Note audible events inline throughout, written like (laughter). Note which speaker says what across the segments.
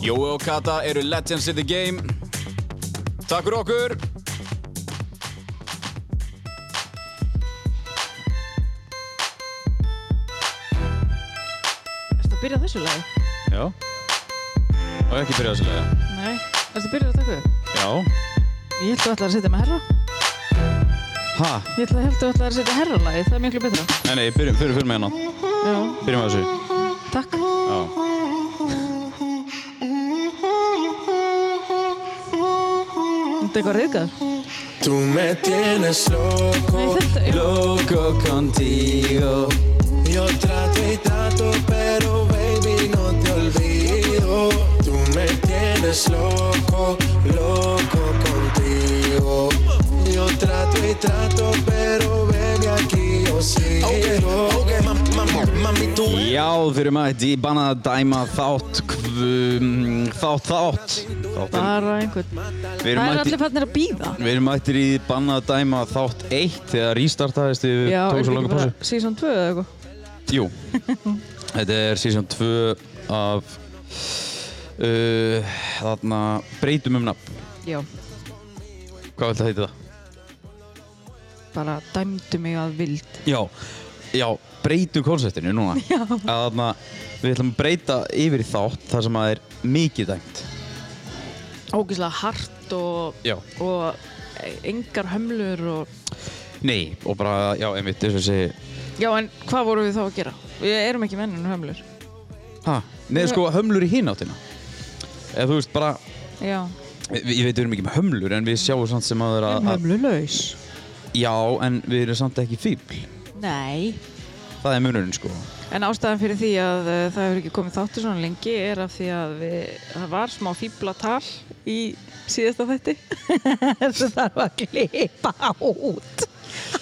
Speaker 1: Jói og Kata eru legends in the game. Takk fyrir okkur!
Speaker 2: Erstu að byrja á þessu lagi?
Speaker 1: Já. Og ekki byrja þessu lega.
Speaker 2: Nei. Erstu að byrja á þessu?
Speaker 1: Já.
Speaker 2: Ég held að ætla að setja með herra.
Speaker 1: Ha?
Speaker 2: Ég held að held að ætla að setja herra lagi, það er miklu betra.
Speaker 1: Nei, nei, byrjum, fyrir, fyrir með hérna.
Speaker 2: Já.
Speaker 1: Byrjum með þessu.
Speaker 2: Takk.
Speaker 1: Já.
Speaker 2: Þetta er eitthvað reyðgar.
Speaker 3: Tú me tienes loco,
Speaker 2: Nei, þetta er...
Speaker 1: Loco contigo.
Speaker 3: yo trato y trato, pero baby no te olvido. Tú me tienes loco, loco contigo. Yo trato y trato, pero baby aquí yo sigo. mami, tú
Speaker 1: Já, þeir eru mætt í bannað að dæma þátt, kvum, þátt, þátt. Þáttin.
Speaker 2: Bara einhvern.
Speaker 1: Við
Speaker 2: Það
Speaker 1: erum
Speaker 2: er
Speaker 1: mætt í,
Speaker 2: allir fannir að býða.
Speaker 1: við erum mættir í bannað að dæma þátt 1 þegar restartaðist yfir
Speaker 2: Já,
Speaker 1: tók
Speaker 2: er
Speaker 1: svo
Speaker 2: þetta
Speaker 1: langa
Speaker 2: ekki bara
Speaker 1: pásu.
Speaker 2: season 2 eða eitthvað?
Speaker 1: Jú, þetta er season 2 af uh, þarna breytum um nafn.
Speaker 2: Já.
Speaker 1: Hvað vil það heita það?
Speaker 2: Bara dæmdu mig að vild.
Speaker 1: Já, já, breytum konseptinu núna. Já. Að þarna, við ætlum að breyta yfir í þátt þar sem að það er mikið dæmt.
Speaker 2: Ógislega hart og...
Speaker 1: Já.
Speaker 2: Og engar hömlur og...
Speaker 1: Nei, og bara, já, einmitt, þess að segja,
Speaker 2: Já, en hvað vorum við þá að gera? Við erum ekki mennin hömlur.
Speaker 1: ha, nei, sko, hömlur í hinn áttina. Eða þú veist, bara,
Speaker 2: Já.
Speaker 1: við- ég veit við erum ekki með hömlur, en við sjáum samt sem að það er að, að,
Speaker 2: Hömlulaus.
Speaker 1: já, en við erum samt ekki fíbl.
Speaker 2: Nei.
Speaker 1: Það er munurinn, sko.
Speaker 2: En ástæðan fyrir því að uh, það hefur ekki komið þáttur svona lengi er af því að við, það var smá fíblatal í síðasta (laughs) þætti. Þessu þarf að klippa út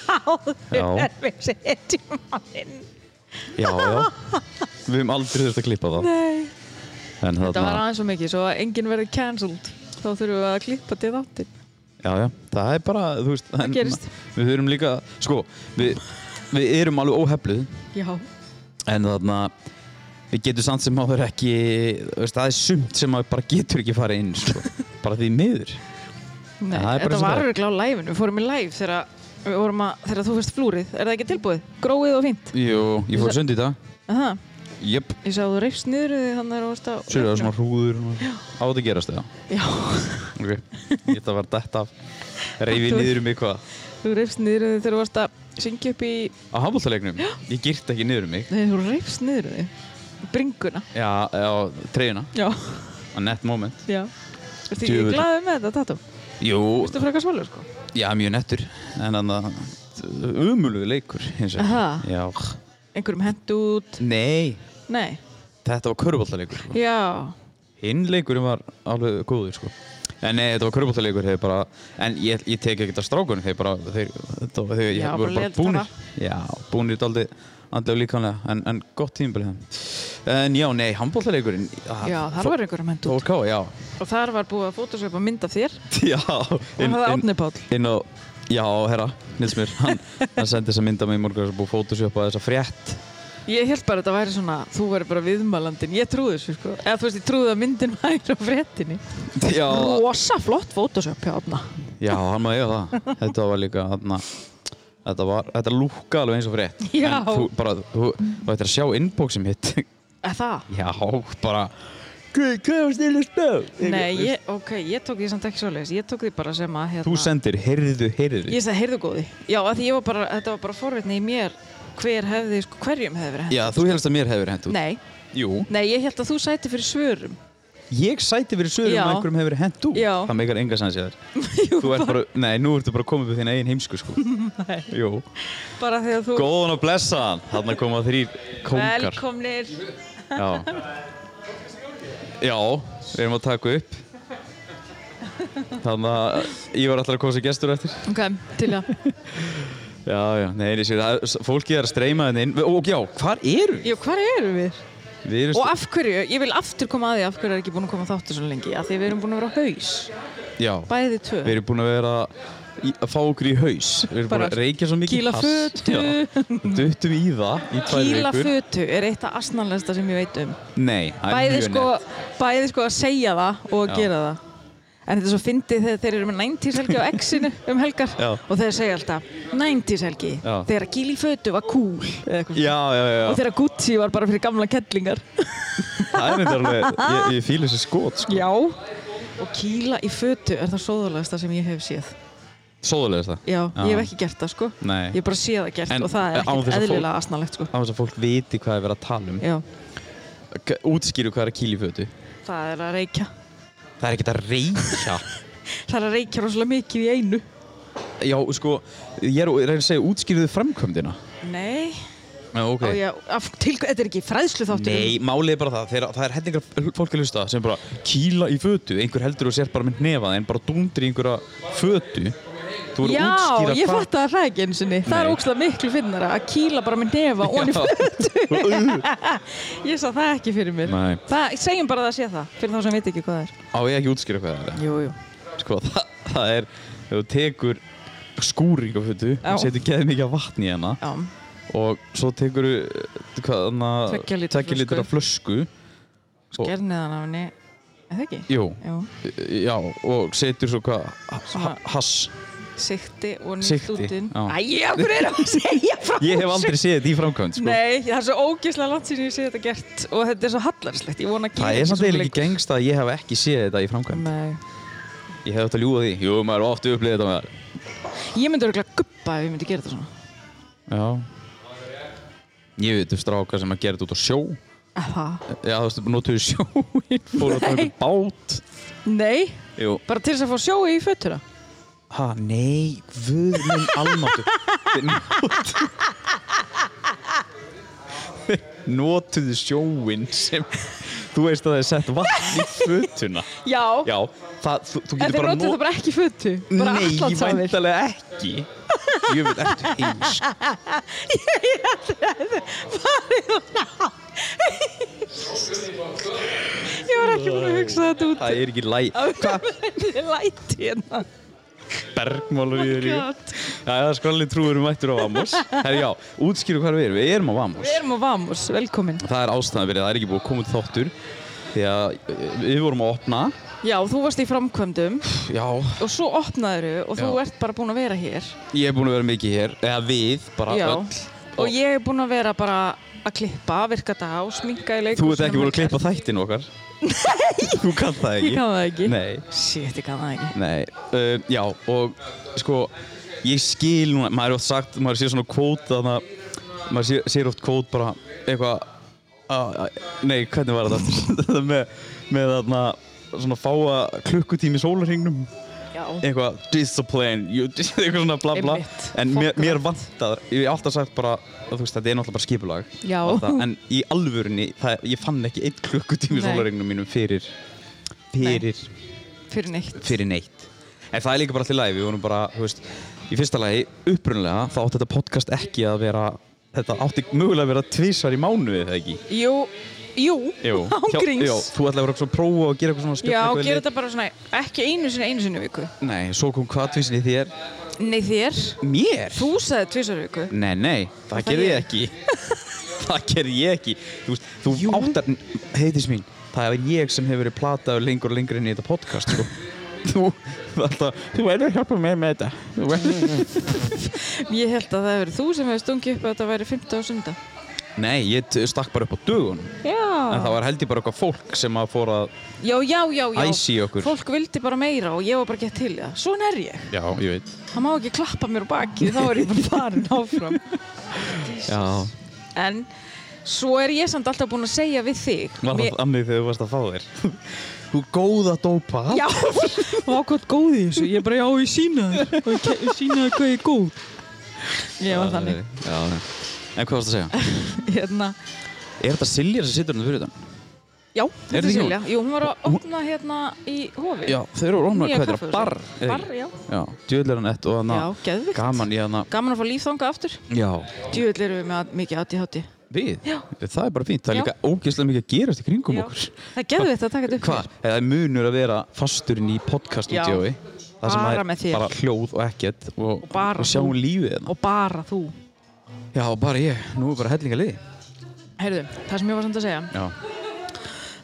Speaker 2: áður
Speaker 1: Já.
Speaker 2: en (laughs) við setjum á inn.
Speaker 1: Já, já. Við höfum aldrei þurft að klippa það.
Speaker 2: Nei.
Speaker 1: En
Speaker 2: Þetta var
Speaker 1: þarna,
Speaker 2: aðeins svo mikið, svo að enginn verður cancelled. Þá þurfum við að klippa til þáttir.
Speaker 1: já, já, það er bara, þú veist, en
Speaker 2: gerist.
Speaker 1: við höfum líka, sko, við, við erum alveg óhefluð,
Speaker 2: Já.
Speaker 1: en þarna, við getum samt sem áður ekki, þú veist, það er sumt sem maður bara getur ekki farið inn,
Speaker 2: (laughs)
Speaker 1: sko, bara því miður. Já, það
Speaker 2: Nei,
Speaker 1: er bara
Speaker 2: þetta
Speaker 1: eins og
Speaker 2: var
Speaker 1: það er.
Speaker 2: öruglega á live-inu. Við fórum í live þegar, við vorum að, þegar þú veist flúrið. Er það ekki tilbúið? Gróið og fínt.
Speaker 1: Jú, ég fór sund í dag,
Speaker 2: Aha.
Speaker 1: jöpp,
Speaker 2: Ég sá þú reyfst niður við því þannig að þú varst á...
Speaker 1: sér það svona hrúður, á þetta gerast eða,
Speaker 2: Já. (laughs)
Speaker 1: ok, ég þetta var dætt af, reyfi
Speaker 2: Þú-
Speaker 1: niður um eitthvað,
Speaker 2: Þú reyfst niður þig þegar þú varst að syngja upp í...
Speaker 1: á handbóltalegnum, ég girt ekki niður um mig,
Speaker 2: Nei, þú reyfst niður þig. Bringuna.
Speaker 1: já, já, treyjuna,
Speaker 2: Já.
Speaker 1: a net moment,
Speaker 2: Já. Ertu ekki
Speaker 1: Djöfull.
Speaker 2: glaðið með þetta, Tatum?
Speaker 1: jú,
Speaker 2: Ertu frekar svalur, sko?
Speaker 1: Já, mjög nettur, en þannig að umulugur leikur hins vegar.
Speaker 2: Aha.
Speaker 1: Já.
Speaker 2: Einhverjum hent út?
Speaker 1: Nei,
Speaker 2: Nei.
Speaker 1: þetta var köruboltaleikur. Sko.
Speaker 2: Já.
Speaker 1: Hinn leikurinn var alveg góður, sko. En nei, þetta var köruboltaleikur, þeir bara, en ég, ég tek ekkert af strákunum, þeir bara, þeir, þetta, var- þeir
Speaker 2: Já,
Speaker 1: voru
Speaker 2: bara
Speaker 1: bara
Speaker 2: lélegir
Speaker 1: búnir.
Speaker 2: tapar.
Speaker 1: Já, búnir daldi andlega og líkanlega, en, en gott tímbil þeim. En já, nei, handboltaleikurinn.
Speaker 2: Já, þar var einhverjum hent út.
Speaker 1: Þór Ká, já.
Speaker 2: Og þar var búið að fótosöpa mynd af þér.
Speaker 1: (laughs) Já.
Speaker 2: Og það er Átni Páll.
Speaker 1: inn á, já, herra, Nils Mér, hann, hann sendi þessa mynd af mig í morgun sem búið fótosjópa þessa frétt
Speaker 2: Ég held bara að þetta væri svona, þú væri bara viðmælandin. Ég trúði þessu, sko. Eða þú veist, ég trúði að myndin (laughs) væri á frettinni.
Speaker 1: já,
Speaker 2: Rosa flott fótosöp hjá Átna.
Speaker 1: já, hann maður eiga það þetta var líka, þarna þetta var, þetta lúka alveg eins og frétt
Speaker 2: Já.
Speaker 1: en þú, bara, þú, þú ættir að sjá inboxi mitt (laughs)
Speaker 2: Eða það?
Speaker 1: já, bara hvað, hvað var snill að spá
Speaker 2: Nei, ég, ok, ég tók því samt ekki svoleiðis. Ég tók því bara sem að... Hérna,
Speaker 1: þú sendir, heyrðu, heyrðu
Speaker 2: Ég sagði, heyrðu góði. Já, af því ég var bara, þetta var bara forvitni í mér hver hefði, sko, hverjum hefði verið hendur.
Speaker 1: já, þú helst að mér hefur hent út
Speaker 2: Nei,
Speaker 1: jú,
Speaker 2: nei, ég held að þú sæti fyrir svörum.
Speaker 1: ég sæti verið sögur
Speaker 2: Já.
Speaker 1: um að einhverjum hefur hent út
Speaker 2: Já.
Speaker 1: það meikar enga sanns
Speaker 2: (laughs)
Speaker 1: ég þér þú ert bara, nei, nú ertu bara komið við þín eigin heimsku
Speaker 2: (laughs)
Speaker 1: sko. jú
Speaker 2: Bara þegar þú...
Speaker 1: Góðan og blessaðan, þarna koma þrýr kóngar
Speaker 2: Velkomnir.
Speaker 1: Já Já, við erum að taka upp Þannig að ég var alltaf að koma sem gestur eftir
Speaker 2: Ok, til að
Speaker 1: Já, já, nei, nei, sér, það er- fólkið er að streyma henni inn Og já, hvar eru við?
Speaker 2: (laughs) Jú, hvar erum við?
Speaker 1: Við erum,
Speaker 2: Og
Speaker 1: st-
Speaker 2: af hverju, ég vil aftur koma að því af hverju er ekki búin að koma þáttur svona lengi af því við erum búin að vera á haus,
Speaker 1: já,
Speaker 2: bæði tvö
Speaker 1: við erum búin að vera í, að fá okkur í haus Við erum búin
Speaker 2: Bara
Speaker 1: að reykja svo mikið
Speaker 2: kýla
Speaker 1: hass.
Speaker 2: fötu.
Speaker 1: Já, Duttum í það í tvær
Speaker 2: Kýla
Speaker 1: vikur
Speaker 2: fötu er eitt af asnanlegsta sem ég veit um
Speaker 1: Nei, það er
Speaker 2: bæði
Speaker 1: mjög
Speaker 2: sko,
Speaker 1: nett.
Speaker 2: bæði sko að segja það og að
Speaker 1: Já.
Speaker 2: gera það En þetta er svo fyndið þegar þeir eru með 90s helgi á
Speaker 1: (laughs)
Speaker 2: X-inu um helgar
Speaker 1: Já.
Speaker 2: og þeir segja alltaf 90s helgi
Speaker 1: Já.
Speaker 2: þegar að kýla í fötu var cool eða eitthvað
Speaker 1: Já, já, já,
Speaker 2: og þegar að Gucci var bara fyrir gamla kettlingar
Speaker 1: það er þetta alveg Ég, ég fíla þessi skot, sko
Speaker 2: Já Og kýla í fötu er það sóðalegasta sem ég hef séð
Speaker 1: Sóðulegist það
Speaker 2: Já, ég hef ekki gert það sko
Speaker 1: Nei.
Speaker 2: Ég hef bara séð það gert
Speaker 1: En
Speaker 2: og það er
Speaker 1: án
Speaker 2: ekkert
Speaker 1: þess að fólk-
Speaker 2: eðlilega asnalegt sko
Speaker 1: Á þess að fólk viti hvað er verið að tala um
Speaker 2: Já,
Speaker 1: K- Útskýru hvað er að kýla í fötu
Speaker 2: það er að reykja
Speaker 1: Það er ekkert að reykja
Speaker 2: Það er að reykja rosalega mikið í einu
Speaker 1: (laughs) Já, sko, ég er að reyna að segja, útskýrðu framkvæmdina.
Speaker 2: Nei
Speaker 1: Já, ok.
Speaker 2: og ég, af, til, Þetta er ekki fræðslu þáttur
Speaker 1: Nei, málið er bara það, þegar, það er hellingar fólk að hlusta sem bara kýla í fötu, einhver heldur og sér bara með nefað en bara dúndri í einhverja fötu. Þú verður
Speaker 2: Já,
Speaker 1: að útskýra
Speaker 2: ég
Speaker 1: hvað-
Speaker 2: fatt að það ekki eins og Það er
Speaker 1: Nei.
Speaker 2: ógslag miklu finnara að kýla bara með nefa onni
Speaker 1: Já.
Speaker 2: fötu Ég sá það ekki fyrir
Speaker 1: (laughs)
Speaker 2: mér
Speaker 1: Nei.
Speaker 2: það, Segjum bara að það sé það fyrir þá sem veit ekki hvað það er
Speaker 1: Á ég ekki að útskýra hvað það er?
Speaker 2: Jú, jú
Speaker 1: Sko, það, það er, ef þú tekur skúring á fötu,
Speaker 2: Já.
Speaker 1: setur geð mikið vatn í hana
Speaker 2: Já,
Speaker 1: og svo tekur eh, þú
Speaker 2: Tveggja lítra
Speaker 1: litra flösku. Og-
Speaker 2: gerniðan af henni Er það ekki?
Speaker 1: Jú, eh,
Speaker 2: Jú,
Speaker 1: já, og setur svo hvað, ha-
Speaker 2: Svona-
Speaker 1: hass.
Speaker 2: sikti og nýtt
Speaker 1: Sigti,
Speaker 2: útinn
Speaker 1: já.
Speaker 2: Æ, af hverju er það að segja frá
Speaker 1: Ég hef aldrei
Speaker 2: þessu?
Speaker 1: séð þetta í framkvæmd, sko.
Speaker 2: Nei, það er svo ógeðslega langt síðan ég sé þetta gert og þetta er svo hallarslegt, ég vona að gera
Speaker 1: Það er samt
Speaker 2: svona
Speaker 1: eiginlega ekki
Speaker 2: lengur.
Speaker 1: gengst að ég hef ekki séð þetta í framkvæmd.
Speaker 2: Nei,
Speaker 1: Ég hef þetta ljúað því. Jú, maður er ofta upplýðið þetta með það.
Speaker 2: ég myndi örgulega guppa ef ég myndi gera þetta svona
Speaker 1: Já. Ég veit um stráka sem að gera þetta út á sjó.
Speaker 2: Eh, Það?
Speaker 1: Já, þú veist, notuðu (laughs) sjóinn, fóru að taka
Speaker 2: Nei.
Speaker 1: upp bát.
Speaker 2: Nei,
Speaker 1: Jú.
Speaker 2: bara til þess að fá sjói í fötuna
Speaker 1: Ha, nei, guð minn almáttu. Þeir notuðu... (laughs) Þeir notuðu sjóinn sem... Þú veist að það er sett vatn í fötuna.
Speaker 2: Já,
Speaker 1: Já, það, þú, þú
Speaker 2: en
Speaker 1: getur
Speaker 2: þeir
Speaker 1: bara
Speaker 2: notu það bara ekki í fötu bara
Speaker 1: Nei,
Speaker 2: Atlantshafið.
Speaker 1: væntalega ekki. Ég veit, ertu eins.
Speaker 2: Ég var ekki búin að hugsa þetta út
Speaker 1: Það er ekki læg. Hvað?
Speaker 2: (laughs) Ég læti hérna
Speaker 1: Bergmálur í þér.
Speaker 2: Oh God.
Speaker 1: Já, það er skvalli trúður um mættur á Vamos. Herri, já, útskýru hvað við erum. Við erum á Vamos.
Speaker 2: Við erum á Vamos, velkomin
Speaker 1: Það er ástæðan fyrir, það er ekki búið að koma út þáttur. Því að eh, við vorum að opna.
Speaker 2: Já, þú varst í framkvæmdum
Speaker 1: Já.
Speaker 2: og svo opnaður og þú
Speaker 1: Já.
Speaker 2: ert bara búin að vera hér
Speaker 1: Ég er búin að vera mikið hér. Eða við, bara
Speaker 2: Já,
Speaker 1: öll.
Speaker 2: og ég er búin að vera bara að klippa, virka þetta á, sminka í leikur
Speaker 1: Þú ert ekki búin að klippa þættin
Speaker 2: (laughs)
Speaker 1: okkar. Nei. Þú kann það ekki.
Speaker 2: Ég kann það ekki
Speaker 1: Nei.
Speaker 2: Shit, ég kann það ekki
Speaker 1: Nei, uh, já og sko ég skil núna, maður er oft sagt, maður sér svona kvót þannig að maður sér, sér oft kvót bara eitthvað uh, nei, hvernig var þetta (laughs) aftur? þetta með, með þarna svona fáa klukkutími í sólarhingnum
Speaker 2: Já,
Speaker 1: eitthvað discipline, you, (laughs) eitthvað svona bla bla
Speaker 2: Einmitt,
Speaker 1: en mér,
Speaker 2: fokk
Speaker 1: mér
Speaker 2: rætt.
Speaker 1: vantar, ég hef alltaf sagt bara þú veist, þetta er náttúrulega bara skipulag
Speaker 2: Já.
Speaker 1: og það, en í alvörunni, það, ég fann ekki eitt klukkutími í
Speaker 2: Nei.
Speaker 1: sólarhingnum mínum fyrir fyrir
Speaker 2: fyrir neitt
Speaker 1: fyrir neitt en það er líka bara allir lægi, við vorum bara þú veist, í fyrsta lagi, upprunalega þá átti þetta podcast ekki að vera þetta átti mögulega að vera tvísvar í mánuði eða ekki
Speaker 2: Jú, jú, (laughs)
Speaker 1: Hjá-
Speaker 2: ángríns
Speaker 1: já, þú ætlaði að vera að prófa og gera eitthvað svona
Speaker 2: Já,
Speaker 1: eitthvað í
Speaker 2: gera
Speaker 1: lit.
Speaker 2: þetta bara svona, ekki einu sinni, einu sinni í viku
Speaker 1: Nei, svo kom hvað tvísin í þér
Speaker 2: Nei, þér,
Speaker 1: Mér?
Speaker 2: þú sagði tvisar í viku
Speaker 1: Nei, nei, það,
Speaker 2: það
Speaker 1: gerði ég
Speaker 2: ég.
Speaker 1: ekki (laughs) Það gerði ég ekki Þú veist, þú
Speaker 2: Jú.
Speaker 1: áttar heitis mín, það er ég sem hefur verið plataður lengur og lengur inn í þetta podcast sko. (laughs) Þú, alltaf, þú verður að hjálpa mér með þetta Þú verður
Speaker 2: Ég held að það hefur þú sem hefur stungið upp að þetta væri 15 og sunda
Speaker 1: Nei, ég t- stakk bara upp á dögunum En það
Speaker 2: Já,
Speaker 1: var held ég bara eitthvað fólk sem að fóra að
Speaker 2: já, já, já, já
Speaker 1: æsi okkur
Speaker 2: Fólk vildi bara meira og ég var bara gett til í það Svona er ég
Speaker 1: Já, ég veit
Speaker 2: Það má ekki klappa mér á baki, þá er ég bara farin áfram.
Speaker 1: Já,
Speaker 2: En svo er ég samt alltaf búin að segja við þig.
Speaker 1: var það annir þegar þú varst að fá þér Þú góða dópa
Speaker 2: Já, ákvæmt góð í þessu. Ég bara, já, ég (laughs) sína það. Ég sína það hvað ég er góð. Ég var þannig.
Speaker 1: Eh, Já, En hvað varst að segja?
Speaker 2: Hérna,
Speaker 1: Er þetta Silja sem situr hann hérna fyrir utan?
Speaker 2: Já,
Speaker 1: Er
Speaker 2: þetta
Speaker 1: þetta
Speaker 2: er
Speaker 1: ekki
Speaker 2: Silja. Jú, hún var að opna hérna í hofi.
Speaker 1: Já, þeir eru rónar,
Speaker 2: Nýja
Speaker 1: hvað heitir það?
Speaker 2: kaffihúsið.
Speaker 1: Bar? eða
Speaker 2: Bar,
Speaker 1: ekki?
Speaker 2: já.
Speaker 1: Já, djöðl er hann ett og hann
Speaker 2: Já, geðvikt.
Speaker 1: Gaman í hann
Speaker 2: Gaman að fá líf þangað aftur.
Speaker 1: Já,
Speaker 2: Djúvill erum við með að- mikið aðti hátti.
Speaker 1: við?
Speaker 2: Já.
Speaker 1: Það er bara fínt, það er
Speaker 2: Já.
Speaker 1: líka ógeðslega mikið að gerast í
Speaker 2: um
Speaker 1: kringum okkur
Speaker 2: Það er geðvikt að taka þetta upp.
Speaker 1: Hvað? Það er munur að vera fasturinn í podcaststúdíói Það sem
Speaker 2: Bara
Speaker 1: það
Speaker 2: með þér.
Speaker 1: er bara hljóð og ekkert og,
Speaker 2: Og bara
Speaker 1: og sjáum
Speaker 2: þú.
Speaker 1: lífið hérna
Speaker 2: Og bara þú.
Speaker 1: Já, bara ég, nú er bara hellinga liði
Speaker 2: Heyrðu, það sem ég var samt að segja.
Speaker 1: Já,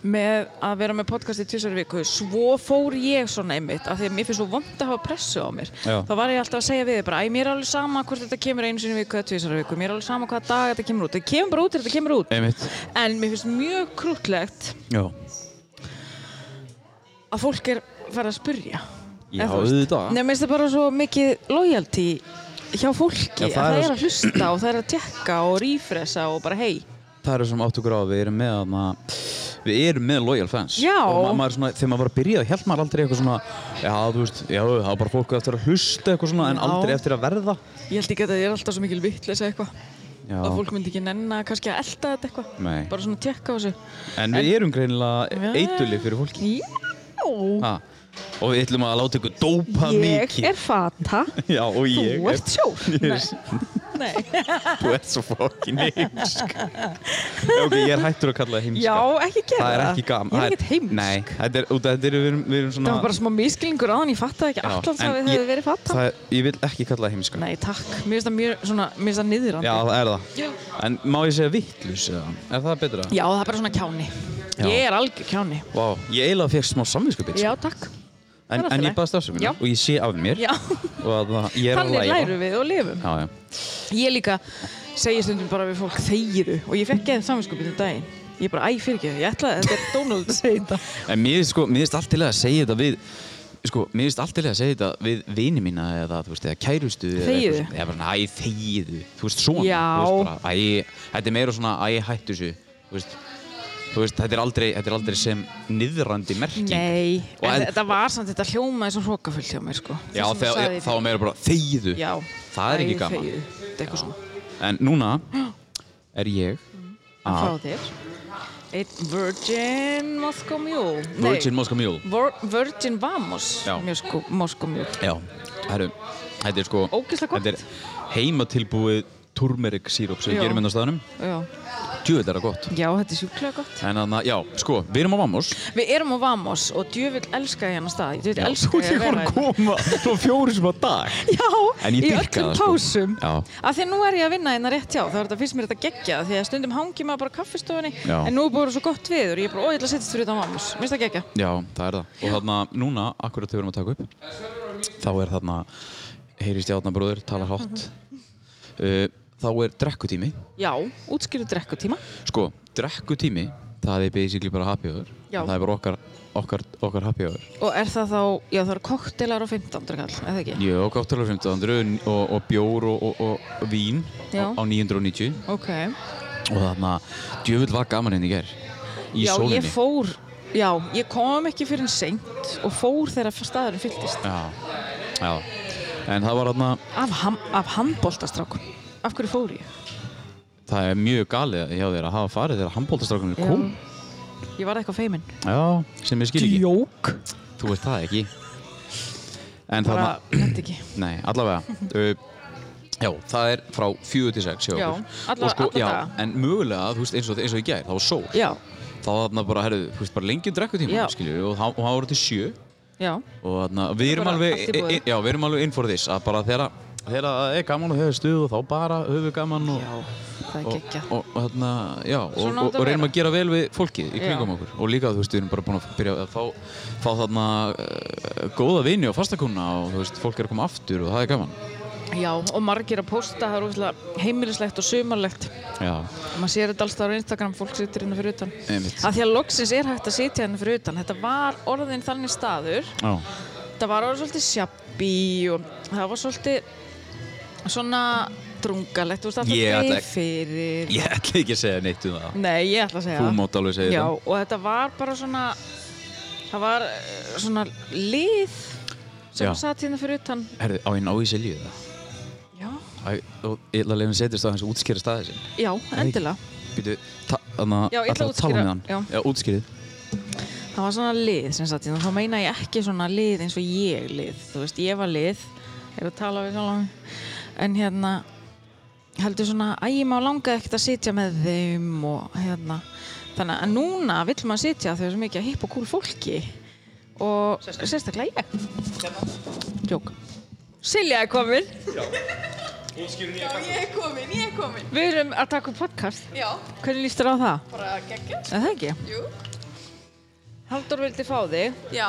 Speaker 2: Með að vera með podcast í tvisar viku, svo fór ég svona einmitt, af því að mér finnst svo vond að hafa pressu á mér.
Speaker 1: Já.
Speaker 2: Þá var ég alltaf að segja við þið bara, æ, mér er alveg sama hvort þetta kemur einu sinni í viku eða tvisar viku, mér er alveg sama hvaða dag þetta kemur út. Þetta kemur bara út þegar þetta kemur út.
Speaker 1: einmitt
Speaker 2: En mér finnst mjög krútlegt
Speaker 1: Já,
Speaker 2: að fólk er farið að spurja.
Speaker 1: Já,
Speaker 2: Eða þú veist.
Speaker 1: auðvitað.
Speaker 2: Nei, mér finnst það bara svo mikið loyalty hjá fólki.
Speaker 1: Já,
Speaker 2: að
Speaker 1: það
Speaker 2: það
Speaker 1: er-
Speaker 2: er að hlusta og það er að tekka og refresa og bara hei.
Speaker 1: það eru sem átt okkur á að við erum með hana, við erum með loyal fans
Speaker 2: Já.
Speaker 1: og ma maður svona, þegar maður var að byrja þá held maður aldrei eitthvað svona já þú veist, já það var bara fólk eftir að hlusta eitthvað svona en
Speaker 2: Já.
Speaker 1: aldrei eftir að verða
Speaker 2: Ég held ekki að það er alltaf svo mikil vittleysa eitthvað.
Speaker 1: já.
Speaker 2: Að fólk myndi ekki nenna kannski að elda þetta eitthvað.
Speaker 1: Nei.
Speaker 2: Bara svona tekka á þessu.
Speaker 1: en við erum greinilega
Speaker 2: Já.
Speaker 1: eitulið fyrir fólki
Speaker 2: Já.
Speaker 1: ha. og við ætlum að láta ykkur dópa
Speaker 2: Ég
Speaker 1: mikið
Speaker 2: er fata.
Speaker 1: (laughs) já og ég
Speaker 2: Þú ert sjór.
Speaker 1: Yes.
Speaker 2: Nei.
Speaker 1: þú ert svo fokkin
Speaker 2: (laughs)
Speaker 1: heimsk Já, ok, ég er hættur að kalla það heimska
Speaker 2: Já, ekki gera
Speaker 1: það er ekki gaman
Speaker 2: Ég
Speaker 1: Það
Speaker 2: er ekkert heimsk.
Speaker 1: nei, þetta er, út af þetta er við erum, við erum svona
Speaker 2: Það var bara smá miskilningur á þannig, ég fattaði ekki
Speaker 1: Já,
Speaker 2: alltaf
Speaker 1: en
Speaker 2: að við
Speaker 1: ég-
Speaker 2: hefði verið fata.
Speaker 1: það, ég vil ekki kalla það heimska
Speaker 2: Nei, takk. Mér finnst það mjög svona, mér finnst það niðurandi.
Speaker 1: Já, það er það.
Speaker 2: Já.
Speaker 1: En má ég segja vittlus eða? Er það betra?
Speaker 2: Já, það er bara svona kjáni.
Speaker 1: Já.
Speaker 2: Ég er algjör kjáni.
Speaker 1: Vá, ég eiginlega fekk smá samvinskupið.
Speaker 2: Já, takk.
Speaker 1: En,
Speaker 2: það er allt í
Speaker 1: en ég
Speaker 2: lagi.
Speaker 1: baðst afsökunar
Speaker 2: Já.
Speaker 1: og ég sé af mér
Speaker 2: Já.
Speaker 1: og að það, ég er að
Speaker 2: Þannig
Speaker 1: læra.
Speaker 2: lærum við og lifum.
Speaker 1: Já, já.
Speaker 2: Ég líka segi stundum bara við fólk þegiru og ég fekk eða saminskupið um daginn. Ég bara, æ, fyrir ekki, ég ætlaði, þetta er (laughs) Donald að segja þetta.
Speaker 1: En mér finnst sko, mér finnst alltilega að segja þetta við, sko, mér finnst alltilega að segja þetta við vini mína eða, þú veist, eða kærustu. eða
Speaker 2: Þegiðu.
Speaker 1: eitthvað svona. Ég er bara svona, æ, þegiðu. Þú veist, svona.
Speaker 2: Já.
Speaker 1: Þú veist bara, æ, þetta er meira svona, æ, hættu þessu. Þú veist, þú veist, þetta er aldrei, þetta er aldrei sem niðrandi merking.
Speaker 2: Nei,
Speaker 1: Og
Speaker 2: en
Speaker 1: en-
Speaker 2: þetta var samt, þetta hljómaði svo hrókafull hjá mér, sko.
Speaker 1: Já,
Speaker 2: Það sem þú
Speaker 1: þegar-
Speaker 2: sagðir.
Speaker 1: þá er meira bara, þegiðu.
Speaker 2: Já.
Speaker 1: Það er
Speaker 2: Æ,
Speaker 1: ekki gaman.
Speaker 2: þegiðu. Þetta er eitthvað svona.
Speaker 1: En núna er ég
Speaker 2: Frá
Speaker 1: að
Speaker 2: þér. Eitt Virgin Moscow Mule. Nei,
Speaker 1: Virgin Moscow Mule
Speaker 2: Vor- Virgin Vamos sko-
Speaker 1: Já.
Speaker 2: Moscow- Moscow Mule.
Speaker 1: Já, herru, þetta er sko
Speaker 2: Ógeðslega gott.
Speaker 1: Þetta er heimatilbúið turmeric síróp sem við
Speaker 2: Já.
Speaker 1: gerum hérna á staðnum
Speaker 2: Já.
Speaker 1: Djúvel er það gott
Speaker 2: Já, þetta er sjúklega gott.
Speaker 1: En þannig að, já, sko, við erum á Vamos
Speaker 2: Við erum á Vamos og djöfull elska ég hennar stað. Djöfull elska ég að vera hérna.
Speaker 1: koma svo fjóri sem að dag
Speaker 2: Já,
Speaker 1: En ég
Speaker 2: í
Speaker 1: dýrka
Speaker 2: öllum
Speaker 1: það, sko.
Speaker 2: pásum.
Speaker 1: Já.
Speaker 2: Af því að nú er ég að vinna hérna rétt hjá. Það er þetta fyrst mér þetta geggja. Því að stundum hangi maður bara á kaffistofunni.
Speaker 1: Já.
Speaker 2: En nú er búið að vera svo gott við og ég er bara, ó, ég ætla að setjast fyrir þetta á Vamos. Mér finnst það geggja.
Speaker 1: Já, það er það Og þannig að núna, akkurat þegar við erum að taka upp Þá er þarna, heyrist ég átna bróður, tala hátt
Speaker 2: Mhm.
Speaker 1: uh, Þá er drekkutími
Speaker 2: Já, útskýru drekkutíma.
Speaker 1: Sko, drekkutími, það er basically bara happy hour
Speaker 2: Já.
Speaker 1: Það er bara okkar, okkar, okkar happy hour
Speaker 2: Og er það þá, já það eru koktelar á 15. kall, eða ekki?
Speaker 1: Jó, káttalur 1500 og, og bjór og, og, og, og vín
Speaker 2: Já.
Speaker 1: á, á 990
Speaker 2: Ok.
Speaker 1: og þannig að djöfull var gaman henni í ger í
Speaker 2: já,
Speaker 1: sólinni
Speaker 2: ég fór, já, ég kom ekki fyrir en seint og fór þegar staðurinn fylltist.
Speaker 1: Já, já En það var þarna,
Speaker 2: Af, ham, af handbóltastrákum. Af hverju fór ég?
Speaker 1: það er mjög galið hjá þér að hafa farið þegar handbóltastrákunni
Speaker 2: Já.
Speaker 1: kom
Speaker 2: Ég var eitthvað feiminn.
Speaker 1: Já, sem ég skil ekki
Speaker 2: Jók.
Speaker 1: Þú veist það ekki En
Speaker 2: Bara,
Speaker 1: þarna,
Speaker 2: þetta ekki.
Speaker 1: nei, allavega uh, Já, það er frá 4 til 6 hjá
Speaker 2: Já,
Speaker 1: okkur.
Speaker 2: alla-
Speaker 1: Og sko,
Speaker 2: alla
Speaker 1: já,
Speaker 2: daga.
Speaker 1: En mögulega, þú veist, eins og, eins og í gær, það var sól
Speaker 2: Já,
Speaker 1: þá var þarna bara, herru, þú veist, bara lengjum drekkutíma,
Speaker 2: Já.
Speaker 1: skiljum við, og þá- og það voru til sjö
Speaker 2: já.
Speaker 1: og þarna, við erum
Speaker 2: bara
Speaker 1: alveg,
Speaker 2: allt í boði.
Speaker 1: e- e- já, við erum alveg in for this, að bara þegar að- þegar það er gaman og hefur stuð og þá bara höfum við gaman og,
Speaker 2: Já, það er
Speaker 1: og,
Speaker 2: gekkja.
Speaker 1: og, og þarna, já, og,
Speaker 2: Svona á
Speaker 1: og,
Speaker 2: þetta
Speaker 1: og
Speaker 2: að
Speaker 1: reynum
Speaker 2: vera.
Speaker 1: að gera vel við fólkið í
Speaker 2: Já.
Speaker 1: kringum okkur og líka, þú veist, við erum bara búin að byrja að fá, fá þarna uh, góða vini og fastakúna og þú veist, fólk er að koma aftur og það er gaman,
Speaker 2: Já, og margir að posta, það er óslega heimilislegt og sumarlegt.
Speaker 1: já,
Speaker 2: Maður sér þetta alls þar á Instagram, fólk situr hérna fyrir utan.
Speaker 1: einmitt,
Speaker 2: Að því að loksins er hægt að sitja hérna fyrir utan. Þetta var orðin þannig staður.
Speaker 1: já,
Speaker 2: Þetta var orðin svolítið sjabbi og það var svolítið svona drungalegt. Þú veist, alltaf
Speaker 1: Ég ætla
Speaker 2: yeah,
Speaker 1: ekki-
Speaker 2: fyrir.
Speaker 1: ég ætla ekki að segja neitt um það,
Speaker 2: Nei, ég ætla að segja
Speaker 1: þú
Speaker 2: það.
Speaker 1: mátt alveg segja
Speaker 2: Já,
Speaker 1: þetta,
Speaker 2: og þetta var bara svona það var eh, svona lið sem
Speaker 1: Já.
Speaker 2: satt hérna fyrir utan
Speaker 1: herru, á ég ná í selju það?
Speaker 2: Já,
Speaker 1: Æ, og ég ætla að leiðin setjast á hans og útskýra staðið sinn
Speaker 2: já endilega
Speaker 1: Býtu, þannig
Speaker 2: Já, ég ætla að
Speaker 1: tala
Speaker 2: útskýra,
Speaker 1: með hann
Speaker 2: já.
Speaker 1: útskýrið
Speaker 2: það var svona lið sem sagt, þá meina ég ekki svona lið eins og ég lið, þú veist, ég var lið ég er að tala við sjálf en hérna, heldur svona æ, maður langaði ekkert að sitja með þeim og hérna þannig að núna vill maður sitja þegar svo mikið að hipp og kúl fólki og sérstaklega ég Jók Silja er komin
Speaker 4: Ég er komin, ég er komin.
Speaker 2: Við erum að taka upp podcast
Speaker 4: Já,
Speaker 2: Hvernig líst þér á það?
Speaker 4: bara geggjast.
Speaker 2: Er það ekki?
Speaker 4: Jú.
Speaker 2: Haldur vildi fá þig
Speaker 4: Já,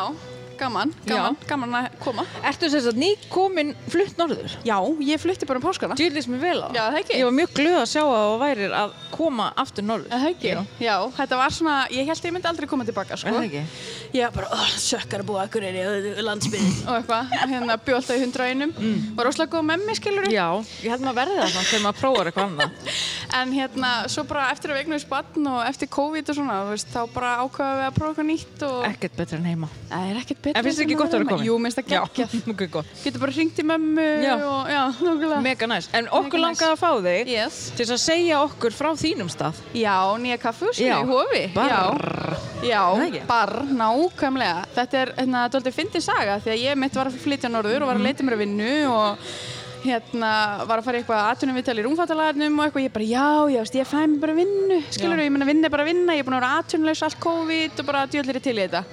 Speaker 4: gaman, gaman, gaman að koma.
Speaker 2: Ertu sem sagt ný komin flutt norður?
Speaker 4: Já, ég flutti bara um páskana.
Speaker 2: Þú lýst mér vel á
Speaker 4: Já, það ekki.
Speaker 2: Ég var mjög glöð að sjá að það værir að koma aftur norður
Speaker 4: Það ekki?
Speaker 2: Já.
Speaker 4: Já, þetta var svona, ég held ég myndi aldrei koma tilbaka, sko.
Speaker 2: Er það ekki?
Speaker 4: Ég var bara, oh, sökkar að búa akkur er í landsbyrðin. Og eitthvað, hérna bjó alltaf í hundra einum. Var óslega góð með mig, skilur
Speaker 2: Já, ég held maður verði það samt þegar maður prófar eitthvað annað
Speaker 4: En hérna, svo bara eftir að vegna við spann og eftir COVID og svona, þú veist, þá bara ákvaða við að prófa eitthvað nýtt og...
Speaker 2: Ekkert betur en heima
Speaker 4: Það er ekkert betur.
Speaker 2: En finnst þér
Speaker 4: en
Speaker 2: ekki gott að vera
Speaker 4: heima.
Speaker 2: komin?
Speaker 4: Jú, minnst það
Speaker 2: (laughs)
Speaker 4: geggjað.
Speaker 2: Já, mjög gott
Speaker 4: Getur bara hringt í mömmu
Speaker 2: Já.
Speaker 4: og, já, nokkulega.
Speaker 2: Mega næs En okkur
Speaker 4: Mega næs.
Speaker 2: langaði að fá þig
Speaker 4: Yes.
Speaker 2: til þess að segja okkur frá þínum stað
Speaker 4: Já, nýja kaffehúsinu
Speaker 2: Já.
Speaker 4: í hofi.
Speaker 2: Barr.
Speaker 4: Já, já
Speaker 2: ekki?
Speaker 4: bar, nákvæmlega. Þetta er, hérna, þetta er fyndið saga því að ég mitt var að flytja norður og
Speaker 2: Mhm.
Speaker 4: var að leita mér að vinnu og hérna, var að fara í eitthvað aðtunum viðtal í rúmfattalagarnum og eitthvað, ég bara, já, já, veist, ég fæ mér bara vinnu, skilur ég meina, vinna er bara að vinna, ég er búin að vera aðtunleis allt COVID og bara djöðlir til í þetta.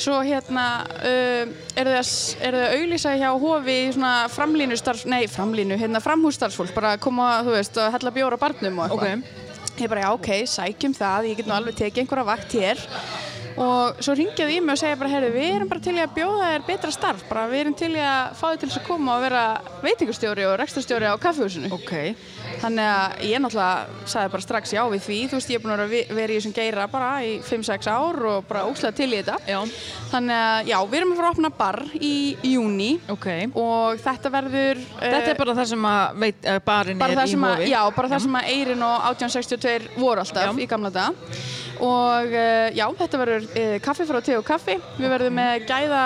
Speaker 4: Svo hérna, um, eru þið að, er þið að auglýsa hjá hofi í svona framlínu starf, nei, framlínu, hérna, framhússtarfsfólk, bara að koma, þú veist, og hella bjóra barnum og eitthvað.
Speaker 2: Ok.
Speaker 4: Ég bara, já, ok, sækjum það, ég get nú alveg tekið einhverja vakt hér og svo ringjaði í mig og segja bara, herru, við erum bara til í að bjóða þér betra starf, bara við erum til í að fá þig til þess að koma og vera veitingustjóri og rekstustjóri á kaffehúsinu.
Speaker 2: Ok
Speaker 4: Þannig að ég náttúrulega sagði bara strax já við því, þú veist, ég er búin að vera vi- vera í þessum geira bara í 5-6 ár og bara óslega til í þetta.
Speaker 2: Já.
Speaker 4: Þannig að, já, við erum að fara að opna bar í júni
Speaker 2: Ok
Speaker 4: og þetta verður... eh,
Speaker 2: Þetta er bara það sem að veit, uh, barinn
Speaker 4: bara
Speaker 2: er
Speaker 4: það
Speaker 2: í
Speaker 4: sem að,
Speaker 2: hófi
Speaker 4: já, bara það sem að Eirin og 1862 voru alltaf
Speaker 2: Já.
Speaker 4: í gamla daga og uh, já, þetta verður uh, kaffi frá te og kaffi við verðum með gæða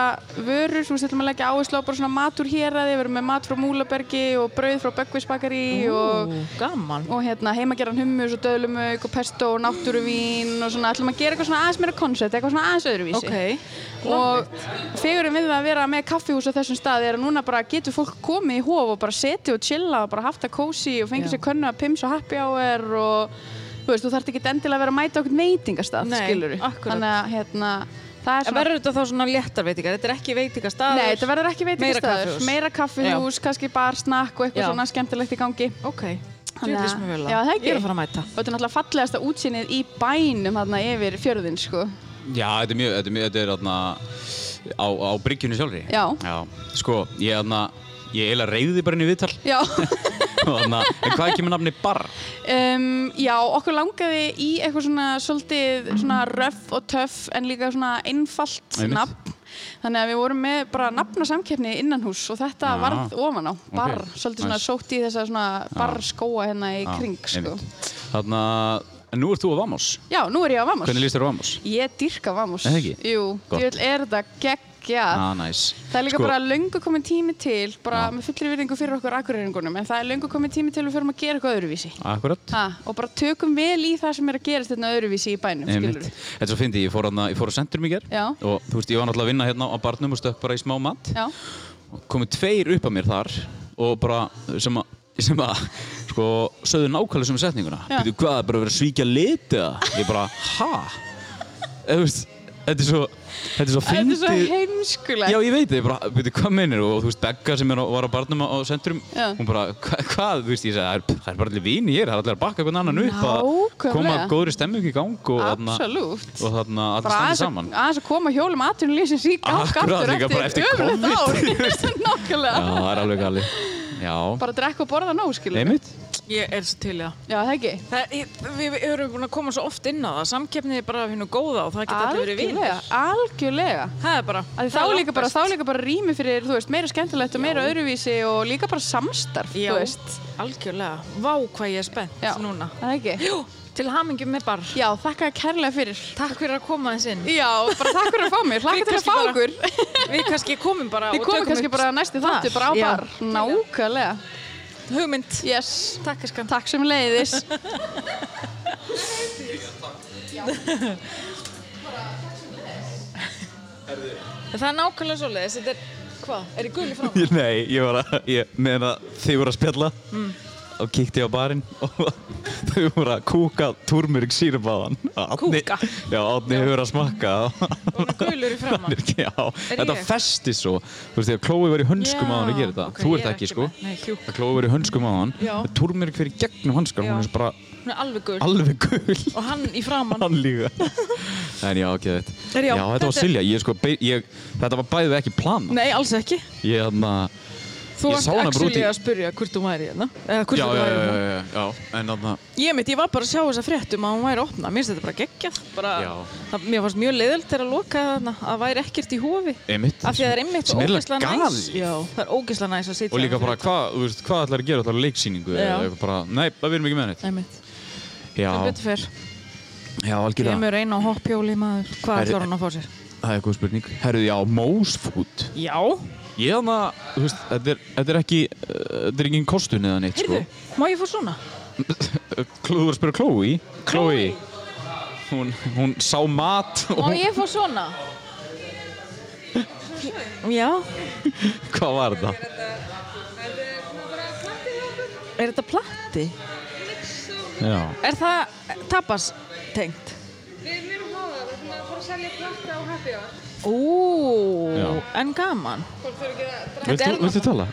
Speaker 4: vörur þú veist, við ætlum að leggja áherslu á bara svona matur hér að við verðum með mat frá Múlabergi og brauð frá Böggvisbakari og
Speaker 2: Ú, Gaman
Speaker 4: og hérna heimagerðan hummus og döðlumauk og pesto og náttúruvín og svona ætlum að gera eitthvað svona aðeins meira koncept, eitthvað svona aðeins öðruvísi
Speaker 2: Ok.
Speaker 4: og fegurinn við það að vera með kaffihús á þessum stað er að núna bara getur fólk komið í hof og bara setið og chilla og bara haft það kósi og fengið
Speaker 2: Já.
Speaker 4: sér könnu að pims og happy hour og þú veist, þú þarft ekki endilega að vera að mæta okkur veitingastað,
Speaker 2: Nei,
Speaker 4: skilur
Speaker 2: akkúrat.
Speaker 4: þannig að hérna, það er
Speaker 2: En verður þetta þá svona léttar veitingar? Þetta er ekki veitingastaður?
Speaker 4: Nei, þetta verður ekki veitingastæður, meira
Speaker 2: Meira
Speaker 4: kaffihús, kannski bar, snakk og eitthvað
Speaker 2: Já.
Speaker 4: svona skemmtilegt í gangi.
Speaker 2: kaffihús Ok Þú
Speaker 4: Þannig að-
Speaker 2: lýst mér vel á
Speaker 4: Já, það ekki.
Speaker 2: Ég er að fara að mæta
Speaker 4: Og þetta er náttúrulega fallegasta útsýnið í bænum þarna yfir fjörðin, sko.
Speaker 1: Já, þetta er mjög, þetta er mjög, þetta er þarna á, á bryggjunni sjálfri.
Speaker 4: Já.
Speaker 1: sko, ég þarna, ég eiginlega reyði bara inn í viðtal.
Speaker 4: Já.
Speaker 1: Og þarna, en hvað kemur nafni Barr?
Speaker 4: um, já, okkur langaði í eitthvað svona svolítið svona röff og töff en líka svona einfalt
Speaker 1: Einmitt.
Speaker 4: nafn. Þannig að við vorum með bara nafnasamkeppni innan hús og þetta
Speaker 1: Já.
Speaker 4: varð ofan á, barr, svolítið
Speaker 1: Ah,
Speaker 4: svona
Speaker 1: Nice. Ah.
Speaker 4: sótt í þessa svona barrskóa hérna í kring, sko.
Speaker 1: Þarna, en nú ert þú á Vamos.
Speaker 4: Já, nú er ég á Vamos.
Speaker 1: Hvernig líst þér á Vamos?
Speaker 4: Ég dyrka Vamos.
Speaker 1: Er það ekki?
Speaker 4: Jú,
Speaker 1: Gott.
Speaker 4: djöfull er þetta geggjað.
Speaker 1: Ah, nice.
Speaker 4: Það er líka
Speaker 1: Sko- Ah.
Speaker 4: bara löngu komið tími til, bara
Speaker 1: Já.
Speaker 4: með fullri virðingu fyrir okkur akureyringunum, en það er löngu komið tími til við förum að gera eitthvað öðruvísi.
Speaker 1: Akkurat.
Speaker 4: Ha, og bara tökum vel í það sem er að gerast hérna öðruvísi í bænum, skilur
Speaker 1: Einmitt. Þetta er svo fyndi, ég fór, hana, ég fór á centrum í ger
Speaker 4: Já.
Speaker 1: og þú veist, ég var náttúrulega að vinna hérna á barnum og stökk bara í smá mat
Speaker 4: Já,
Speaker 1: komið tveir upp að mér þar og bara sem að sem að, sko, sögðu nákvæmlega sem setninguna
Speaker 4: Já.
Speaker 1: veitu hvað, það er bara verið að svíkja lit eða, ég bara, ha eða, þú veist, þetta er svo þetta er svo
Speaker 4: þetta er svo
Speaker 1: fyndið
Speaker 4: heimskulegt.
Speaker 1: Já, ég veit það, ég bara, veitu, hvað meinir og þú veist, Begga sem er á, var á barnum á, á centrum
Speaker 4: Já.
Speaker 1: hún bara, hva, hvað, þú veist, ég segi það er, það er bara allir vini hér, það er allir að bakka einhvern annan upp
Speaker 4: Nákvæmlega.
Speaker 1: að koma góðri stemming í gang og þarna-
Speaker 4: Absolutt.
Speaker 1: og þarna allir
Speaker 4: Bara
Speaker 1: standi
Speaker 4: aðeins
Speaker 1: saman
Speaker 4: að, aðeins að koma hjólum atvinnuleysins í gang
Speaker 1: Akkurat,
Speaker 4: aftur
Speaker 1: líka bara eftir
Speaker 4: ömurlegt
Speaker 1: COVID, þú
Speaker 4: (laughs) ár. Nákvæmlega.
Speaker 1: Já, það er alveg gali. Já,
Speaker 4: Bara drekka og borða nóg, skilur
Speaker 1: einmitt.
Speaker 2: Ég er svo til í það
Speaker 4: Já, það ekki.
Speaker 2: Það, ég- við, við erum búin að koma svo oft inn á það, samkeppnið er bara hennu góða og það geta allir verið
Speaker 4: Algjörlega,
Speaker 2: vinir.
Speaker 4: algjörlega.
Speaker 2: Það er bara,
Speaker 4: Af því
Speaker 2: það
Speaker 4: Þá
Speaker 2: er
Speaker 4: líka, bara,
Speaker 2: langbest.
Speaker 4: þá líka bara rými fyrir, þú veist, meira skemmtilegt og meira öðruvísi og líka bara samstarf,
Speaker 2: Já,
Speaker 4: þú veist.
Speaker 2: algjörlega. Vá hvað ég er spennt
Speaker 4: Já.
Speaker 2: núna.
Speaker 4: Það ekki.
Speaker 2: Jú, til hamingjum með bar.
Speaker 4: Já, þakka þér kærlega fyrir.
Speaker 2: Takk fyrir að koma þess
Speaker 4: (laughs)
Speaker 2: inn.
Speaker 4: Já, bara takk fyrir að fá mér,
Speaker 2: Við
Speaker 4: hlakka til að
Speaker 2: kannski
Speaker 4: fá
Speaker 2: bara-
Speaker 4: okkur.
Speaker 2: Við kannski komum bara
Speaker 4: Við
Speaker 2: og
Speaker 4: komum
Speaker 2: tökum
Speaker 4: kannski bara næsti þáttu, bara á
Speaker 2: Já.
Speaker 4: bar. Nákvæmlega.
Speaker 2: hugmynd.
Speaker 4: Yes.
Speaker 2: Takk skan.
Speaker 4: Takk sem leiðis.
Speaker 2: En það er nákvæmlega svoleiðis, þetta er, hvað, er ég guli frá mig?
Speaker 1: Ég- (laughs) Nei, ég var að, ég, meðan að þið voru að spjalla
Speaker 4: Mm.
Speaker 1: og kíkti ég á barinn og (laughs) þau voru að kúka túrmurik sírum á hann
Speaker 2: Kúka?
Speaker 1: Já, átni hefur að smakka
Speaker 2: Og hann er gulur í framan.
Speaker 1: Já, þetta
Speaker 2: ég?
Speaker 1: festi svo Þú veist, þegar Chloe var í hönskum á hann að gera þetta
Speaker 2: ok,
Speaker 1: Þú
Speaker 2: ég
Speaker 1: ert
Speaker 2: er
Speaker 1: ekki, sko
Speaker 2: með- Nei, hjúk,
Speaker 1: Að Chloe var í hönskum á hann
Speaker 2: Já.
Speaker 1: Túrmurik fyrir gegnum hanskan, hún
Speaker 2: Já.
Speaker 1: er svo bara
Speaker 2: hún er alveg gul.
Speaker 1: alveg gul
Speaker 2: og hann í framan.
Speaker 1: Hann líka En já, ok, þetta
Speaker 2: Herra, já,
Speaker 1: þetta var
Speaker 2: þetta-
Speaker 1: Silja, ég sko, be- ég, þetta var bæðið ekki plana
Speaker 2: Nei, alls ekki.
Speaker 1: Ég, hérna,
Speaker 2: Þú
Speaker 1: Ég
Speaker 2: varst
Speaker 1: sá hana bara
Speaker 2: actually
Speaker 1: út í-
Speaker 2: að spyrja hvort hún væri hérna. Eða hvort
Speaker 1: já,
Speaker 2: þú
Speaker 1: já,
Speaker 2: væri
Speaker 1: já,
Speaker 2: hérna.
Speaker 1: já, já, já, en hérna, þarna
Speaker 2: Ég mitt, ég var bara að sjá þessa fréttum að hún væri að opna. Mér finnst þetta bara geggjað. Bara,
Speaker 1: Já.
Speaker 2: það, mér fannst mjög leiðilt þegar að loka þarna, að það væri ekkert í hófi.
Speaker 1: Einmitt.
Speaker 2: Af því að það er einmitt
Speaker 1: Sem
Speaker 2: svo
Speaker 1: er
Speaker 2: ógeðslega
Speaker 1: eiginlega
Speaker 2: næs.
Speaker 1: galið.
Speaker 2: Já, það er ógeðslega næs að sitja.
Speaker 1: Og líka
Speaker 2: þarna
Speaker 1: bara,
Speaker 2: fyrir
Speaker 1: hvað, þú veist, hvað ætlar að gera? Það er leiksýningu eða
Speaker 2: Já.
Speaker 1: eitthvað bara, nei, það viljum ekki með neitt.
Speaker 2: utan. Einmitt.
Speaker 1: Já,
Speaker 2: Það er betur fyrr.
Speaker 1: já, algjörlega.
Speaker 2: Kemur einn á hoppjóli maður. Hvað
Speaker 1: Herri-
Speaker 2: ætlar hann að fá sér?
Speaker 1: Það er góð spurning. Herruði, já, Mósfút.
Speaker 2: Já.
Speaker 1: Ég hana, þú veist, þetta er, þetta er ekki, uh, þetta er engin kostun eða neitt,
Speaker 2: Heyrðu, má ég fá svona?
Speaker 1: sko. Kló- (laughs) Þú voru að spyrja Chloe.
Speaker 2: Chloe.
Speaker 1: Hún, hún sá mat og
Speaker 2: Má
Speaker 1: hún,
Speaker 2: ég fá
Speaker 1: (laughs)
Speaker 2: svona? Já.
Speaker 1: hvað var það?
Speaker 2: Er þetta platti?
Speaker 1: Já.
Speaker 2: Er það tapas tengt?
Speaker 5: Við erum háða, við ætlum að fara að selja platta á Happy Hour.
Speaker 2: Ú,
Speaker 1: Já.
Speaker 2: en gaman.
Speaker 5: Fólk þurfi ekki að dra-
Speaker 1: Viltu,
Speaker 2: er
Speaker 1: viltu tala?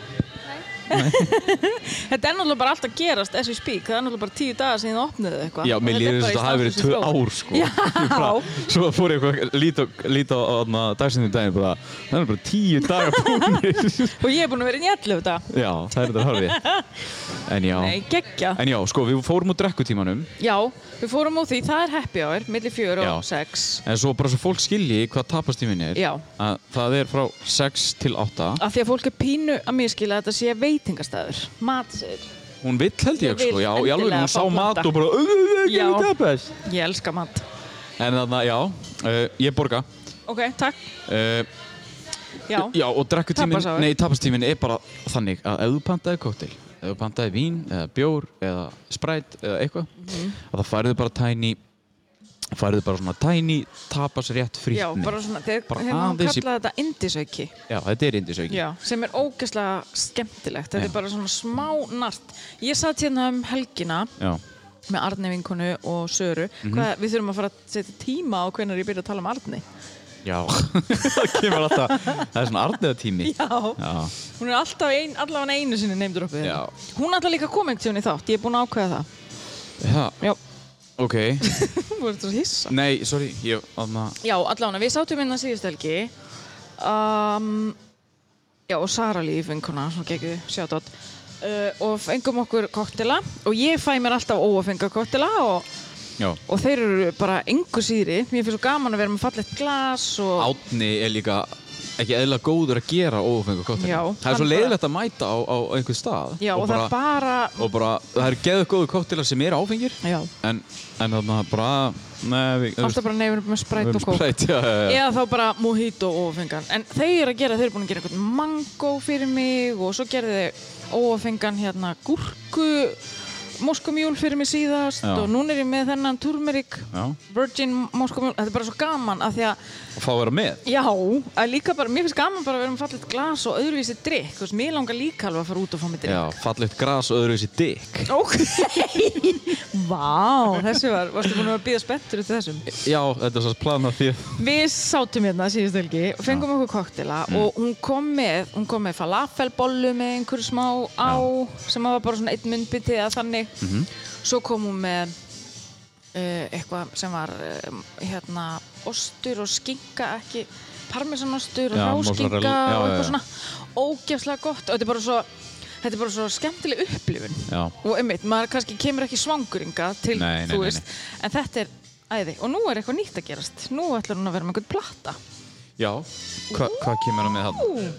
Speaker 2: Þetta er náttúrulega bara allt að gerast as we speak. Það er náttúrulega bara tíu dagar síðan það opnuðu eitthvað.
Speaker 1: Já, mér líður þess að það hafi verið tvö ár, sko.
Speaker 2: Já.
Speaker 1: Ég bara- Svo fór ég eitthvað, líta lít á, á dagsinn í daginn, bara, það er bara tíu dagar búinir.
Speaker 2: (laughs) Og ég er búin að vera í njallu þetta.
Speaker 1: Já, það er þetta hörfið. En já,
Speaker 2: Nei, geggja.
Speaker 1: en já, sko, við fórum úr drekkutímanum,
Speaker 2: Já, við fórum úr því. Það er happy hour, milli fjör
Speaker 1: Já.
Speaker 2: og sex.
Speaker 1: en svo bara svo fólk skilji hvað tapastímin er,
Speaker 2: Já.
Speaker 1: að það er frá 6 til 8.
Speaker 2: Af því að fólk er pínu að miskila að þetta sé veitingastæður. Matsir.
Speaker 1: Hún vill held ég,
Speaker 2: Ég
Speaker 1: sko,
Speaker 2: vil
Speaker 1: já, í alveg,
Speaker 2: endilega
Speaker 1: hún sá
Speaker 2: fá
Speaker 1: mat
Speaker 2: plata.
Speaker 1: og bara, "Ugh, ugh, ugh,
Speaker 2: Já.
Speaker 1: gefðu tapas.
Speaker 2: Ég elska mat.
Speaker 1: En þannig að, já, uh, ég borga.
Speaker 2: Ok, takk.
Speaker 1: Uh,
Speaker 2: Já.
Speaker 1: já, og drekkutímin,
Speaker 2: Tapashour.
Speaker 1: nei, tapastímin er bara þannig að ef þú pantaði kóttil, ef þú pantaði vín, eða bjór, eða spræt, eða eitthvað,
Speaker 2: Mhm.
Speaker 1: að það færðu bara tæni, færðu bara svona tæni tapasrétt frítt
Speaker 2: Já,
Speaker 1: með.
Speaker 2: bara svona, þeir
Speaker 1: Bara
Speaker 2: hefur hann
Speaker 1: aðeins í-
Speaker 2: kallað þetta indisauki.
Speaker 1: Já, þetta er indisauki.
Speaker 2: Já, sem er ógeðslega skemmtilegt. Þetta
Speaker 1: Já.
Speaker 2: er bara svona smá nart. Ég satt hérna um helgina
Speaker 1: Já.
Speaker 2: með Arni vinkonu og Söru.
Speaker 1: Mhm.
Speaker 2: Hvað, við þurfum að fara að setja tíma á hvenar ég byrja að tala um Arni.
Speaker 1: Já. (laughs) það kemur alltaf, það er svona arniða tími.
Speaker 2: Já.
Speaker 1: Já.
Speaker 2: Hún er alltaf ein, allavega einu sinni neymdur uppið.
Speaker 1: Já.
Speaker 2: Hún ætla líka að koma einhvern tíðan í þátt. Ég er búin að ákveða það.
Speaker 1: Já,
Speaker 2: Já.
Speaker 1: ok.
Speaker 2: (laughs) Þú ert að hissa.
Speaker 1: Nei, sorry, ég, aðna,
Speaker 2: Já, allavega, við sátum hérna síðust helgi um, Já, og Sara Líf, einhverna, svona gekkið, sjátt uh, og fengum okkur koktela og ég fæ mér alltaf óafenga koktela og,
Speaker 1: já.
Speaker 2: og þeir eru bara engu síðri mér finnst svo gaman að vera með fallegt glas og
Speaker 1: Átni er líka ekki eðla góður að gera ófengu kóttil.
Speaker 2: Já,
Speaker 1: Það er
Speaker 2: hann
Speaker 1: svo
Speaker 2: bara-
Speaker 1: leiðilegt að mæta á, á einhvern stað.
Speaker 2: Já, og, það er bara
Speaker 1: og bara, það eru geðu góðu kóttilar sem eru áfengir
Speaker 2: Já,
Speaker 1: en, en þannig að bara nei, við,
Speaker 2: alltaf bara nefnum með sprætt og kók
Speaker 1: spræt, já, já, já.
Speaker 2: Eða þá bara mojito óafengan En þeir eru að gera, þeir eru búin að gera eitthvað mango fyrir mig og svo gerði þeir óafengan hérna gúrku moskumjól fyrir mig síðast
Speaker 1: Já.
Speaker 2: og núna er ég með þennan turmeric
Speaker 1: Já.
Speaker 2: virgin moskumjól, þetta er bara svo gaman að því að,
Speaker 1: og fá að vera með
Speaker 2: já, að líka bara mér finnst gaman bara að vera með fallegt glas og öðruvísi drikk, þú veist, mér langar líka alveg að fara út og fá mig drikk
Speaker 1: já, fallegt gras og öðruvísi dikk
Speaker 2: Ok, (laughs) vá, þessi var, varstu búin að býða spettur eftir þessum?
Speaker 1: já, þetta er svo planað því
Speaker 2: Við sátum hérna síðust helgi og fengum okkur koktela og hún kom með, hún kom með falafelbollu með einhverju smá á sem var bara svona eitt myndbytti eða þannig. Svo kom hún með uh, eitthvað sem var uh, hérna ostur og skinka ekki, parmesanostur og
Speaker 1: Já,
Speaker 2: ráskinka
Speaker 1: mozzarella, já, já,
Speaker 2: og
Speaker 1: já.
Speaker 2: eitthvað svona ógefslega gott og þetta er bara svo, þetta er bara svo skemmtileg upplifun
Speaker 1: já,
Speaker 2: og einmitt, maður kannski kemur ekki svanguringa til,
Speaker 1: Nei, nei,
Speaker 2: þú
Speaker 1: nei,
Speaker 2: veist, en þetta er æði, og nú er eitthvað nýtt að gerast nú ætlar hún að vera með einhvern platta
Speaker 1: já. Hva, hvað kemur hann með hann?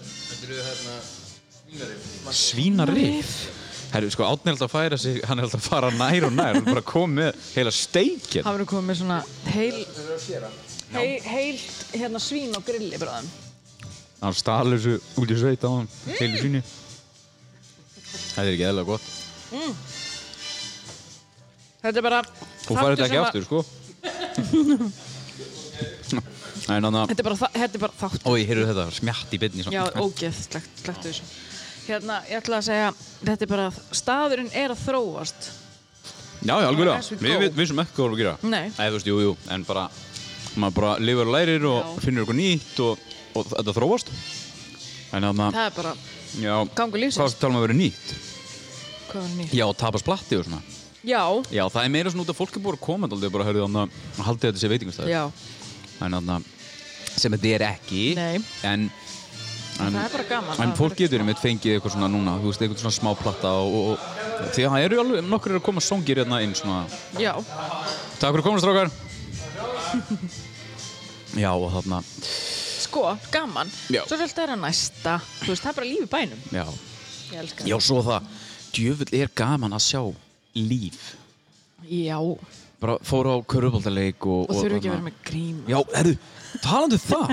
Speaker 1: svínarif Herru, sko, Átni er alltaf að færa sig, hann er alltaf að fara nær og nær, hann er bara komið með heila steikin.
Speaker 2: hafa verið komið með svona heil heil, heil hérna svín á grilli bráðum
Speaker 1: Hann stalur þessu út í sveit á hann, heilu svíni. Þetta er ekki eðla gott.
Speaker 2: þetta er bara
Speaker 1: Hún
Speaker 2: þáttur
Speaker 1: sko. farið þetta ekki
Speaker 2: sem að-
Speaker 1: aftur, sko. En þannig að,
Speaker 2: Þetta er bara, þa- þetta er bara þátt.
Speaker 6: Ói, heyrðu þetta, smjatt í bytni
Speaker 2: Já, ógeðslegt, slektu þessu. Hérna, ég ætla að segja, þetta er bara, staðurinn er að þróast.
Speaker 1: já, já, algjörlega,
Speaker 2: As we
Speaker 1: við
Speaker 2: go.
Speaker 1: vi- vissum ekki hvað við erum að gera.
Speaker 2: Nei.
Speaker 1: Nei, þú veist, jú, jú, en bara, maður bara lifur og lærir og
Speaker 2: Já.
Speaker 1: finnur eitthvað nýtt og, og þetta þróast. En þannig að,
Speaker 2: Það er bara,
Speaker 1: já,
Speaker 2: gangur lífsins.
Speaker 1: hvað tala um að vera nýtt?
Speaker 2: hvað var nýtt?
Speaker 1: Já, tapast platti og svona.
Speaker 2: Já,
Speaker 1: Já, það er meira svona út að fólk er búin að koma aldrei bara hörðu þannig að haldið þetta sé veitingastæður.
Speaker 2: já,
Speaker 1: En þannig að, sem þetta er ekki.
Speaker 2: Nei.
Speaker 1: En, en
Speaker 2: það er bara gaman.
Speaker 1: En
Speaker 2: að-
Speaker 1: fólk getur einmitt fengið eitthvað svona núna, þú veist, eitthvað svona smá platta og, og, og því að það eru alveg nokkur eru að koma songir hérna inn svona.
Speaker 2: Já,
Speaker 1: Takk fyrir komast, strákar! (laughs) Já, og þarna,
Speaker 2: sko, gaman.
Speaker 1: Já.
Speaker 2: Svo fylgta er að næsta. Þú veist, það er bara líf í bænum.
Speaker 1: já,
Speaker 2: Ég elska
Speaker 1: já, svo það, djöfull er gaman að sjá líf.
Speaker 2: það. Já, og
Speaker 1: Bara fóru á körubaldaleik og...
Speaker 2: þurfu ekki að
Speaker 1: þarna-
Speaker 2: vera með gríma.
Speaker 1: Já, herru, talandu það!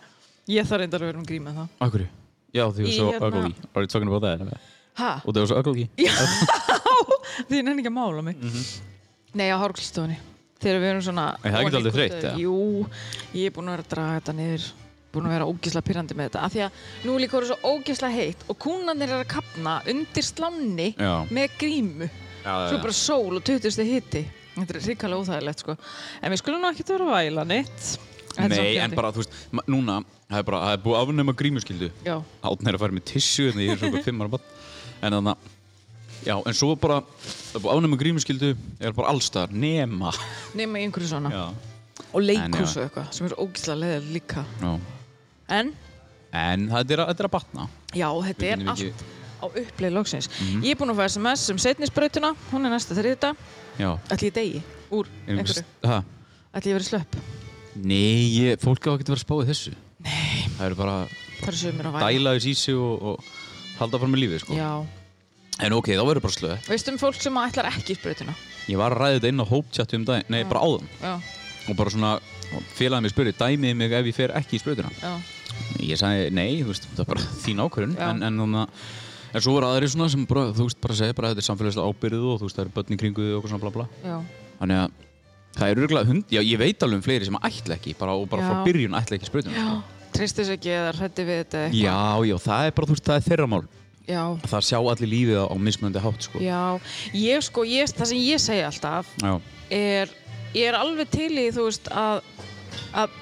Speaker 1: (laughs)
Speaker 2: Ég þarf reyndar að vera með gríma þá.
Speaker 1: Akkur, já, því þú
Speaker 2: Í
Speaker 1: svo
Speaker 2: hérna-
Speaker 1: ugly. Are you talking about that?
Speaker 2: Ha?
Speaker 1: Og það var svo ugly.
Speaker 2: Já, því ég nenni ekki að mála mig. Nei, á hárglustofunni. Þegar við erum svona...
Speaker 1: Mhm. En það er ekki
Speaker 2: ofan í
Speaker 1: aldrei þreytt,
Speaker 2: gutta-
Speaker 1: eða?
Speaker 2: Jú, ég er búin að vera að draga þetta niður. Búin að vera ógeðslega pyrrandi með þetta. Af því að nú er líka orðið svo ógeðslega heitt og kúnanir er að kapna undir slánni
Speaker 1: Já.
Speaker 2: með grímu.
Speaker 1: já,
Speaker 2: Svo bara sól og 20. hitti. Þetta er hrikalega óþægilegt, sko. En við skulum nú ekki vera að væla neitt. Þetta er svo
Speaker 1: Nei, en
Speaker 2: pirrandi.
Speaker 1: bara, þú veist, ma- núna, það er bara, það er búið að afnema grímuskyldu.
Speaker 2: Já.
Speaker 1: Átn er að fara með tissu en ég er svona fimm ára bann en þannig að Já, en svo bara, það er búið ánæmi grímuskyldu, er bara allstar, nema.
Speaker 2: Nema í einhverju svona.
Speaker 1: Já.
Speaker 2: Og
Speaker 1: En
Speaker 2: leikhús
Speaker 1: já.
Speaker 2: og eitthvað, sem er ógeðslega leðið líka.
Speaker 1: Já.
Speaker 2: En,
Speaker 1: En þetta er, að- þetta er að batna.
Speaker 2: já, þetta
Speaker 1: Við
Speaker 2: er
Speaker 1: getum
Speaker 2: allt
Speaker 1: ekki- Mhm.
Speaker 2: á uppleið loksins. Ég er búin að fá sms um setnisbrautina, hún er næsta þriðdag.
Speaker 1: Já.
Speaker 2: Ætli ég degi úr
Speaker 1: Erum við-
Speaker 2: einhverju.
Speaker 1: Ha?
Speaker 2: Ætli ég verið slöpp.
Speaker 1: Nei, ég- fólk á ekki að vera spáið þessu. Nei. Það eru bara
Speaker 2: Það er sömur að væla.
Speaker 1: dæla þess í sig og, og halda fram með lífið, sko.
Speaker 2: Já.
Speaker 1: En ok, þá verður bara slöð.
Speaker 2: Veistu um fólk sem ætlar ekki í sprautina?
Speaker 1: Ég var að ræða þetta inn á hóptjatti um daginn, nei, bara áðan.
Speaker 2: Já,
Speaker 1: Og bara svona, félagið mér spurði, dæmið mig ef ég fer ekki í sprautina.
Speaker 2: já.
Speaker 1: Ég sagði nei, þú veist, það er bara (laughs) þín ákvörðun
Speaker 2: Já.
Speaker 1: en, en þannig að En svo voru aðri svona sem bara, þú veist, bara segja bara þetta er samfélagslega ábyrðið og þú veist, það eru börn í kringu þig og eitthvað svona bla bla
Speaker 2: Já,
Speaker 1: Þannig að það eru örgulega hund, já ég veit alveg um fleiri sem ætla ekki bara, og bara
Speaker 2: Já.
Speaker 1: frá byrjun ætla ekki sprautina
Speaker 2: já. Treystu þess ekki eða hrætti við þetta eitthvað.
Speaker 1: Já, já, það er bara, þú veist, það er þeirra mál
Speaker 2: Já,
Speaker 1: Það sjá allir lífið á, á mismunandi hátt, sko
Speaker 2: já. Ég sko, ég, það sem ég segi alltaf
Speaker 1: Já,
Speaker 2: er, ég er alveg til í, þú veist, að, að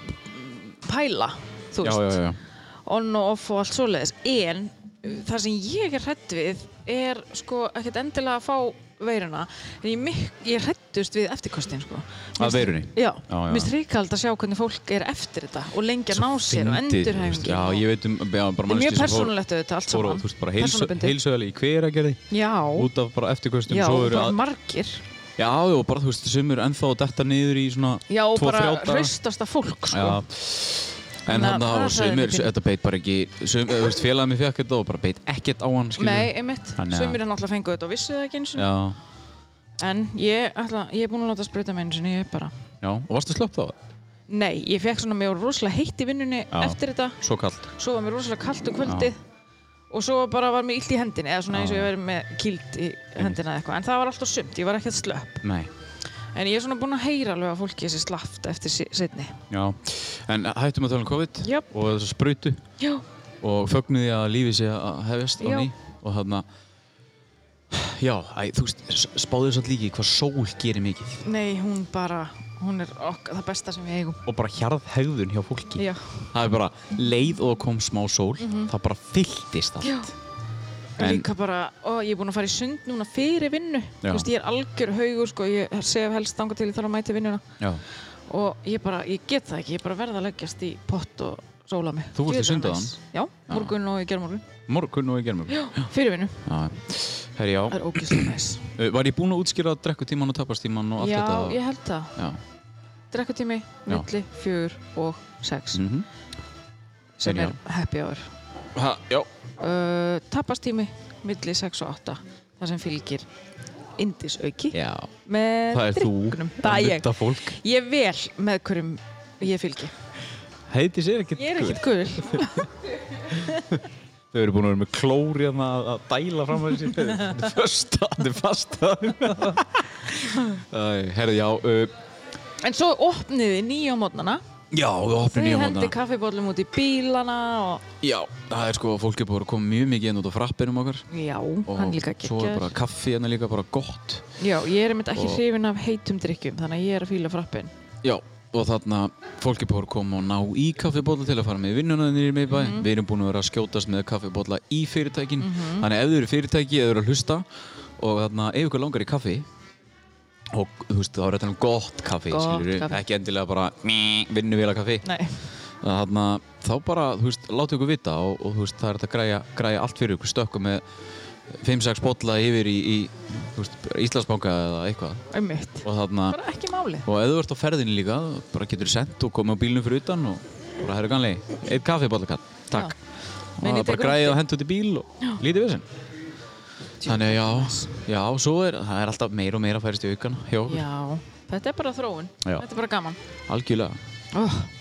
Speaker 2: pæla, þú
Speaker 1: já,
Speaker 2: veist.
Speaker 1: já, já, já.
Speaker 2: on og off og allt svoleiðis en uh, það sem ég er hrætt við er sko ekkert endilega að fá veiruna en ég, mik- ég er hrættust við eftirkostin sko.
Speaker 1: Að veirunni?
Speaker 2: Já,
Speaker 1: Já, já.
Speaker 2: mér stríkald að sjá hvernig fólk er eftir þetta og lengja ná sér og
Speaker 1: Fyndið, þú veist,
Speaker 2: endurhæfingi
Speaker 1: Já, ég veit um, já, bara
Speaker 2: er mjög
Speaker 1: manneskjur sem fór-
Speaker 2: persónulegt auðvitað allt
Speaker 1: fór og,
Speaker 2: saman
Speaker 1: þú veist, bara heilsu-
Speaker 2: Persónubundið.
Speaker 1: heilsuhæli í hveragerði
Speaker 2: Já,
Speaker 1: út af bara eftirkostum
Speaker 2: já,
Speaker 1: svo eru
Speaker 2: bara
Speaker 1: að-
Speaker 2: margir
Speaker 1: Já, já, bara þú veist, sumur ennþá að detta niður í svona
Speaker 2: Já, og
Speaker 1: tvo,
Speaker 2: bara
Speaker 1: þrjá daga.
Speaker 2: hraustasta fólk sko.
Speaker 1: Já. En
Speaker 2: Þannig að
Speaker 1: hann
Speaker 2: það
Speaker 1: og
Speaker 2: sagði
Speaker 1: sumir,
Speaker 2: mér ekki.
Speaker 1: þetta beit bara ekki, sum, eða, þú veist, félagið mér fekk þetta og bara beit ekkert á hann, skilur.
Speaker 2: Nei, einmitt,
Speaker 1: Þannig að-
Speaker 2: sömur er náttúrulega fenguð þetta og vissu það ekki eins og
Speaker 1: Já,
Speaker 2: En ég, ætla, ég er búin að láta spruta með eins og ég er bara
Speaker 1: já, og varstu slöpp þá?
Speaker 2: Nei, ég fekk svona mjög rosalega heitt í vinnunni
Speaker 1: Já.
Speaker 2: eftir þetta
Speaker 1: Svo kallt.
Speaker 2: svo var mér rosalega kallt um kvöldið og svo bara var mér illt í hendinni eða svona eins og ég væri með kild í hendina eða eitthvað en það var alltaf sumt, ég var ekkert slöpp
Speaker 1: Nei,
Speaker 2: en ég er svona búin að heyra alveg að fólki þessi slaft eftir si- seinni
Speaker 1: já. En hættum að tala um COVID
Speaker 2: Jöp.
Speaker 1: og þess að sprautu
Speaker 2: Já,
Speaker 1: og fögnuði að lífið sé að hefjast á
Speaker 2: Já.
Speaker 1: ný og þarna, já, æ, þú veist, spáðu þess að líki hvað sól gerir mikið
Speaker 2: nei, hún bara hún er ok, það besta sem við eigum
Speaker 1: og bara hjarðhegðun hjá fólki.
Speaker 2: Já. Mhm.
Speaker 1: Það er bara leið og kom smá sól, það bara fylltist allt.
Speaker 2: Já. En,
Speaker 1: En-
Speaker 2: líka bara, ó, ég er búin að fara í sund núna fyrir vinnu
Speaker 1: Já.
Speaker 2: Þú veist, ég er algjör haugur sko, ég sef helst þangað til ég þarf að mæta í vinnuna
Speaker 1: Já.
Speaker 2: og ég bara, ég get það ekki, ég bara verða að leggjast í pott og sóla mig.
Speaker 1: Þú fórst í
Speaker 2: Djöfull er
Speaker 1: sund áðan?
Speaker 2: næs. Já, morgun og í gerðmorgun.
Speaker 1: Morgun og í germum. Já.
Speaker 2: Fyrir vinnu,
Speaker 1: Herri, já.
Speaker 2: það er ógíslega næs.
Speaker 1: Uh, Var ég búinn að útskýra drekkutíman og tapastíman (clears throat) og allt
Speaker 2: Já,
Speaker 1: þetta?
Speaker 2: ég held það.
Speaker 1: Já.
Speaker 2: Drekkutími,
Speaker 1: Já.
Speaker 2: milli, fjögur og sex,
Speaker 1: Mm
Speaker 2: sem
Speaker 1: en já.
Speaker 2: er happy hour.
Speaker 1: ha, já.
Speaker 2: Uh, tapastími, milli, sex og átta, það sem fylgir indisauki
Speaker 1: Já.
Speaker 2: með
Speaker 1: Það er þú.
Speaker 2: drikknum. Það er ég.
Speaker 1: Þetta fólk.
Speaker 2: Ég er vel með hverjum ég fylgi.
Speaker 1: Heiti sér ekkert.
Speaker 2: Ég er ekkert gul.
Speaker 1: Þau eru búin að vera með klóri hérna að að dæla fram að þessi. Þetta
Speaker 2: (laughs)
Speaker 1: er fasta. Þetta er fasta. Æ, Herri, já. Uh,
Speaker 2: En svo opniði nýja á mótnana
Speaker 1: Já, við opnum
Speaker 2: Þau
Speaker 1: nýja
Speaker 2: hendi
Speaker 1: mótana.
Speaker 2: kaffibólum út í bílana og
Speaker 1: Já, það er sko, fólk er búin að koma mjög mikið inn út á frappinum okkar.
Speaker 2: já,
Speaker 1: Og
Speaker 2: hann líka
Speaker 1: svo er bara
Speaker 2: geggjör.
Speaker 1: kaffi hérna líka bara gott.
Speaker 2: Já, ég er einmitt ekki
Speaker 1: Og-
Speaker 2: hrifin af heitum drikkjum, þannig að ég er að fýla frappin.
Speaker 1: Já, og þarna fólk er búin að koma og ná í kaffibólla til að fara með vinnuna nýri með bæ.
Speaker 2: Mhm.
Speaker 1: Við erum búin að vera að skjótast með kaffibólla í fyrirtækin. Þannig ef þau eru fyrirtæki, ef þau eru að hlusta og þarna ef ykkur langar í kaffi og þú veist, þá er þetta um gott kaffi,
Speaker 2: Gott
Speaker 1: skilurðu,
Speaker 2: kaffi.
Speaker 1: ekki endilega bara vinnuvila kaffi.
Speaker 2: Nei, (laughs)
Speaker 1: Þannig að þá bara, þú veist, láta ykkur vita og, og þú veist, það er hægt að græja, græja allt fyrir ykkur stökkum með 5-6 bolla yfir í, í þú veist, bara Íslandsbanka eða eitthvað
Speaker 2: einmitt.
Speaker 1: og þarna,
Speaker 2: Bara ekki máli.
Speaker 1: og ef þú ert á ferðinni líka bara getur sendt og komið á bílnum fyrir utan og bara, herru ganlega, eitt kaffi bollakall takk, og það
Speaker 2: Meinið
Speaker 1: er
Speaker 2: tekur
Speaker 1: bara græja
Speaker 2: undir.
Speaker 1: og hendur út í bíl og lítið við sinn þannig að já, já, svo er það er alltaf meira og meira að færist í aukana hjá okkur,
Speaker 2: Já, þetta er bara þróun.
Speaker 1: Já.
Speaker 2: Þetta er bara gaman.
Speaker 1: algjörlega
Speaker 2: Ó,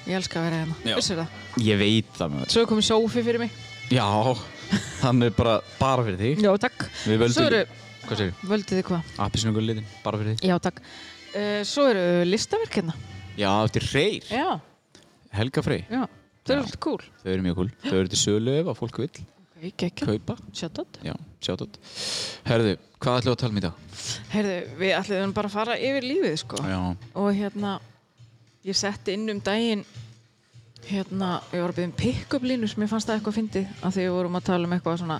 Speaker 2: ég elska að vera hérna.
Speaker 1: Já.
Speaker 2: Vissir það?
Speaker 1: ég veit það með
Speaker 2: Svo er komið sófi fyrir mig.
Speaker 1: þér já, (laughs) hann er bara bara fyrir þig
Speaker 2: Já, takk.
Speaker 1: Við völdum
Speaker 2: Svo eru,
Speaker 1: Hvað segir þú?
Speaker 2: völduð þið hvað?
Speaker 1: Appisnugul litin, bara fyrir þig
Speaker 2: Já, takk. Uh, svo eru listaverk hérna.
Speaker 1: Já, þetta er Freyr
Speaker 2: Já,
Speaker 1: Helga Freyr
Speaker 2: já. Þau eru alltaf cool.
Speaker 1: Þau eru mjög kúl Þau eru til sölu ef að fólk vill
Speaker 2: Ok, geggjum.
Speaker 1: Kaupa
Speaker 2: Shut up.
Speaker 1: Já, sjátt átt Herðu, hvað ætlum við að tala um í dag?
Speaker 2: Heyrðu, við ætlum bara að fara yfir lífið, sko.
Speaker 1: Já
Speaker 2: Og hérna, ég setti inn um daginn, hérna, ég var að byggja um pick-up línu sem ég fannst það eitthvað fyndið, af því við vorum að tala um eitthvað svona,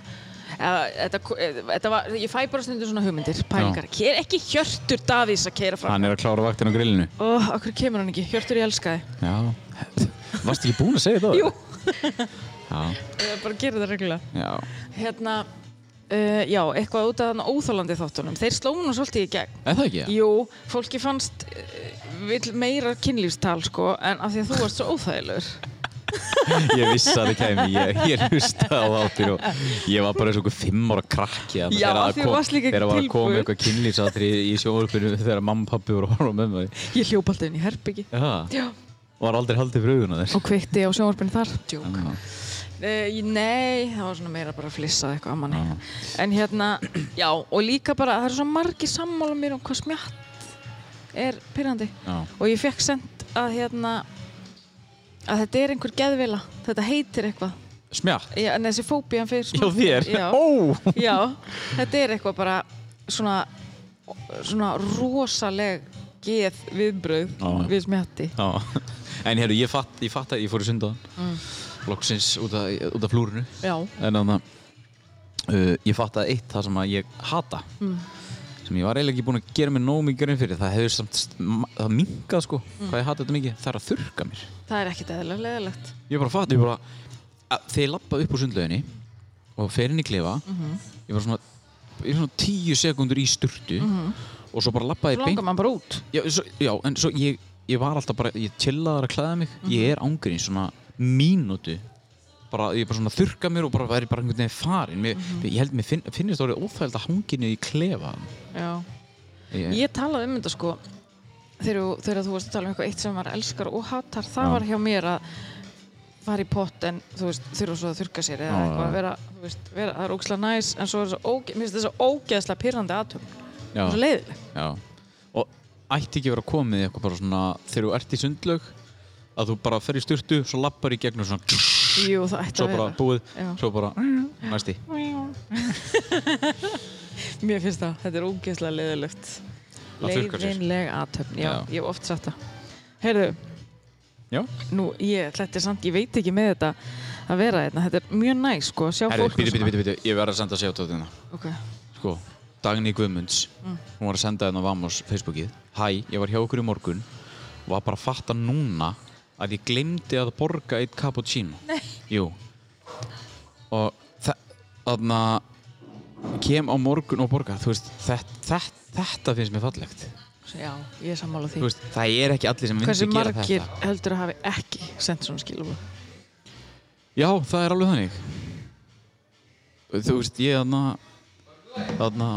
Speaker 2: eða, þetta, þetta var, ég fæ bara stundum svona hugmyndir, pælingar. Hér ekki Hjörtur Davís að keira fram.
Speaker 1: Hann er að klára vaktin á grillinu
Speaker 2: Og okkur kemur hann ekki, Hjörtur ég elska þið.
Speaker 1: (laughs) Já Varst ekki búin að segja það?
Speaker 2: Jú,
Speaker 1: Já,
Speaker 2: ég bara gera þetta reglulega.
Speaker 1: já
Speaker 2: Hérna, uh, já, eitthvað út af þannig óþálandi þáttunum. Þeir slóðu nú svolítið í gegn.
Speaker 1: Er það ekki?
Speaker 2: Jú, fólki fannst uh, vill meira kynlífstal sko en af því að þú varst svo óþægilegur
Speaker 1: Ég vissi að það kæmi Ég, ég hlusta á þáttir og ég var bara eins og einhver fimm ára krakki þarna
Speaker 2: Já,
Speaker 1: þegar það
Speaker 2: af því þú
Speaker 1: kom-
Speaker 2: varst líka
Speaker 1: Þegar var að koma
Speaker 2: tilbúin.
Speaker 1: eitthvað kynlýsatri í sjónvörpinu þegar mamma og pappi voru að horfa með mig
Speaker 2: Ég hljóp alltaf inn í herbyggi
Speaker 1: Já,
Speaker 2: Já,
Speaker 1: var aldrei haldið fyrir augun á þér
Speaker 2: og kveikti á sjónvarpinu þar Djók
Speaker 1: Já.
Speaker 2: uh, Nei, það var svona meira bara að flissa eitthvað að manni
Speaker 1: Já.
Speaker 2: En hérna, (clears throat) já, og líka bara það eru svo margi sammála mér um hvað smjatt er pyrrandi
Speaker 1: Já,
Speaker 2: og ég fekk sendt að hérna að þetta er einhver geðvila þetta heitir eitthvað
Speaker 1: smjátt
Speaker 2: Já, en þessi fóbían fyrir
Speaker 1: Hjá þér? (laughs)
Speaker 2: Já.
Speaker 1: Ó!
Speaker 2: Já, þetta er eitthvað bara svona, svona rosaleg geð viðbröð
Speaker 1: Já.
Speaker 2: við smjatti.
Speaker 1: Já En hérna, ég fatt, ég fatt að ég fór í sundaðan
Speaker 2: Mm.
Speaker 1: Loksins út af, út af flúrinu
Speaker 2: Já.
Speaker 1: En þannig uh, Ég fatt að eitt það sem að ég hata Sem ég var eiginlega ekki búinn að gera mér nóg mikið grein fyrir Það hefur samt, st- ma- það minkað sko Hvað ég hata þetta mikið, það er að þurrka mér
Speaker 2: Það er ekkert eðlilega leðilegt.
Speaker 1: Ég bara fatt, ég bara að, Þegar ég lappa upp úr sundlauginni Og fer inn í klefa Ég var svona, ég var svona tíu sekundur í sturtu Og svo bara lappaði
Speaker 2: Þú langar mann bara út.
Speaker 1: já, svo, já, en svo ég, ég var alltaf bara, ég chillaðar að klæða mig ég er ángurinn svona mínútu bara, ég bara svona þurka mér og bara væri bara einhvern veginn farin mér,
Speaker 2: Mhm.
Speaker 1: ég held mér finn, finnist orðið óþægild að hanginu í klefa
Speaker 2: Já.
Speaker 1: ég,
Speaker 2: Ég talaði um þetta sko þegar, þú- þegar þú varst að tala um eitthvað eitt sem var elskar og hatar. Það
Speaker 1: Já.
Speaker 2: var hjá mér að fara í pott en þú veist, þurfa svo að þurka sér eða
Speaker 1: Já,
Speaker 2: eitthvað
Speaker 1: já.
Speaker 2: vera, þú veist, vera, það er ógæslega næs en svo er þessi, óge, mér finnst þessi ógeðslega pyrrandi aðtömm,
Speaker 1: já,
Speaker 2: svo leiðileg.
Speaker 1: já. og ætti ekki verið að koma með eitthvað bara svona þegar þú ert í sundlaug að þú bara fer í styrtu, svo lappar í gegnum svona,
Speaker 2: Jú, það
Speaker 1: (laughs)
Speaker 2: ætti
Speaker 1: svo
Speaker 2: að vera.
Speaker 1: bara búið
Speaker 2: Já.
Speaker 1: svo bara, (laughs) næsti
Speaker 2: Mér finnst það, þetta er ógeðslega leiðilegt
Speaker 1: Að þurrka sér.
Speaker 2: Leiðinleg aðtöfn, já,
Speaker 1: Já.
Speaker 2: ég hef oft sagt það Heyrðu,
Speaker 1: já,
Speaker 2: nú, ég, þetta er samt, ég veit ekki með þetta að vera hérna. þetta Þetta er mjög næ, sko, að sjá
Speaker 1: herri,
Speaker 2: fólk
Speaker 1: býti, býti, býti, býti ég verð að senda hérna. að segja á tóttina
Speaker 2: Ok,
Speaker 1: sko, Dagný Guðmunds
Speaker 2: Mm.
Speaker 1: hún var að senda hérna á Vamos Facebookið Hæ, ég var hjá okkur í morgun og var bara að fatta núna að ég glemdi að borga eitt cappuccino Nei Jú og þa- þarna kem á morgun og borga þú veist, þetta, þetta, þetta finnst mér fallegt
Speaker 2: já, ég er sammála
Speaker 1: Þú
Speaker 2: því
Speaker 1: veist, það er ekki allir sem myndi
Speaker 2: Hversu
Speaker 1: gera
Speaker 2: margir
Speaker 1: þetta
Speaker 2: heldur að hafi ekki sendt svona skilabóð?
Speaker 1: Já, það er alveg þannig Þú veist, ég þarna þarna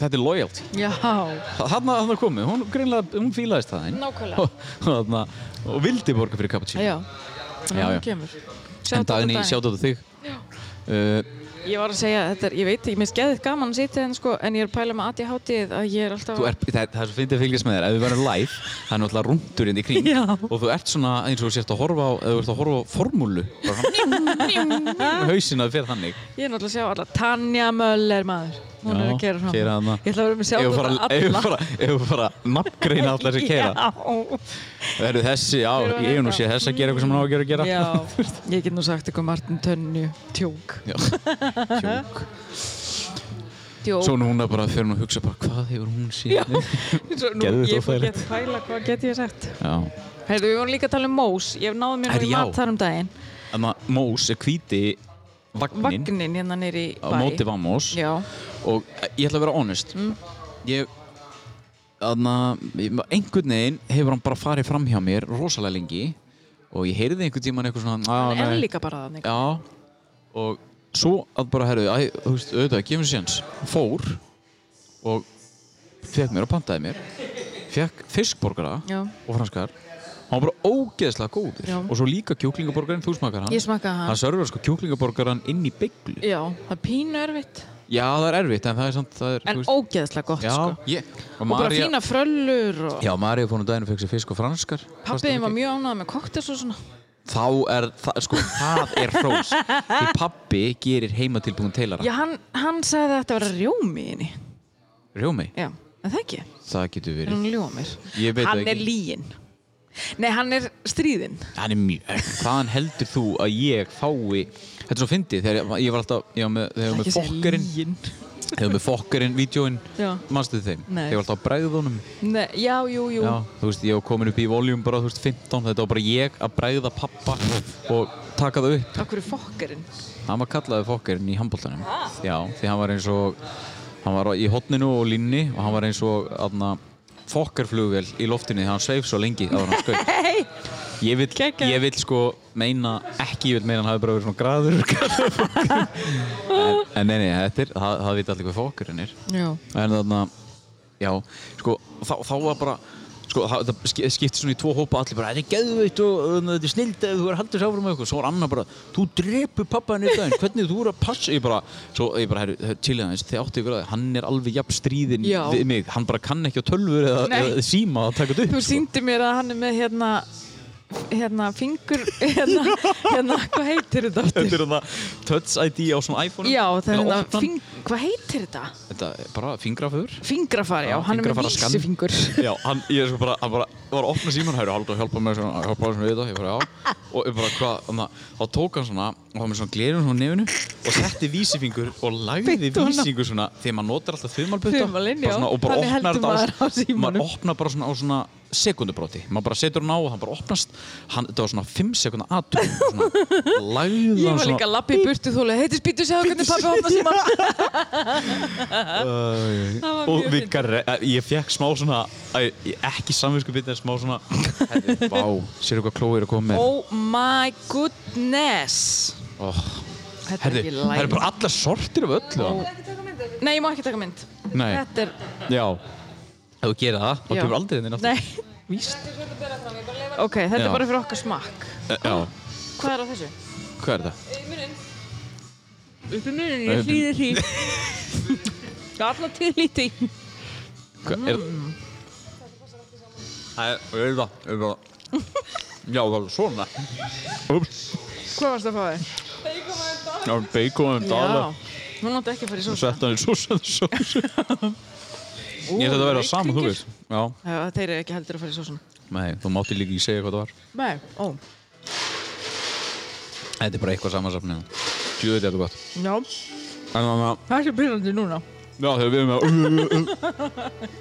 Speaker 1: þetta er loyalty
Speaker 2: Já,
Speaker 1: Hanna, hanna komið, hún greinlega, hún fílaðist það einn
Speaker 2: nákvæmlega
Speaker 1: og, þarna, og vildi borga fyrir cappuccino
Speaker 2: Já, þannig
Speaker 1: Já,
Speaker 2: að
Speaker 1: já.
Speaker 2: hún kemur
Speaker 1: En
Speaker 2: Shoutout á
Speaker 1: Dagný,
Speaker 2: Dagný.
Speaker 1: sjáðu þetta þig uh,
Speaker 2: Ég var að segja, þetta er, ég veit, ég minnst geðið gaman að sitja en sko, en ég er að pæla með ADHD-ið að ég er alltaf
Speaker 1: Þú er, það, það er svo fyndið að fylgjast með þér, ef við verðum live, það er náttúrulega rúndurinn í kring
Speaker 2: Já.
Speaker 1: og þú ert svona eins og þú sért að horfa á, eða þú ert að horfa á formúlu, bara hausina fyrir þannig.
Speaker 2: Ég er náttúrulega að sjá alla Tanja Möller maður Hún er
Speaker 1: Já,
Speaker 2: að kera fram
Speaker 1: keyra hana.
Speaker 2: Ég ætla að vera með
Speaker 1: Ef
Speaker 2: sjálf
Speaker 1: þú fara, ef þú fara, ef þú fara, nafngreina allar þessi keira. Verður þessi, já,
Speaker 2: Þurfa að
Speaker 1: ég hef nú
Speaker 2: vita.
Speaker 1: séð þess að gera eitthvað sem hann á að gera að gera.
Speaker 2: Já, ég get nú sagt eitthvað Martin Tönnu Tjók (laughs)
Speaker 1: Já. Tjók.
Speaker 2: Tjók
Speaker 1: Svo núna bara fyrir hún að hugsa bara, hvað hefur hún síðan?
Speaker 2: Svo, nú,
Speaker 1: Geðveikt
Speaker 2: Ég fór
Speaker 1: óþægilegt.
Speaker 2: get pæla, hvað get ég sagt
Speaker 1: Já.
Speaker 2: Heyrðu, við vorum líka að tala um Mós Ég náði mér nú
Speaker 1: Herri,
Speaker 2: í
Speaker 1: já.
Speaker 2: mat þar um daginn
Speaker 1: Þannig að Mós er hvíti vagnin
Speaker 2: Vagnin hérna nýri í
Speaker 1: á
Speaker 2: bæ
Speaker 1: móti Vamos
Speaker 2: Já, Mm.
Speaker 1: og ég ætla að vera honest ég þannig að einhvern veginn hefur hann bara farið fram hjá mér rosalega lengi og ég heyrði einhvern tíman eitthvað svona "Á,
Speaker 2: en
Speaker 1: nei."
Speaker 2: líka bara þannig
Speaker 1: já og svo að bara herðu æ, þú veist, auðvitað, gefum séns fór og fekk mér og pantaði mér fekk fiskborgara
Speaker 2: Já.
Speaker 1: og franskar hann var bara ógeðslega góður
Speaker 2: Já.
Speaker 1: og svo líka kjúklingaborgarinn, þú smakar hann
Speaker 2: Ég smakkaði hann.
Speaker 1: hann servar sko kjúklingaborgaran inn í bygglu
Speaker 2: Já, það er pínu erfitt
Speaker 1: já það er erfitt en það er samt það er,
Speaker 2: En
Speaker 1: þú veist-
Speaker 2: ógeðslega gott
Speaker 1: Já,
Speaker 2: sko
Speaker 1: ég, og,
Speaker 2: Og bara fína fröllur og
Speaker 1: Já, Marja fór nú daginn og fekk sér fisk og franskar
Speaker 2: Pappiðin var mjög ánægð með koktes og svona
Speaker 1: Þá er, það, sko, það er hrós Því pappi gerir heimatilbúin teilara
Speaker 2: Já, hann, hann sagði að þetta var rjómi í henni.
Speaker 1: Rjómi,
Speaker 2: Já, en það ekki.
Speaker 1: það getur
Speaker 2: Er
Speaker 1: verið
Speaker 2: hún ljómir?
Speaker 1: Ég veit það
Speaker 2: hann
Speaker 1: ekki.
Speaker 2: er lígin. Nei, hann er stríðinn.
Speaker 1: Hann er mjög Hvaðan heldur þú að ég fái Þetta er svo fyndið Þegar ég var alltaf Ég var með, þegar ég var með fokkarinn
Speaker 2: lígin.
Speaker 1: Þegar ég var með fokkarinn Vídeóin
Speaker 2: Já.
Speaker 1: Manstu þeim
Speaker 2: Nei.
Speaker 1: Ég var alltaf að bræða honum
Speaker 2: Nei, já, jú, jú.
Speaker 1: Já, þú veist, ég var komin upp í voljum bara, þú veist, 15 Þetta var bara ég að bræða pappa Og taka það upp
Speaker 2: Okkur er fokkarinn.
Speaker 1: Hann var kallaði fokkerinn í handbóltanum. Já, því hann var eins og, hann var í hotninu og línni og hann var eins og aðna, fokkerflugvél í loftinu því hann sveif svo lengi að hann skaut.
Speaker 2: Hei!
Speaker 1: Ég vil,
Speaker 2: Kekja.
Speaker 1: ég vil sko meina, ekki ég vil meina hann hafi bara verið svona graður. graður fokkerinn. en, en nei, nei, þetta er, það, það vita allir hvað fokkerinn er.
Speaker 2: Já.
Speaker 1: En þarna, já, sko, þá, þá var bara, sko, það, það sk- skipti svona í tvo hópa allir bara, þetta er geðveitt og um, þetta er snild eða þú er haldið sáfram með eitthvað, svo var annar bara, þú drepur pappaðin í daginn, hvernig þú er að passa, ég bara, svo, ég bara, herru, til aðeins, þið átti ykkur að það, hann er alveg jafn stríðinn
Speaker 2: Já.
Speaker 1: við mig, hann bara kann ekki á tölfur eða,
Speaker 2: Nei.
Speaker 1: eða síma að taka þetta upp, sko."
Speaker 2: Þú síndi mér að hann er með hérna, hérna, fingur, (laughs) hérna, hérna, hvað heitir þetta
Speaker 1: Þetta
Speaker 2: aftur?
Speaker 1: er þarna Touch ID á svona iPhone
Speaker 2: Já, það er hérna,
Speaker 1: opnan.
Speaker 2: fing, hvað heitir þetta?
Speaker 1: Þetta er bara fingraföður
Speaker 2: Fingrafar, já,
Speaker 1: Já,
Speaker 2: hann er með
Speaker 1: fingrafara skann.
Speaker 2: vísifingur.
Speaker 1: Já, hann, ég er sko bara, hann bara var að opna síman hæru, haldur að hjálpa mér svona, hjálpa mér svona við þetta, ég bara já og ég bara hvað, þannig að þá tók hann svona og hann með svona glerun svona á nefinu og setti vísifingur og lagði
Speaker 2: Beint ofan á-
Speaker 1: vísifingur svona þegar maður notar alltaf þumalbutta
Speaker 2: Þumalinn, já.
Speaker 1: og bara opnar
Speaker 2: Þannig heldur
Speaker 1: þetta á,
Speaker 2: maður á símanum.
Speaker 1: maður opnar bara svona á svona sekundubróti, maður bara setur hann á og hann bara opnast, hann, þetta var svona 5 sekunda aðtun,
Speaker 2: (laughs)
Speaker 1: svona lagði
Speaker 2: Ég
Speaker 1: hann
Speaker 2: var
Speaker 1: svona
Speaker 2: líka að lappa í burtu þúlega, heitir spýtu segja hvernig pappi opna síman. Það var
Speaker 1: og
Speaker 2: mjög
Speaker 1: við garri, eh, ég fekk smá svona æ, ég- ekki samvinsku bitið en smá svona herri, vá, sér hvað Chloe er að koma með
Speaker 2: Oh my goodness
Speaker 1: oh,
Speaker 2: Þetta er
Speaker 1: herri,
Speaker 2: ekki
Speaker 1: það
Speaker 2: læg
Speaker 1: er bara alla sortir af öllu oh.
Speaker 2: Nei, ég má ekki taka mynd
Speaker 1: Nei.
Speaker 2: Þetta er
Speaker 1: já, ef þú gerir það, þá
Speaker 2: Já.
Speaker 1: kemur aldrei þinn
Speaker 2: Nei, víst Ok, þetta
Speaker 1: Já.
Speaker 2: er bara fyrir okkar smakk
Speaker 1: Eh, já,
Speaker 2: Hvað er á þessu?
Speaker 1: hvað er það?
Speaker 2: Upp um í munum,
Speaker 1: ég hlýði
Speaker 2: því (laughs) Það er alltaf til lítið
Speaker 1: Hvað er
Speaker 2: Mm.
Speaker 1: það? Það er, ég veit það, ég veit það Já, það var svona Ups,
Speaker 2: Hvað varst það að fá þér?
Speaker 1: það var bacon um dala
Speaker 2: Hún átti ekki að fara í
Speaker 1: og
Speaker 2: sósa
Speaker 1: sett hann í súsan sós Ég ætla að vera saman, þú veist Já,
Speaker 2: Já, þeir eru ekki heldur að fara í sósun
Speaker 1: nei, þú mátti líka ekki segja hvað það var
Speaker 2: Nei, ó
Speaker 1: Þetta er bara eitthvað samansafnið. Tjóðu þetta er gott.
Speaker 2: Já,
Speaker 1: En þannig að,
Speaker 2: það er svo byrjandi núna
Speaker 1: já þegar við erum með að...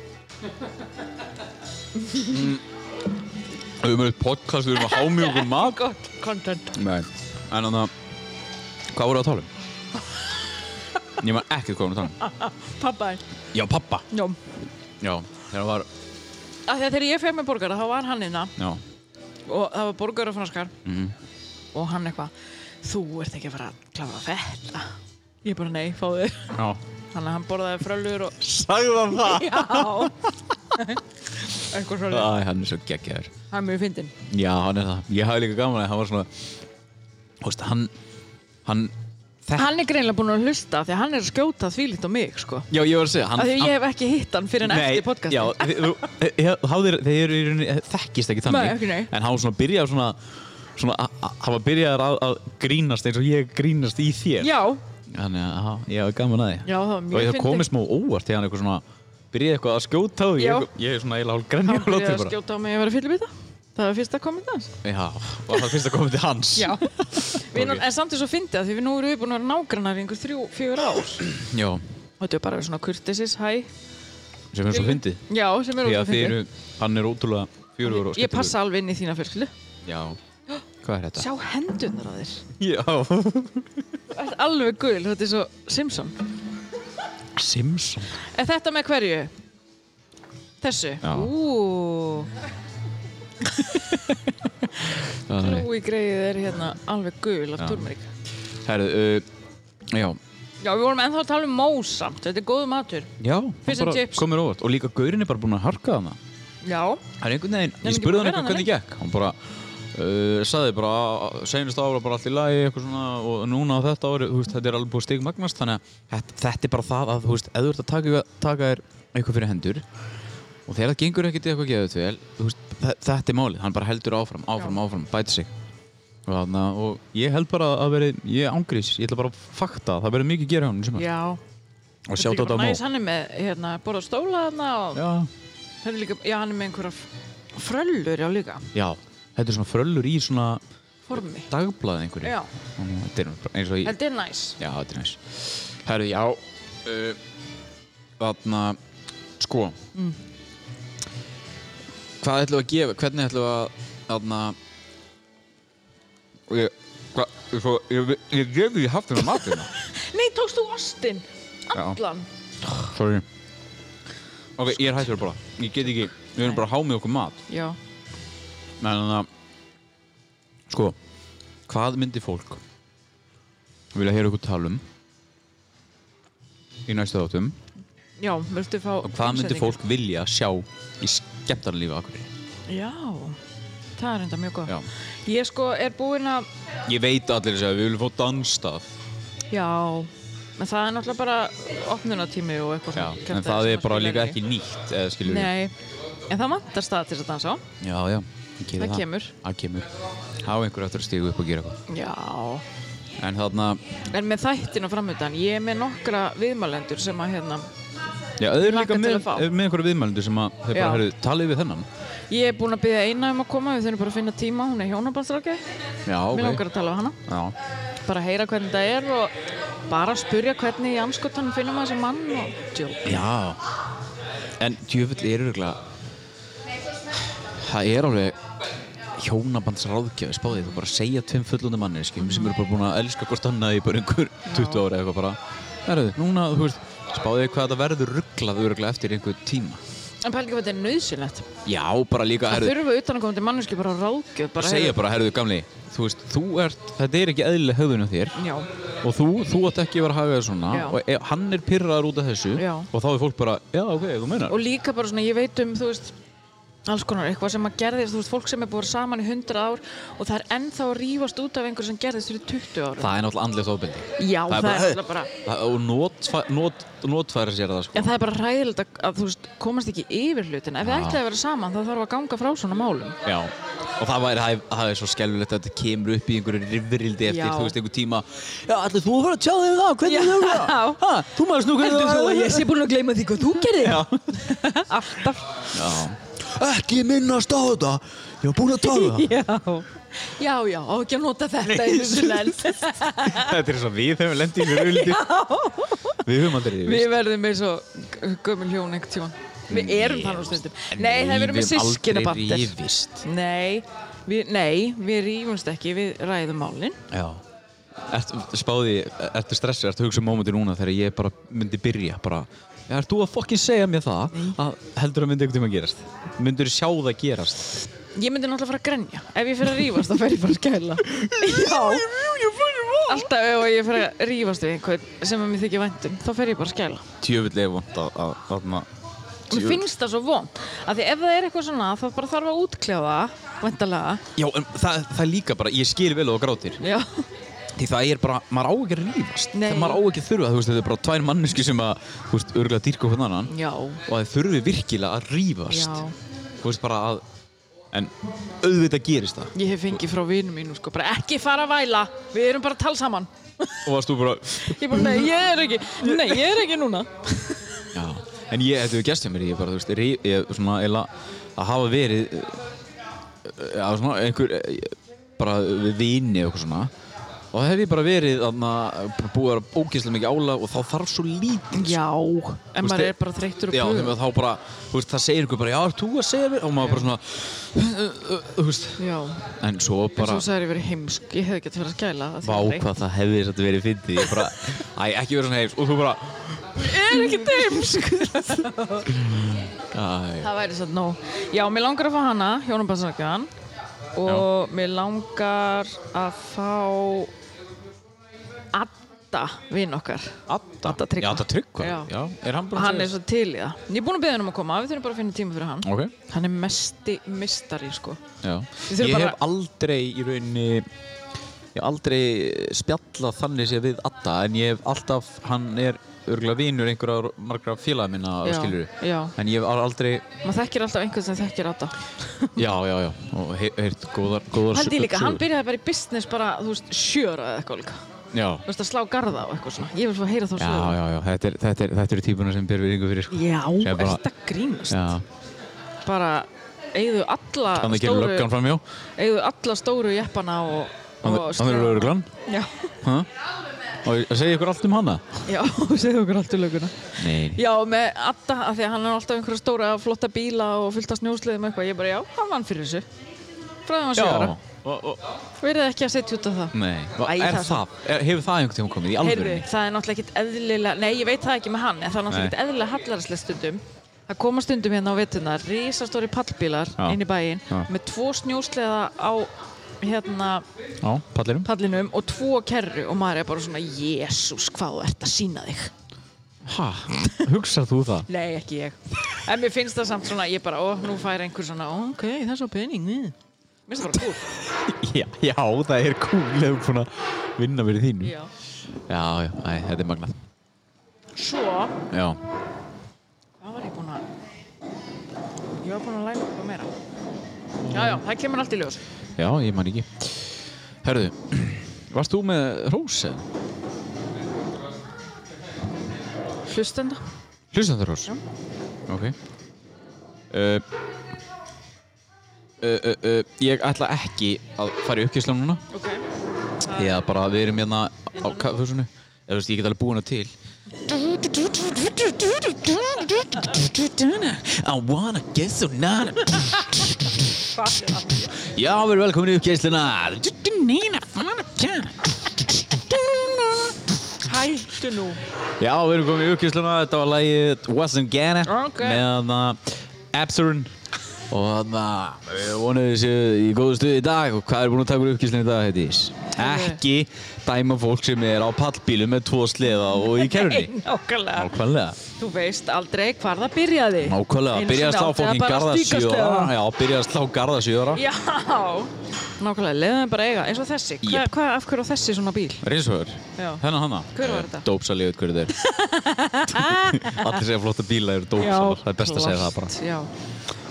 Speaker 1: Við erum með eitt podcast, við erum að hámi okkur mat.
Speaker 2: Gott content
Speaker 1: Nei, en þannig að, hvað voru að tala um? Ég man ekki hvað voru að tala um.
Speaker 2: Pappa er
Speaker 1: Já, pappa.
Speaker 2: Já
Speaker 1: Já, þegar var,
Speaker 2: Af því að Þegar ég feg með borgara, þá var hann innan
Speaker 1: já.
Speaker 2: og það var borgar og franskar
Speaker 1: Mhm.
Speaker 2: og hann eitthvað þú ert ekki að fara að klára þetta ég bara nei, fá þér
Speaker 1: Já.
Speaker 2: þannig að hann borðaði frölur og
Speaker 1: Sagðu hann það?
Speaker 2: já (laughs)
Speaker 1: Æ,
Speaker 2: eitthvað frölur,
Speaker 1: hann er svo geggjaður.
Speaker 2: það er mjög fyndin
Speaker 1: Já, hann er það. Ég hafði líka gaman að hann var svona, þú veist, hann, hann Þetta-
Speaker 2: Hann er greinlega búinn að hlusta því að hann er að skjóta þvílíkt á mig sko.
Speaker 1: Já, ég var að segja, hann...
Speaker 2: Af því að ég hef ekki hitt hann fyrir en
Speaker 1: Nei,
Speaker 2: eftir podcasti.
Speaker 1: Já, þið- þú- þið- þú hafðir, þeir eru í rauninni, þekkist ekki þannig.
Speaker 2: Nei, ekki, nei.
Speaker 1: En hann var svona byrjað svona, svona, a- a- hann var byrjaður að, að grínast eins og ég grínast í þér.
Speaker 2: Já,
Speaker 1: Þannig að, já, ég hafði gaman að því.
Speaker 2: Já, það var mjög
Speaker 1: Og ég
Speaker 2: fyndið.
Speaker 1: það komið smá óvart þegar hann eitthvað svona, byrjaði eitthvað að skjóta á því.
Speaker 2: Já.
Speaker 1: Ég, ég er svona eiginlega hálf grenja
Speaker 2: hann
Speaker 1: og
Speaker 2: byrjaði
Speaker 1: látið
Speaker 2: að
Speaker 1: bara.
Speaker 2: skjóta á mig að vera fyllibita. Það var fyrsta komment hans.
Speaker 1: Já, var það fyrst að koma til hans.
Speaker 2: Já. (laughs) Við erum,
Speaker 1: Ok.
Speaker 2: en samt er svo fyndið að því við nú erum við búin að vera nágrannar í einhver þrjú, fjögur ár. Og
Speaker 1: Já,
Speaker 2: þetta er bara svona kurtisis, hæ.
Speaker 1: sem er svo fyndið.
Speaker 2: Já, sem er
Speaker 1: Því að
Speaker 2: ótrúlega
Speaker 1: þið
Speaker 2: fyndið.
Speaker 1: eru, hann er ótrúlega fjörugur og
Speaker 2: Ég
Speaker 1: skemmtilegur.
Speaker 2: passa alveg inn í þína fjölskyldu.
Speaker 1: Já, hvað er þetta?
Speaker 2: Sjá hendunar á þér.
Speaker 1: Já,
Speaker 2: Þú ert alveg gul, þetta er svo Simpson.
Speaker 1: Simpson.
Speaker 2: Er þetta með hverju? Þessu?
Speaker 1: Já.
Speaker 2: Ú,
Speaker 1: Æ.
Speaker 2: Chloe Greyið er hérna alveg gul af turmerik.
Speaker 1: Herðu, uh, já
Speaker 2: Já, við vorum ennþá að tala um mós samt, þetta er góðu matur.
Speaker 1: Já, hann
Speaker 2: Fish and
Speaker 1: bara
Speaker 2: chips.
Speaker 1: komur óvart og líka gaurin er bara búinn að harka hana
Speaker 2: Já.
Speaker 1: Það er einhvern veginn,
Speaker 2: Nei,
Speaker 1: ég
Speaker 2: ekki
Speaker 1: spurði
Speaker 2: búin
Speaker 1: hann
Speaker 2: að vera
Speaker 1: eitthvað hvernig gekk hann bara uh, sagði bara senast ára bara allt í lagi eitthvað svona og núna á þetta ári, þú veist, þetta er alveg búið stigmagnast þannig að þetta, þetta er bara það að, þú veist, ef þú ert að taka, taka þér eitthvað fyrir hendur og þegar það gengur ekkert eitthvað geðut vel, þú veist, þe- þetta er málið hann bara heldur áfram, áfram, áfram, bæti sig og, þarna, og ég held bara að veri ég ángrís, ég ætla bara að fakta það verið mikið að gera hann, sem
Speaker 2: Já.
Speaker 1: og sjátt á þetta á mó
Speaker 2: Næs, hann er með, hérna, borða stóla þarna og
Speaker 1: Já,
Speaker 2: hann er líka, já, hann er með einhverja f- fröllur, já, líka,
Speaker 1: já, þetta er svona fröllur í svona
Speaker 2: formi.
Speaker 1: dagblaði einhverju.
Speaker 2: Já.
Speaker 1: Þannig að Þetta er nú bara eins og ég...
Speaker 2: Þetta er næs.
Speaker 1: Já, þetta er næs. Herru, já, uh, þarna, sko, hvað ætlum við að gefa, hvernig ætlum við að, þarna, og ég, hvað, ég svo, ég, ég gef því haft hérna. hennar matina.
Speaker 2: Nei, tókst þú ostinn? Allan?
Speaker 1: Sorry. Ok, ég er hættur að borða. Ég get ekki, við erum bara að hámið okkur mat.
Speaker 2: Já.
Speaker 1: En þannig að, sko, hvað myndi fólk vilja heyra ykkur tala um í næstu þáttum
Speaker 2: Já, viltu fá...
Speaker 1: og hvað myndi
Speaker 2: umsetningu?
Speaker 1: fólk vilja sjá í skemmtarnalífi akkur?
Speaker 2: Já, það er enda mjög góð.
Speaker 1: Já.
Speaker 2: Ég sko er búinn að...
Speaker 1: Ég veit allir þess að við viljum fá dansstað.
Speaker 2: Já, en það er náttúrulega bara opnunatími og eitthvað
Speaker 1: Já,
Speaker 2: svona
Speaker 1: en
Speaker 2: kjaftaði
Speaker 1: það er
Speaker 2: sem að
Speaker 1: bara
Speaker 2: skilja
Speaker 1: líka
Speaker 2: ekki.
Speaker 1: ekki nýtt, eða skilur við.
Speaker 2: Nei, en það vantar stað til þess að dansa á.
Speaker 1: Já, já, ég geri
Speaker 2: Það
Speaker 1: það.
Speaker 2: kemur.
Speaker 1: Það kemur. Há einhver eftir að stígu upp og gera eitthvað.
Speaker 2: Já.
Speaker 1: En þarna,
Speaker 2: En með þættin og framöndan, ég er með nokkra viðmælendur sem að hérna,
Speaker 1: já, þau eru
Speaker 2: Hlakka
Speaker 1: líka
Speaker 2: til
Speaker 1: með,
Speaker 2: að fá.
Speaker 1: með einhverju viðmælindu sem að þau bara,
Speaker 2: Já.
Speaker 1: herru, talið við þennan.
Speaker 2: ég er búinn að byggja eina um að koma, við þurfum bara að finna tíma, hún er hjónabandsrákja,
Speaker 1: Já, ok.
Speaker 2: mér langar að tala á hana,
Speaker 1: Já,
Speaker 2: bara heyra hvernig það er og bara spurja hvernig í anskotanum finnum að þessi mann og djók.
Speaker 1: Já En djöfull er örgulega Það er alveg hjónabandsráðgjafi spáðið þú bara segja tveim fullundu manneskjum sem eru bara búin að elska hvort annað í bara einhver 20 ára eitthvað bara Herðu, núna, þú veist, spáðið hvað þetta verður rugglað örgulega eftir einhver tíma
Speaker 2: En pælingi hvað þetta er nöðsynlegt.
Speaker 1: Já, bara líka,
Speaker 2: Það
Speaker 1: herðu,
Speaker 2: þurfa utan að koma til manneski bara ráðgjöf. Bara
Speaker 1: segja
Speaker 2: heyrðu-
Speaker 1: bara, herðu, gamli þú veist, þú ert, þetta er ekki eðlileg höfðun á þér
Speaker 2: Já,
Speaker 1: og þú, þú átt ekki að vera að hafa það svona
Speaker 2: Já.
Speaker 1: og ef, hann er pyrraður út af þessu
Speaker 2: Já.
Speaker 1: og þá er fólk bara, já, ok, þú meinar
Speaker 2: og líka bara svona, ég veit um, þú veist, alls konar eitthvað sem að gerðist, þú veist, fólk sem er búið saman í 100 ár og það er ennþá að rífast út af einhverju sem gerðist fyrir 20 árum.
Speaker 1: Það er náttúrulega andlegt ofbeldi
Speaker 2: Já, það, er alltaf bara,
Speaker 1: Það- og notfæ- not- notfæra sér það sko
Speaker 2: en það er bara ræðilegt að, að, þú veist, komast ekki yfir hlutin. Ef þið ætlaði að vera saman, þá þarf að ganga frá svona málum.
Speaker 1: Já. og það, væri, það, er, það er svo skelvilegt að þetta kemur upp í einhverju rivrildi eftir
Speaker 2: Já.
Speaker 1: þú veist einhver tíma Já, allir þú að fara að tjá þig um það, hvernig þú eru
Speaker 2: Já.
Speaker 1: það? Ha, Þú maður snú hvernig þú eru
Speaker 2: sé búin að gleyma því hvað þú gerði? (laughs) alltaf.
Speaker 1: það? Ekki minnast á þetta, ég var búin að tala um það
Speaker 2: (laughs) Já. Já, já, á ekki að nota þetta í þessu lend.
Speaker 1: Þetta er svo við höfum lendið í rivrildi Við höfum aldrei rifist.
Speaker 2: Við verðum eins og gömul hjón einhvern tíma. Við erum það nú stundum. Nei, það verðum við
Speaker 1: höfum
Speaker 2: sískina
Speaker 1: aldrei
Speaker 2: bandir.
Speaker 1: rifist
Speaker 2: Nei, við, nei, við rífumst ekki, við ræðum málin.
Speaker 1: Já Ertu, spáði, ertu stressið, ertu að hugsa um mómenti núna þegar ég bara myndi byrja bara, "Já, ert þú að fokkin segja mér það að heldur að myndi einhvern tíma gerast myndur sjá það gerast
Speaker 2: Ég myndi náttúrulega fara að grenja. Ef ég fer að rífast, þá fer ég bara að skæla. (laughs) Já. Alltaf ef ég fer að rífast við einhvern sem að mér þykir væntum, þá fer ég bara að skæla.
Speaker 1: tjöfull er vond að, að, að ma...
Speaker 2: Mér finnst það svo vond. Af því ef það er eitthvað svona, þá bara þarf að útkljá það, væntalega.
Speaker 1: já, en það, það er líka bara, ég skil vel og grátir
Speaker 2: Já.
Speaker 1: því það er bara, maður á ekki að rífast
Speaker 2: Nei.
Speaker 1: það maður á ekki að þurfa, þú veist, þetta er bara tvær manneski sem að, þú veist, örgulega dýrka hvernig annan
Speaker 2: Já.
Speaker 1: og það þurfi virkilega að rífast
Speaker 2: Já.
Speaker 1: þú veist, bara að en auðvitað gerist það
Speaker 2: Ég hef fengið frá vinum mínum sko, bara ekki fara að væla, við erum bara að tala saman.
Speaker 1: og varst þú bara,
Speaker 2: Ég bara, nei, ég er ekki, nei, ég er ekki núna.
Speaker 1: já en ég, þetta hefur gerst hjá mér, ég bara, þú veist, rí, ég, svona, eila, að hafa verið eh, já, svona, einhver eh, bara við vini og eitthvað svona og það hef ég bara verið, þannig að búið að vera ógeðslega mikið álag og þá þarf svo lítið
Speaker 2: Já, en
Speaker 1: Þú
Speaker 2: maður
Speaker 1: veist,
Speaker 2: er bara þreyttur og
Speaker 1: Já,
Speaker 2: puður.
Speaker 1: þegar þá bara, þú veist, það segir ykkur bara, já, ert þú að segja mér, og maður bara svona, uh, uh, uh, þú veist,
Speaker 2: Já,
Speaker 1: en svo
Speaker 2: en
Speaker 1: bara,
Speaker 2: svo sagði ég verið heimsk, ég hef ekki að vera að skæla. af því
Speaker 1: vá,
Speaker 2: að ég er
Speaker 1: hvað það hefði þetta verið fyndið, ég bara, æ, ekki verið svona heims, og þú bara, æ,
Speaker 2: (laughs) Það væri svolítið nóg. Já, mér langar að fá hana, hjónabansakjan og mér langar að fá Adda, vinn okkar.
Speaker 1: Adda,
Speaker 2: Adda Tryggva.
Speaker 1: já, Adda Tryggva,
Speaker 2: Já.
Speaker 1: já, er hann bara
Speaker 2: Hann er svo til í það. Ég er búin að beða hann um að koma, við þurfum bara að finna tíma fyrir hann.
Speaker 1: ok,
Speaker 2: Hann er mesti mistari, sko.
Speaker 1: já,
Speaker 2: Við
Speaker 1: ég
Speaker 2: þurfum bara-
Speaker 1: hef aldrei í rauninni, ég hef aldrei spjallað þannig séð við Adda, en ég hef alltaf, hann er örgulega vinur einhverja margra félaga minna,
Speaker 2: Já,
Speaker 1: skilur
Speaker 2: já.
Speaker 1: en ég hef aldrei
Speaker 2: Maður þekkir alltaf einhvern sem þekkir Adda.
Speaker 1: Já, já, já, og heyrt hey, góðar, góðar
Speaker 2: Haldi líka,
Speaker 1: sögur.
Speaker 2: hann byrjaði bara í business bara, þú veist, sjöra eða eitthvað líka.
Speaker 1: Já,
Speaker 2: Þú veist, að slá garða og eitthvað svona. Ég vil fá að heyra þá
Speaker 1: já,
Speaker 2: sögur.
Speaker 1: já, já, þetta er- þetta er- þetta eru típuna sem byrjum við yngur fyrir sko.
Speaker 2: Já,
Speaker 1: Sem
Speaker 2: er
Speaker 1: bara-
Speaker 2: þetta grínast?
Speaker 1: Já,
Speaker 2: Bara, eigðu alla
Speaker 1: þannig að gera löggan fram hjá
Speaker 2: eigðu alla stóru jeppana og, og
Speaker 1: Þannig er lögurglan
Speaker 2: Já,
Speaker 1: Og að segja ykkur allt um hana
Speaker 2: já, (laughs) segðu okkur allt í löguna
Speaker 1: Nei,
Speaker 2: Já, með Adda, af því að hann er alltaf einhverja stóra flotta bíla og fylgta snjósliðum eitthvað ég bara, já, hann vann fyrir þessu frá því að hann sjö ára,
Speaker 1: já og, og,
Speaker 2: verið ekki að setja út af það
Speaker 1: Nei,
Speaker 2: Æ,
Speaker 1: er
Speaker 2: það-
Speaker 1: það, er, hefur það einhvern tíma komið í
Speaker 2: Heyrðu,
Speaker 1: alvörunni?
Speaker 2: það er náttúrulega ekkert eðlilega Nei, ég veit það ekki með hann, en það er náttúrulega
Speaker 1: Nei.
Speaker 2: ekkert eðlilega hallarslega stundum Það koma stundum hérna á vetuna risastóri pallbílar
Speaker 1: Já.
Speaker 2: inn í bæinn
Speaker 1: Já.
Speaker 2: með tvo snjósleða á hérna
Speaker 1: Já, pallirum
Speaker 2: pallinum og tvo kerru og maður er bara svona, jésús, hvað þú ert að sína þig
Speaker 1: Ha, (laughs) hugsar þú það?
Speaker 2: Nei, ekki ég. En mér finnst það samt svona, ég bara, ó, nú fær einhver svona, ó, ok, það er svo pening, við. Mér finnst það bara kúl.
Speaker 1: Já, já það er cool ef svona vinna verið þínu Já,
Speaker 2: Já.
Speaker 1: já, æ, þetta er magnað
Speaker 2: Svo,
Speaker 1: Já,
Speaker 2: hvað var ég búin að, ég var búin að læna eitthvað meira. Já, já, það kemur allt í ljós.
Speaker 1: já, ég man ekki Herðu, (clears throat) varst þú með Rósen?
Speaker 2: Hlustenda.
Speaker 1: Hlustandurhús? Já. Ok. Eh, Uh, uh, uh, uh, ég ætla ekki að fara í uppkysla núna.
Speaker 2: Ok.
Speaker 1: Ég að bara við erum hérna á kaffhúsinu. Eða þú veist, ég get alveg búin að til. I wanna get so nana Já, við erum velkomin í uppkeysluna Nina, fana, kjana
Speaker 2: Hættu nú.
Speaker 1: Já, við erum komin í uppkýrsluna, þetta var lagið Wasn't Gonna
Speaker 2: Ok.
Speaker 1: með uh, Absurin og þannig að við vonum þessu í góðu stuði í dag og hvað er búin að taka úr uppkýrslunni í dag, heitís? Ekki dæma fólk sem er á pallbílum með tvo sleða og í kerrunni.
Speaker 2: Nákvæmlega.
Speaker 1: Nákvæmlega,
Speaker 2: Þú veist aldrei hvar það byrjaði.
Speaker 1: nákvæmlega,
Speaker 2: Einu
Speaker 1: byrja að
Speaker 2: sinni
Speaker 1: slá
Speaker 2: átti það
Speaker 1: fólkin
Speaker 2: bara að
Speaker 1: garða Ah,
Speaker 2: stíka sleða.
Speaker 1: sjöra, já, byrja að slá garða sjöra.
Speaker 2: Já. Nákvæmlega, leiðum við bara að eiga, eins og þessi. Hva,
Speaker 1: Jep.
Speaker 2: Hvað, af hverju á þessi svona bíl?
Speaker 1: Rinsvöður,
Speaker 2: Já.
Speaker 1: þennan hanna.
Speaker 2: Hver var þetta?
Speaker 1: Dópsalíu, hver þetta
Speaker 2: (laughs)
Speaker 1: er. Allir segja flotta bíla eru dópsalar, það er best að segja það bara.
Speaker 2: Já,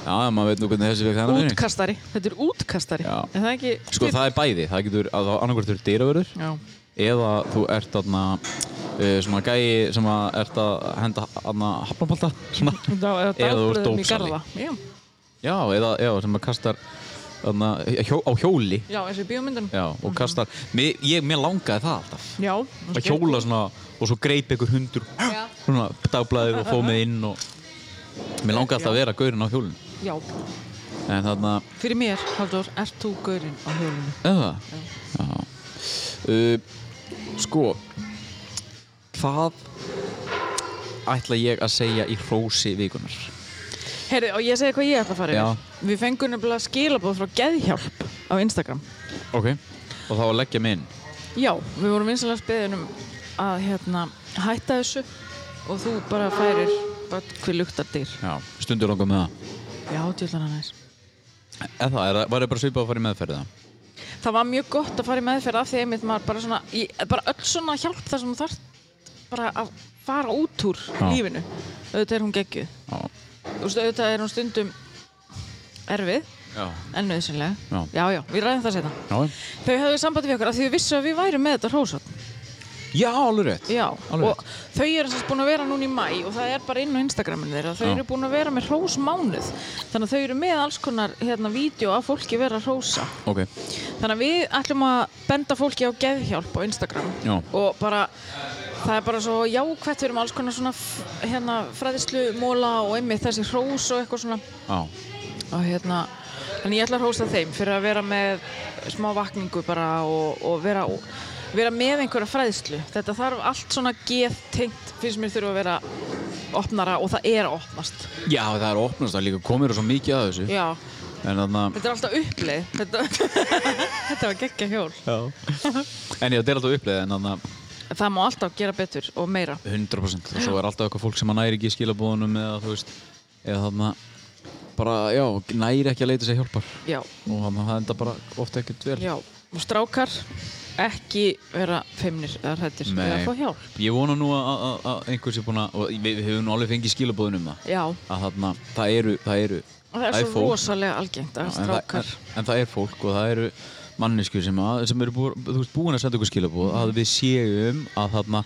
Speaker 1: Já, maður veit nú hvernig þessi fekk þennan vinni.
Speaker 2: útkastari, þetta er útkastari
Speaker 1: Já.
Speaker 2: er það ekki
Speaker 1: Sko það er bæði, það getur að það annarkvært eru dýravörður
Speaker 2: Já.
Speaker 1: eða þú ert þarna uh, svona gæi sem að ert að henda þarna hafnabólta svona
Speaker 2: Þá er
Speaker 1: Eða þú ert
Speaker 2: dagblöðum í
Speaker 1: dópsali.
Speaker 2: garða já.
Speaker 1: Já, eða já, sem að kastar þarna hjó, á hjóli
Speaker 2: já, eins og í bíómyndunum
Speaker 1: Já, og kastar, mér, ég, mér langaði það alltaf
Speaker 2: já
Speaker 1: að hjóla svona og svo greip einhver hundur svona dagblæðið og fóð mig inn og mér langaði alltaf að vera gaurinn á hjólun
Speaker 2: já,
Speaker 1: en þarna,
Speaker 2: fyrir mér, Halldór, ert þú gaurinn á hjólinu
Speaker 1: eða Já uh, Sko Hvað ætla ég að segja í hrósi vikunar?
Speaker 2: Herri, og ég segi hvað ég ætla að fara
Speaker 1: Já.
Speaker 2: yfir Við fengum nefnilega skilabóð frá Geðhjálp á Instagram
Speaker 1: Ok Og þá að leggja mig inn
Speaker 2: Já, við vorum vinsalega spiðin um að hérna, hætta þessu og þú bara færir bara hver luktar dyr
Speaker 1: Já Stundur langar með það
Speaker 2: Já, tjóðlega næs
Speaker 1: Eða það, er, það- var það bara svipað að fara í meðferðið?
Speaker 2: það var mjög gott að fara í meðferð af því einmitt maður bara svona, ég, bara öll svona hjálp þar sem þú þarft bara að fara út úr lífinu auðvitað er hún geggju
Speaker 6: Já.
Speaker 2: þú veist, auðvitað er hún stundum erfið,
Speaker 1: Já.
Speaker 2: en nöðsynlega
Speaker 6: Já.
Speaker 2: já, já, við ræðum það setna
Speaker 6: Já,
Speaker 2: þau höfðu sambandi við okkur af því við vissum að við værum með þetta hrósot
Speaker 1: Já, alveg rétt.
Speaker 2: Já,
Speaker 1: Alveg
Speaker 2: og þau eru sem sagt búin að vera núna í mæ og það er bara inn á Instagraminu þeirra þau
Speaker 6: Já.
Speaker 2: eru búin að vera með hrósmánuð þannig að þau eru með alls konar hérna vídeo af fólki vera að hrósa
Speaker 6: ok.
Speaker 2: þannig að við ætlum að benda fólki á geðhjálp á Instagram
Speaker 6: Já.
Speaker 2: og bara það er bara svo jákvætt við erum alls konar svona f- hérna fræðislu móla og einmitt þessi hrós og eitthvað svona
Speaker 1: Já.
Speaker 2: og hérna en ég ætla að hósta þeim fyrir að vera með smá vakningu bara og, og vera, og vera með einhverja fræðslu þetta þarf allt svona geðtengt finnst mér þurfa að vera opnara og það er að opnast
Speaker 1: Já, það er opnast, það líka komir svo mikið að þessu.
Speaker 2: já,
Speaker 1: En, þarna,
Speaker 2: þetta er alltaf uppleið þetta, (laughs) þetta var geggja hjól
Speaker 1: (laughs) en ég, þetta er alltaf uppleið, en þannig
Speaker 2: það má alltaf gera betur og meira
Speaker 1: 100% og svo er alltaf eitthvað fólk sem að næri ekki í skilabóðunum eða þú veist, eða þarna bara, já, næri ekki að leita sér hjálpar
Speaker 2: já,
Speaker 1: og þannig að það enda bara ofta ekkert vel.
Speaker 2: já, og strákar ekki vera feimnir eða hrættir
Speaker 1: Nei.
Speaker 2: eða fá hjálp
Speaker 1: Ég vona nú að- að að einhvers er búin að, og við, við höfum nú alveg fengið skilabóðun um það,
Speaker 2: já,
Speaker 1: að þarna, það eru, það eru,
Speaker 2: og það er svo
Speaker 1: fólk.
Speaker 2: rosalega algengt að
Speaker 1: en, það,
Speaker 2: strákar
Speaker 1: en, en það er fólk og það eru mannesku sem, að, sem eru bú, veist, búin að senda okkur skilabóð að við séum að þarna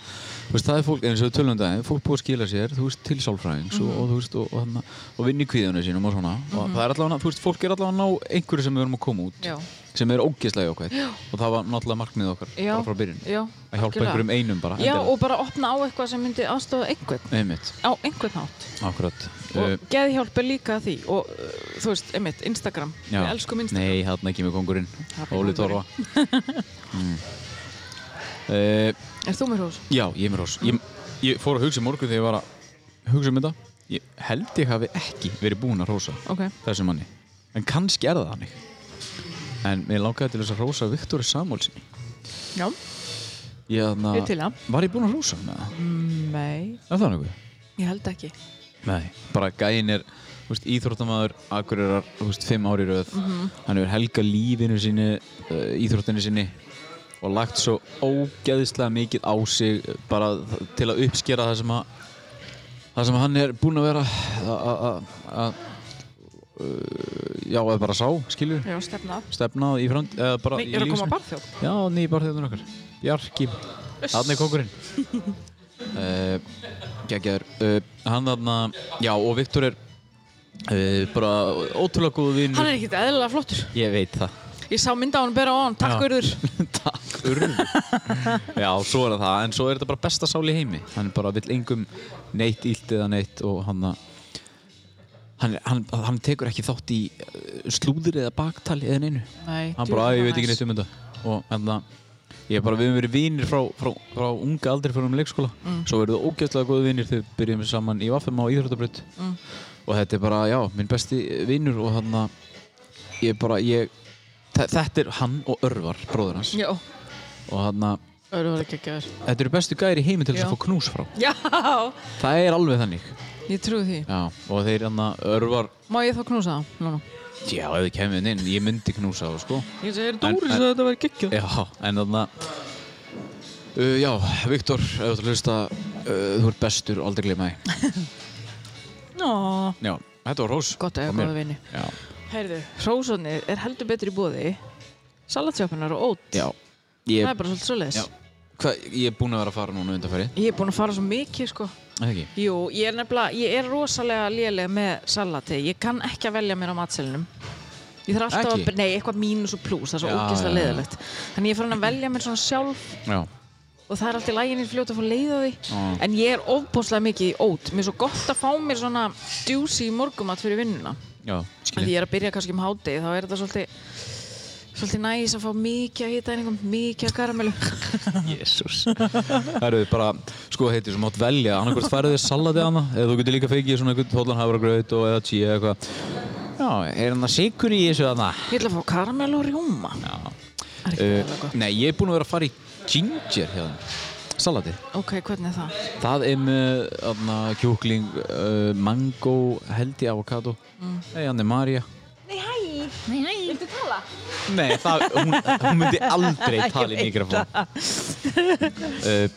Speaker 1: þú veist, það er fólk, eins og við tölum um daginn, fólk búið að skila sér þú veist, til sálfræðings
Speaker 2: Mhm.
Speaker 1: og, og, þú veist, og, og, þarna, og vinni kvíðunni sínum og svona og það er allavega, þú veist, fólk er allavega að ná einhverju sem við erum að koma út
Speaker 2: Já.
Speaker 1: sem er ógeðslega okkar og það var náttúrulega markmið okkar
Speaker 2: Já.
Speaker 1: bara frá byrjun
Speaker 2: Já,
Speaker 1: að hjálpa
Speaker 2: algjörlega.
Speaker 1: einhverjum einum bara
Speaker 2: Já,
Speaker 1: endilega.
Speaker 2: og bara opna á eitthvað sem myndi aðstofa einhvern
Speaker 1: einmitt,
Speaker 2: á einhvern hátt
Speaker 1: akkurat
Speaker 2: og
Speaker 1: Uh,
Speaker 2: geðhjálp er líka að því og uh, þú veist, einmitt, Instagram
Speaker 1: já.
Speaker 2: við elskum Instagram
Speaker 1: Nei, þarna ekki með kongurinn
Speaker 2: Þarna
Speaker 1: Óli Torfa
Speaker 2: kóngurinn.
Speaker 1: (laughs) mm. uh,
Speaker 2: Er þú með hrós?
Speaker 1: Já, ég er með rós. Ég, ég fór að hugsa í morgun þegar ég var að hugsa um þetta. Ég held ég hafi ekki verið búinn að rósa
Speaker 2: Ok
Speaker 1: þessum manni. En kannski er það hannig. En mér langaði til þess að rósa Viktor Samuelsen.
Speaker 2: Já
Speaker 1: Ég aðna...
Speaker 2: Ég er til það.
Speaker 1: Var ég búinn að rósa hann með það?
Speaker 2: Nei,
Speaker 1: Er það nokkuð?
Speaker 2: ég held ekki
Speaker 1: Nei. Bara gæinn er, þú veist, íþróttamaður, akkurirar, þú veist, fimm ári röð.
Speaker 2: Mhm.
Speaker 1: Hann hefur helga lífinu sinni, uh, íþróttinu sinni og lagt svo ógeðislega mikið á sig uh, bara þ- til að uppskera það sem að það sem hann er búinn að vera að- að- að- að uh, já, eða bara sá, skilju
Speaker 2: Já, stefna að
Speaker 1: stefnað í framtíð eða bara
Speaker 2: Nei,
Speaker 1: í
Speaker 2: er að koma
Speaker 1: lífsinu.
Speaker 2: að barþjóð
Speaker 1: Já, nýjir barþjóðnur okkar Bjarki, hann er (laughs) kongurinn uh, Gægjaður uh, Hann þarna, já og Viktor er uh, bara ótrúlega góð vinn
Speaker 2: Hann er ekkert eðlilega flottur
Speaker 1: Ég veit það (laughs)
Speaker 2: Ég sá mynda á hann bera á hann, takk
Speaker 1: Já.
Speaker 2: verður
Speaker 1: (laughs) Takk Urður (laughs) Já, svo er það, en svo er þetta bara besta sál í heimi Hann bara vill engum neitt ílt eða neitt og hann að Hann, hann, hann tekur ekki þátt í uh, slúður eða baktali eða neinu
Speaker 2: Nei,
Speaker 1: hann bara, að ég veit ekki neitt um þetta og enna, ég er bara, við höfum verið vinir frá, frá, frá unga aldrei fyrir um leikskóla
Speaker 2: Mm.
Speaker 1: svo verðum við ógæðslega góði vinir þegar við byrjum saman í Vaffema og Íþróttabraut
Speaker 2: Mm.
Speaker 1: og þetta er bara, já, minn besti vinur og þannig að ég bara, ég þe- þetta er hann og Örvar, bróður hans
Speaker 2: Já,
Speaker 1: og þannig að
Speaker 2: öðru var ekki ekki verður
Speaker 1: þetta eru bestu gæri í heimi til þess
Speaker 2: Já.
Speaker 1: að fá knús frá
Speaker 2: Já,
Speaker 1: það er alveg þannig
Speaker 2: (laughs) ég trúi því
Speaker 1: já, og þeir hann að Örvar
Speaker 2: Má ég þá knúsa það? Núna
Speaker 1: já, ef þið kemur inn, ég myndi knúsa það, sko
Speaker 2: Ég segi, er
Speaker 1: En-
Speaker 2: Dóri
Speaker 1: en-
Speaker 2: að þetta var geggjað?
Speaker 1: Já, en þarna uh, Já, Viktor, ef þú ert að hlusta uh, Þú ert bestur, aldrei gleyma því
Speaker 2: Nó
Speaker 1: Já, þetta var rós
Speaker 2: Gott
Speaker 1: frá
Speaker 2: að eiga
Speaker 1: mér.
Speaker 2: góða vini
Speaker 1: Já,
Speaker 2: Heyrðu, hrósónið er heldur betur í bóði Salatsjöpunar og ót
Speaker 1: já
Speaker 2: Það er
Speaker 1: Ég,
Speaker 2: bara svolítið
Speaker 1: já.
Speaker 2: svoleiðis
Speaker 1: Hva, ég er búinn að vera að fara núna undanfæri
Speaker 2: Ég er búin að fara svo mikið sko
Speaker 1: Það ekki?
Speaker 2: Jú, ég er nefnilega, ég er rosalega léleg með salati Ég kann ekki að velja mér á matselinum Ég þarf alltaf
Speaker 1: Ekki?
Speaker 2: að, nei, eitthvað mínus og plús Það er svo
Speaker 1: Já, já,
Speaker 2: ógeðslega
Speaker 1: já.
Speaker 2: leiðilegt Þannig ég er farin að velja mér svona sjálf
Speaker 1: Já,
Speaker 2: Og það er alltaf læginir fljóta að fá leiða því
Speaker 1: Já.
Speaker 2: En ég er ofbúslega mikið í ót Mér er svo gott að fá mér svona djúsi morgumat fyrir vinnuna
Speaker 1: já,
Speaker 2: En því
Speaker 1: skilji
Speaker 2: ég er að byrja kannski um hádegi, þá er þetta svolítið svolítið næs að fá mikið að hita einhverjum, mikið að karamellu.
Speaker 1: (laughs) Jésús Það eru bara, sko heitir, sem átt velja annarkvort færið þér salati hana eða þú getur líka feikið svona einhvern tóllan hafragraut og eða tíu eða eitthvað Já, er hann að sikur í þessu þarna?
Speaker 2: Ég ætla að fá karamellu og rjúma. Það er ekki
Speaker 1: Uh,
Speaker 2: alveg gott.
Speaker 1: nei, ég er búinn að vera að fara í ginger hérna Salati
Speaker 2: Ok, hvernig er það?
Speaker 1: Það er með aðna, kjúkling, uh, mango, held ég avokado, mm. nei, hann er Marja.
Speaker 2: Nei, hæ! Nei, nei.
Speaker 4: Viltu tala?
Speaker 1: Nei, það, hún, hún myndi
Speaker 2: (laughs)
Speaker 1: aldrei
Speaker 2: Ég
Speaker 1: tala í
Speaker 2: veit
Speaker 1: mikrofón
Speaker 2: það.
Speaker 1: uh,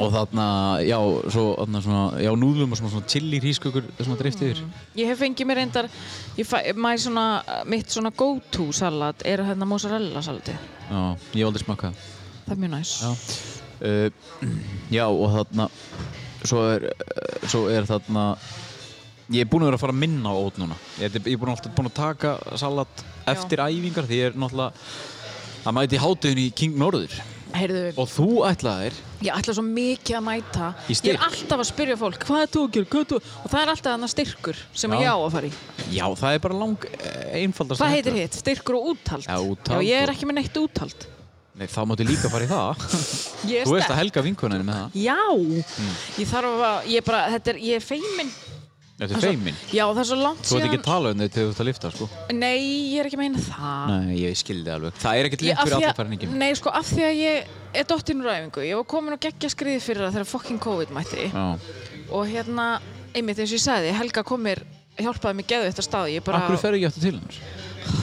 Speaker 1: Og þarna, já, svo, þarna svona, já, núðlum og svona, svona chili hrískökur svona dreift yfir
Speaker 2: Ég hef fengið mér reyndar, ég fæ, mæ svona, mitt svona go-to salat er hérna mozzarella salati.
Speaker 1: Já, ég hef aldrei smakkað það.
Speaker 2: Það er mjög næs.
Speaker 1: Já. Uh, (clears throat) já, og þarna, svo er, uh, svo er þarna Ég er búinn að vera að fara að minna á ót núna Ég er, ég er búinn alltaf búinn að taka salat eftir æfingar Því ég er náttúrulega að mæti hátuðin í King Norður
Speaker 2: Heyrðu,
Speaker 1: Og þú ætlaðir
Speaker 2: ég ætla svo mikið að mæta.
Speaker 1: Í
Speaker 2: Ég
Speaker 1: styrk?
Speaker 2: er alltaf að spyrja fólk, hvað er þú að gera, hvað er þú? Og það er alltaf þannig styrkur sem
Speaker 1: Já.
Speaker 2: ég á að fara í.
Speaker 1: Já, það er bara lang eh, einfaldast
Speaker 2: Hvað heitir hitt? Styrkur og úthald?
Speaker 1: Já, úthald
Speaker 2: Já, ég er
Speaker 1: og-
Speaker 2: ekki með neitt úthald.
Speaker 1: Nei, þá máttu líka fara í það
Speaker 2: Ég
Speaker 1: Þú veist að
Speaker 2: er
Speaker 1: Hmm.
Speaker 2: sterk.
Speaker 1: helga vinkuninu með það
Speaker 2: Já, ég þarf að, ég er bara, þetta er, ég er feimin.
Speaker 1: Þetta er feimin
Speaker 2: Já, það er svo langt
Speaker 1: Þú veit ekki að tala um þetta þegar þú ert að lifta, sko
Speaker 2: Nei, ég er ekki að meina það.
Speaker 1: Nei, ég skildi alveg Það er ekkert
Speaker 2: Ah. Ég-
Speaker 1: lengt
Speaker 2: af
Speaker 1: fyrir
Speaker 2: því að-
Speaker 1: aðfæriningin
Speaker 2: Nei, sko, af því að ég er dottinn úr æfingu. Ég var komin og geggja skriði fyrir það þegar fucking COVID mætti.
Speaker 1: Já
Speaker 2: Og hérna, einmitt eins og ég sagði, Helga kom mér, hjálpaði mér geðu eftir stað. Ég bara,
Speaker 1: Akkur fer ekki aftur til hans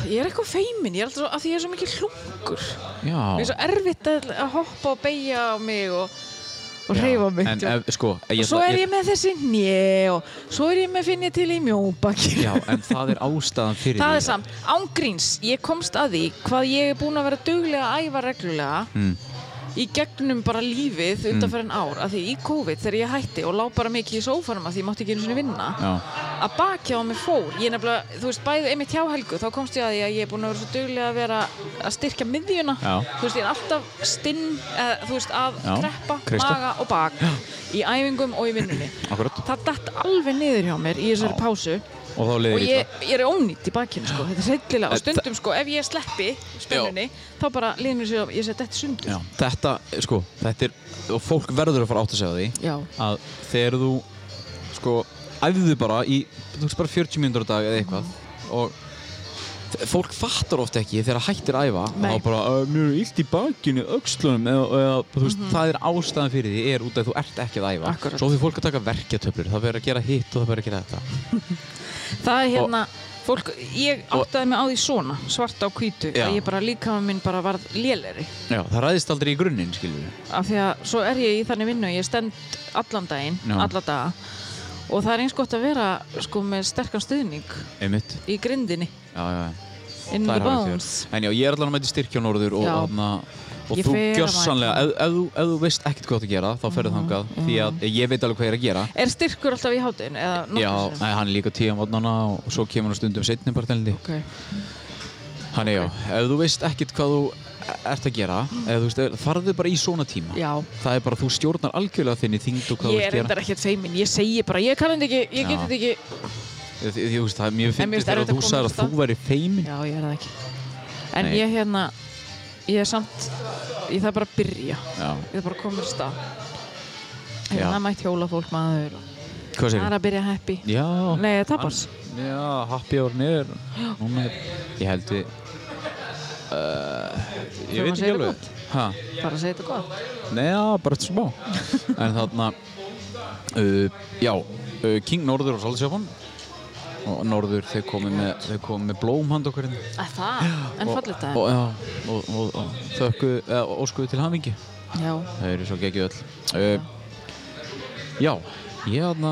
Speaker 2: ég er eitthvað feimin, ég er alltaf svo, af því ég er svo mikið hlungur. Mér er
Speaker 1: Já
Speaker 2: svo erfitt að, að hoppa og beigja á mig og, og hreyfa mig.
Speaker 1: En ef, sko
Speaker 2: og svo er ég með þessi njö og svo er ég með finn ég til í mjóbakir.
Speaker 1: Já, en það er ástæðan fyrir
Speaker 2: Það
Speaker 1: því.
Speaker 2: er samt, ángríns, ég komst að því hvað ég er búin að vera duglega að æfa reglulega
Speaker 1: Mm.
Speaker 2: í gegnum bara lífið undanferðin ár af því í COVID þegar ég hætti og lá bara mikið í sófanum af því ég mátti ekki einu sinni vinna
Speaker 1: Já,
Speaker 2: að bakja á mig fór ég nefnilega, þú veist, bæði einmitt hjá Helgu þá komst ég að því að ég er búin að vera svo duglega að vera að styrkja miðjuna
Speaker 1: Já.
Speaker 2: þú veist, ég er alltaf stinn eða, þú veist, að
Speaker 1: Já,
Speaker 2: kreppa,
Speaker 1: kreista.
Speaker 2: maga og bak í æfingum og í vinnunni
Speaker 1: akkurat
Speaker 2: það datt alveg niður hjá mér í þessari
Speaker 1: Já.
Speaker 2: pásu
Speaker 1: Og þá
Speaker 2: og
Speaker 1: leiðir
Speaker 2: ég, ég er ónýtt í bakinu sko, þetta er reyndilega og
Speaker 1: Þetta-
Speaker 2: stundum sko, ef ég sleppi spennunni, þá bara liður mér sér að ég seti þetta sundur
Speaker 1: Já, þetta, sko, þetta er Og fólk verður að fara átt að segja því
Speaker 2: Já.
Speaker 1: að þegar þú sko, æfðu bara í þú veist bara 40 mínútur á dag eða eitthvað og þ- fólk fattar ofta ekki þegar það hættir að æfa
Speaker 2: Nei.
Speaker 1: og þá bara, "Ö, mér er illt í bakinu, öxlunum eða, eða þú
Speaker 2: Mhm.
Speaker 1: veist, það er ástæðan fyrir því er út af því þú ert ekki að æfa
Speaker 2: Akkúrat.
Speaker 1: svo því fólk að taka verkjatöflur, það verður að gera hitt og það verður að gera þetta
Speaker 2: það er hérna, fólk, ég
Speaker 1: Og-
Speaker 2: áttaði mig á því svona, svart á hvítu
Speaker 1: Já.
Speaker 2: að ég bara líka minn bara varð léleri
Speaker 1: Já, það ræðist aldrei í grunninn, skilur við
Speaker 2: af því að svo er ég í þannig vinnu ég stend allan daginn,
Speaker 1: Já.
Speaker 2: alla daga og það er eins gott að vera sko með sterkan stuðning
Speaker 1: einmitt,
Speaker 2: í grindinni
Speaker 1: já, já, já.
Speaker 2: inn
Speaker 1: Það
Speaker 2: í
Speaker 1: er hárrétt
Speaker 2: bones
Speaker 1: hjá þér. en já, ég er allan að mæta í styrkjónorður og,
Speaker 2: Já.
Speaker 1: þarna, og
Speaker 2: Ég
Speaker 1: þú
Speaker 2: fer að Mhm,
Speaker 1: gjössanlega ef, ef, þú- ef þú veist ekkert hvað þú gera þá ferðu þangað, því að ég veit alveg hvað ég er að gera
Speaker 2: er styrkur alltaf í hátinn eða
Speaker 1: Já,
Speaker 2: nokkrum sinnum?
Speaker 1: nei, hann er líka tíu á mótnana og svo kemur hann stundum setni partælindi.
Speaker 2: Ok.
Speaker 1: Hann er já, ef þú veist ekkert hvað þú ert að gera, ef þú veist, farðu bara í svona tíma.
Speaker 2: Mhm. Já.
Speaker 1: Það er bara, þú stjórnar algjörlega þinni þyngd og hvað þú
Speaker 2: ég er
Speaker 1: ert að
Speaker 2: reyndar
Speaker 1: gera.
Speaker 2: ekkert feimin, ég segi bara ég kann þetta ekki, ég
Speaker 1: Já.
Speaker 2: get þetta ekki
Speaker 1: Því- því- Þú veist, það er mjög
Speaker 2: En mér
Speaker 1: fyndið
Speaker 2: finnst
Speaker 1: þegar
Speaker 2: erfitt að
Speaker 1: þú
Speaker 2: koma
Speaker 1: sagðir
Speaker 2: af
Speaker 1: að þú
Speaker 2: stað.
Speaker 1: væri feiminn.
Speaker 2: Já, ég er það ekki En
Speaker 1: Nei.
Speaker 2: ég hérna, ég er samt ég þarf bara að byrja
Speaker 1: Já.
Speaker 2: ég þarf bara að koma í stað
Speaker 1: Já.
Speaker 2: hérna mætt hjóla fólk maður og
Speaker 1: Hvað
Speaker 2: það er
Speaker 1: segir þú?
Speaker 2: að byrja happy
Speaker 1: Já.
Speaker 2: Nei, það tapars
Speaker 1: Hann- Já, happy hour niður. Núna er, ég held við, uh, ég
Speaker 2: Þurfum
Speaker 1: veit
Speaker 2: að
Speaker 1: ekki
Speaker 2: segja
Speaker 1: alveg.
Speaker 2: þetta
Speaker 1: Hæ?
Speaker 2: bara að segja þetta gott
Speaker 1: Nei, já, bara eftir
Speaker 2: (laughs)
Speaker 1: smá En þarna uh, Já, uh, King Norður og Salsjöfón og Norður, þeir komið með, þeir komið með blóm handa okkur hérna.
Speaker 2: að Það, en
Speaker 1: og,
Speaker 2: fallið það
Speaker 1: og, já, og, og, og þökku eða, og óskuðu til hamingi
Speaker 2: Já,
Speaker 1: Það eru svo geggju öll uh, Já, ég þarna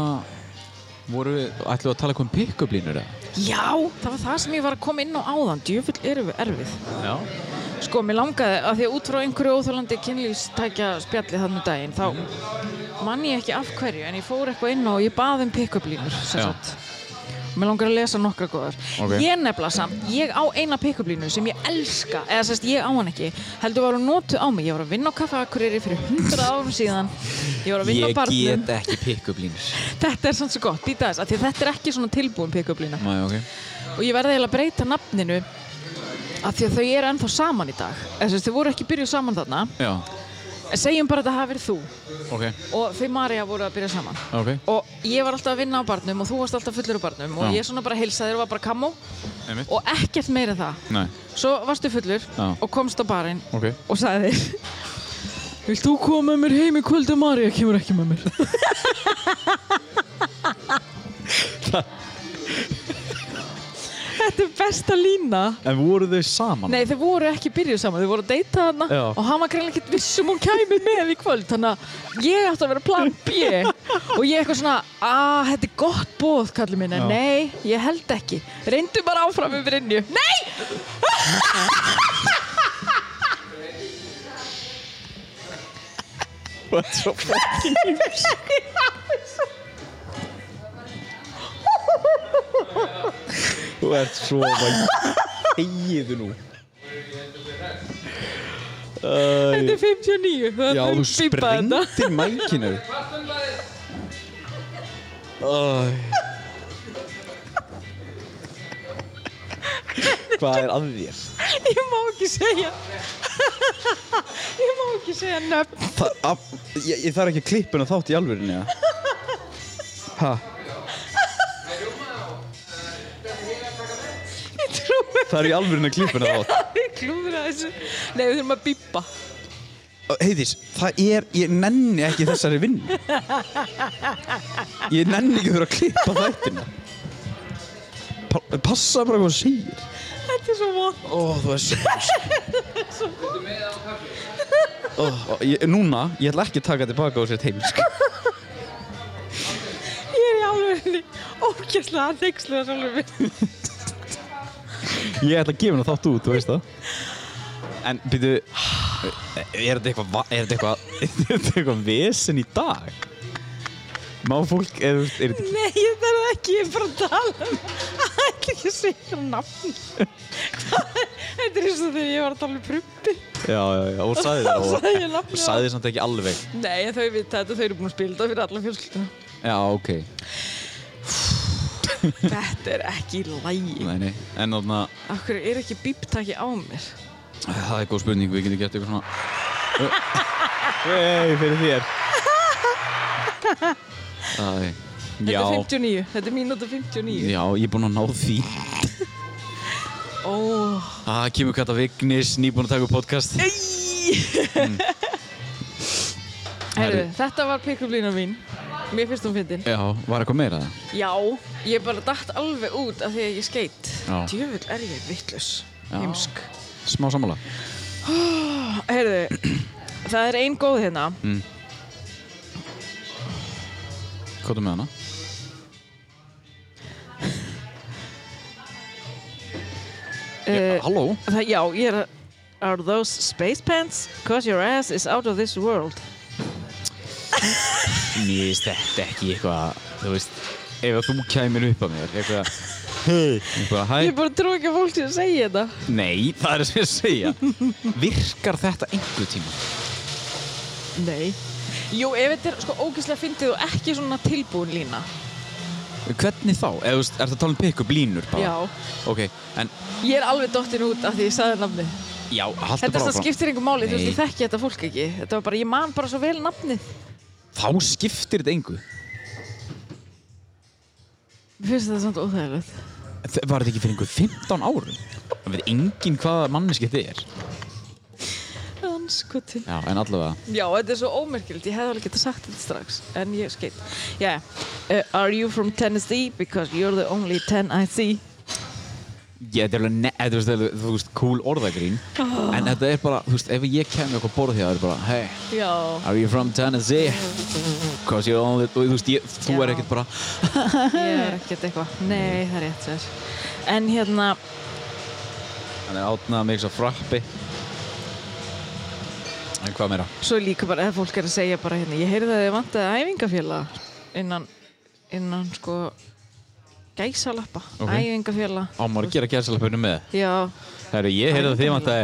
Speaker 1: voru við, ætlum við að tala eitthvað um pick-up línur eða?
Speaker 2: Já, það var það sem ég var að koma inn á áðan djöfull erum við erfið
Speaker 1: Já
Speaker 2: Sko, mér langaði að því að út frá einhverju óþálandi kynlýfstækja spjalli þannig daginn þá mann ég ekki af hverju en ég fór eitthvað inn og ég baði um pick-up línur sem
Speaker 1: Já.
Speaker 2: sagt Mér langar að lesa nokkra góðar.
Speaker 1: Ok.
Speaker 2: Ég nefnilega samt, ég á eina pick-up línu sem ég elska, eða sérst ég á hann ekki, heldur var hún notuð á mig. Ég var að vinna á kaffakurýri fyrir 100 árum síðan. Ég var að vinna
Speaker 1: Ég
Speaker 2: á barnum.
Speaker 1: get ekki pick-up (laughs) línur
Speaker 2: Þetta er samt svo gott, býta þess, af því að þetta er ekki svona tilbúin pick-up lína.
Speaker 1: Mæ, ok
Speaker 2: Og ég verði eiginlega að breyta nafninu af því að þau eru ennþá saman í dag. Eða sérst, þau voru ekki byrjuð saman þarna.
Speaker 1: Já,
Speaker 2: Segjum bara að það hafi verið þú
Speaker 1: ok,
Speaker 2: og þau Marja voru að byrja saman
Speaker 1: ok
Speaker 2: og ég var alltaf að vinna á barnum og þú varst alltaf fullur á barnum og
Speaker 1: Já.
Speaker 2: ég svona bara heilsaði þér og var bara kammo
Speaker 1: Einmitt.
Speaker 2: og ekkert meira en það
Speaker 1: Nei,
Speaker 2: svo varstu fullur
Speaker 1: Já.
Speaker 2: og komst á barinn
Speaker 1: ok
Speaker 2: og sagði þér (laughs) Vilt þú koma með mér heim í kvöld en Marja kemur ekki með mér Þetta er besta lína.
Speaker 1: En voru þau saman?
Speaker 2: Nei, þau voru ekki byrjuð saman, þau voru að deyta hana
Speaker 1: Já.
Speaker 2: og hann var greinlega ekkert viss um hún kæmi með í kvöld, þannig að ég átti að vera plan B og ég eitthvað svona, að þetta er gott bóð, kallið minna,
Speaker 1: Já.
Speaker 2: nei, ég held ekki, reyndu bara áfram við Brynju, nei!
Speaker 1: What's (laughs) up? Þú ert svo væg Egiðu nú Æ,
Speaker 2: Þetta er 59, það
Speaker 1: Já, þú
Speaker 2: er bípað þetta.
Speaker 1: sprengtir mækinu Æ. Hvað er að þér?
Speaker 2: Ég má ekki segja, (laughs) ég má ekki segja nöfn,
Speaker 1: Það, af, ég, ég þarf ekki að klippuna þátt í alvörinu ja. Hæ?
Speaker 2: ég trúi
Speaker 1: Það er í alvörinu að klippuna þátt
Speaker 2: að ég klúðra þessu. Nei, við þurfum að bípa.
Speaker 1: Heiðis, það er, ég nenni ekki þessari vinn Ég nenni ekki að vera að klippa þættina pa Passa bara hvað þú segir
Speaker 2: Þetta er svo vond.
Speaker 1: Ó, þú er svo Ó, ó, ég, Núna, ég ætla ekki að taka tilbaka á sér heim sko.
Speaker 2: Ég er í alvegurinni ógæslega að neykslega sjálfur minn.
Speaker 1: Ég ætla að gefa hennar þátt út, þú veist það En, byrju Er þetta eitthvað va- Er þetta eitthvað, (laughs) er þetta eitthvað vesen í dag? Má fólk, er, er þetta
Speaker 2: Nei, ég þarf ekki, ég er bara að tala um Það er ekki að segja nafn (laughs) Hvað er- Þetta er eins og þegar ég var að tala um prumpi
Speaker 1: Já, já, já, og sagði
Speaker 2: Þá
Speaker 1: það og-
Speaker 2: (laughs) sagði ég nafnið á-
Speaker 1: Sagði samt ekki alveg
Speaker 2: Nei, þau vita þetta, þau eru búin að spila þetta fyrir alla fjölskylduna
Speaker 1: Já, ok
Speaker 2: Þetta er ekki í lægi
Speaker 1: Nei, nei En þarna
Speaker 2: Akkur er ekki bíptaki á mér
Speaker 1: Það er góð spurning Við getum gert eitthvað (laughs) svona Hei, fyrir þér Það er
Speaker 2: Þetta
Speaker 1: Já
Speaker 2: er 59, þetta er mínúta 59
Speaker 1: Já, ég er búinn að ná því
Speaker 2: Ó,
Speaker 1: Það kemur kata Vignis Nýbúinn að taka upp podcast
Speaker 2: herru,
Speaker 1: Mm. Herru.
Speaker 2: þetta var pikkublína mín Mér finnst hún fyndin
Speaker 1: Já, var eitthvað meira það?
Speaker 2: Já, ég bara datt alveg út af því að ég skeit
Speaker 1: Já.
Speaker 2: Djöfull er ég vittlaus
Speaker 1: Já.
Speaker 2: Heimsk
Speaker 1: Smá sammála
Speaker 2: Heyrðu, það er ein góð hérna
Speaker 1: Kota með hana
Speaker 2: Eh,
Speaker 1: Halló
Speaker 2: það, Já, ég er Are those space pants? Cause your ass is out of this world
Speaker 1: Mér finnst þetta ekki eitthvað Þú veist Ef að þú kæmir upp að mér Eitthvað Hei Eitthvað hæ
Speaker 2: Ég bara trú ekki að fólk sé að segja þetta
Speaker 1: Nei, það er sem ég segja (laughs) Virkar þetta einhver tíma?
Speaker 2: Nei Jú, ef þetta er sko ógeðslega fyndið og ekki svona tilbúin lína
Speaker 1: Hvernig þá? Eða, þú veist, er það að tala um pick-up línur bara?
Speaker 2: Já.
Speaker 1: Ok, en
Speaker 2: Ég er alveg dottin út af því ég sagði nafnið
Speaker 1: já, halda
Speaker 2: Þetta
Speaker 1: bara
Speaker 2: samt
Speaker 1: áfram
Speaker 2: skiptir einhver máli, þú veist,
Speaker 1: Nei.
Speaker 2: ég þekki þetta fólk ekki Þetta var bara, ég man bara svo vel nafnið
Speaker 1: Þá skiptir þetta engu
Speaker 2: Mér finnst þetta samt óþægilegt
Speaker 1: Þe- Var þetta ekki fyrir einhver 15 árum? Það veit enginn hvaða manneski þetta er
Speaker 2: Anskutin
Speaker 1: Já, en allavega
Speaker 2: Já, þetta er svo ómerkilegt, ég hefði alveg getað sagt þetta strax En ég skeitt yeah. uh, Are you from Tennessee? Because you're the only 10 I see
Speaker 1: Ég, þetta er alveg, ne- þetta, þú veist, þetta er, þú veist, cool orðagrín
Speaker 2: Oh.
Speaker 1: En þetta er bara, þú veist, ef ég kemur eitthvað borð því það er bara Hey,
Speaker 2: Já,
Speaker 1: are you from Tennessee? Cause you're only, þú veist, ég, þú er
Speaker 2: Já.
Speaker 1: ekkert bara
Speaker 2: ég er ekkert eitthvað Nei, það er rétt sér En hérna,
Speaker 1: Hann er átnað með eitthvað frappi En hvað meira?
Speaker 2: svo er líka bara eða fólk er að segja bara hérna Ég heyrði að þið vantaði æfingafélag innan, innan sko gæsalappa
Speaker 1: Ok.
Speaker 2: Æfingafélag
Speaker 1: Á maður að gera gæðsalapinu með
Speaker 2: Já,
Speaker 1: Herru, ég heyrði að þið vant að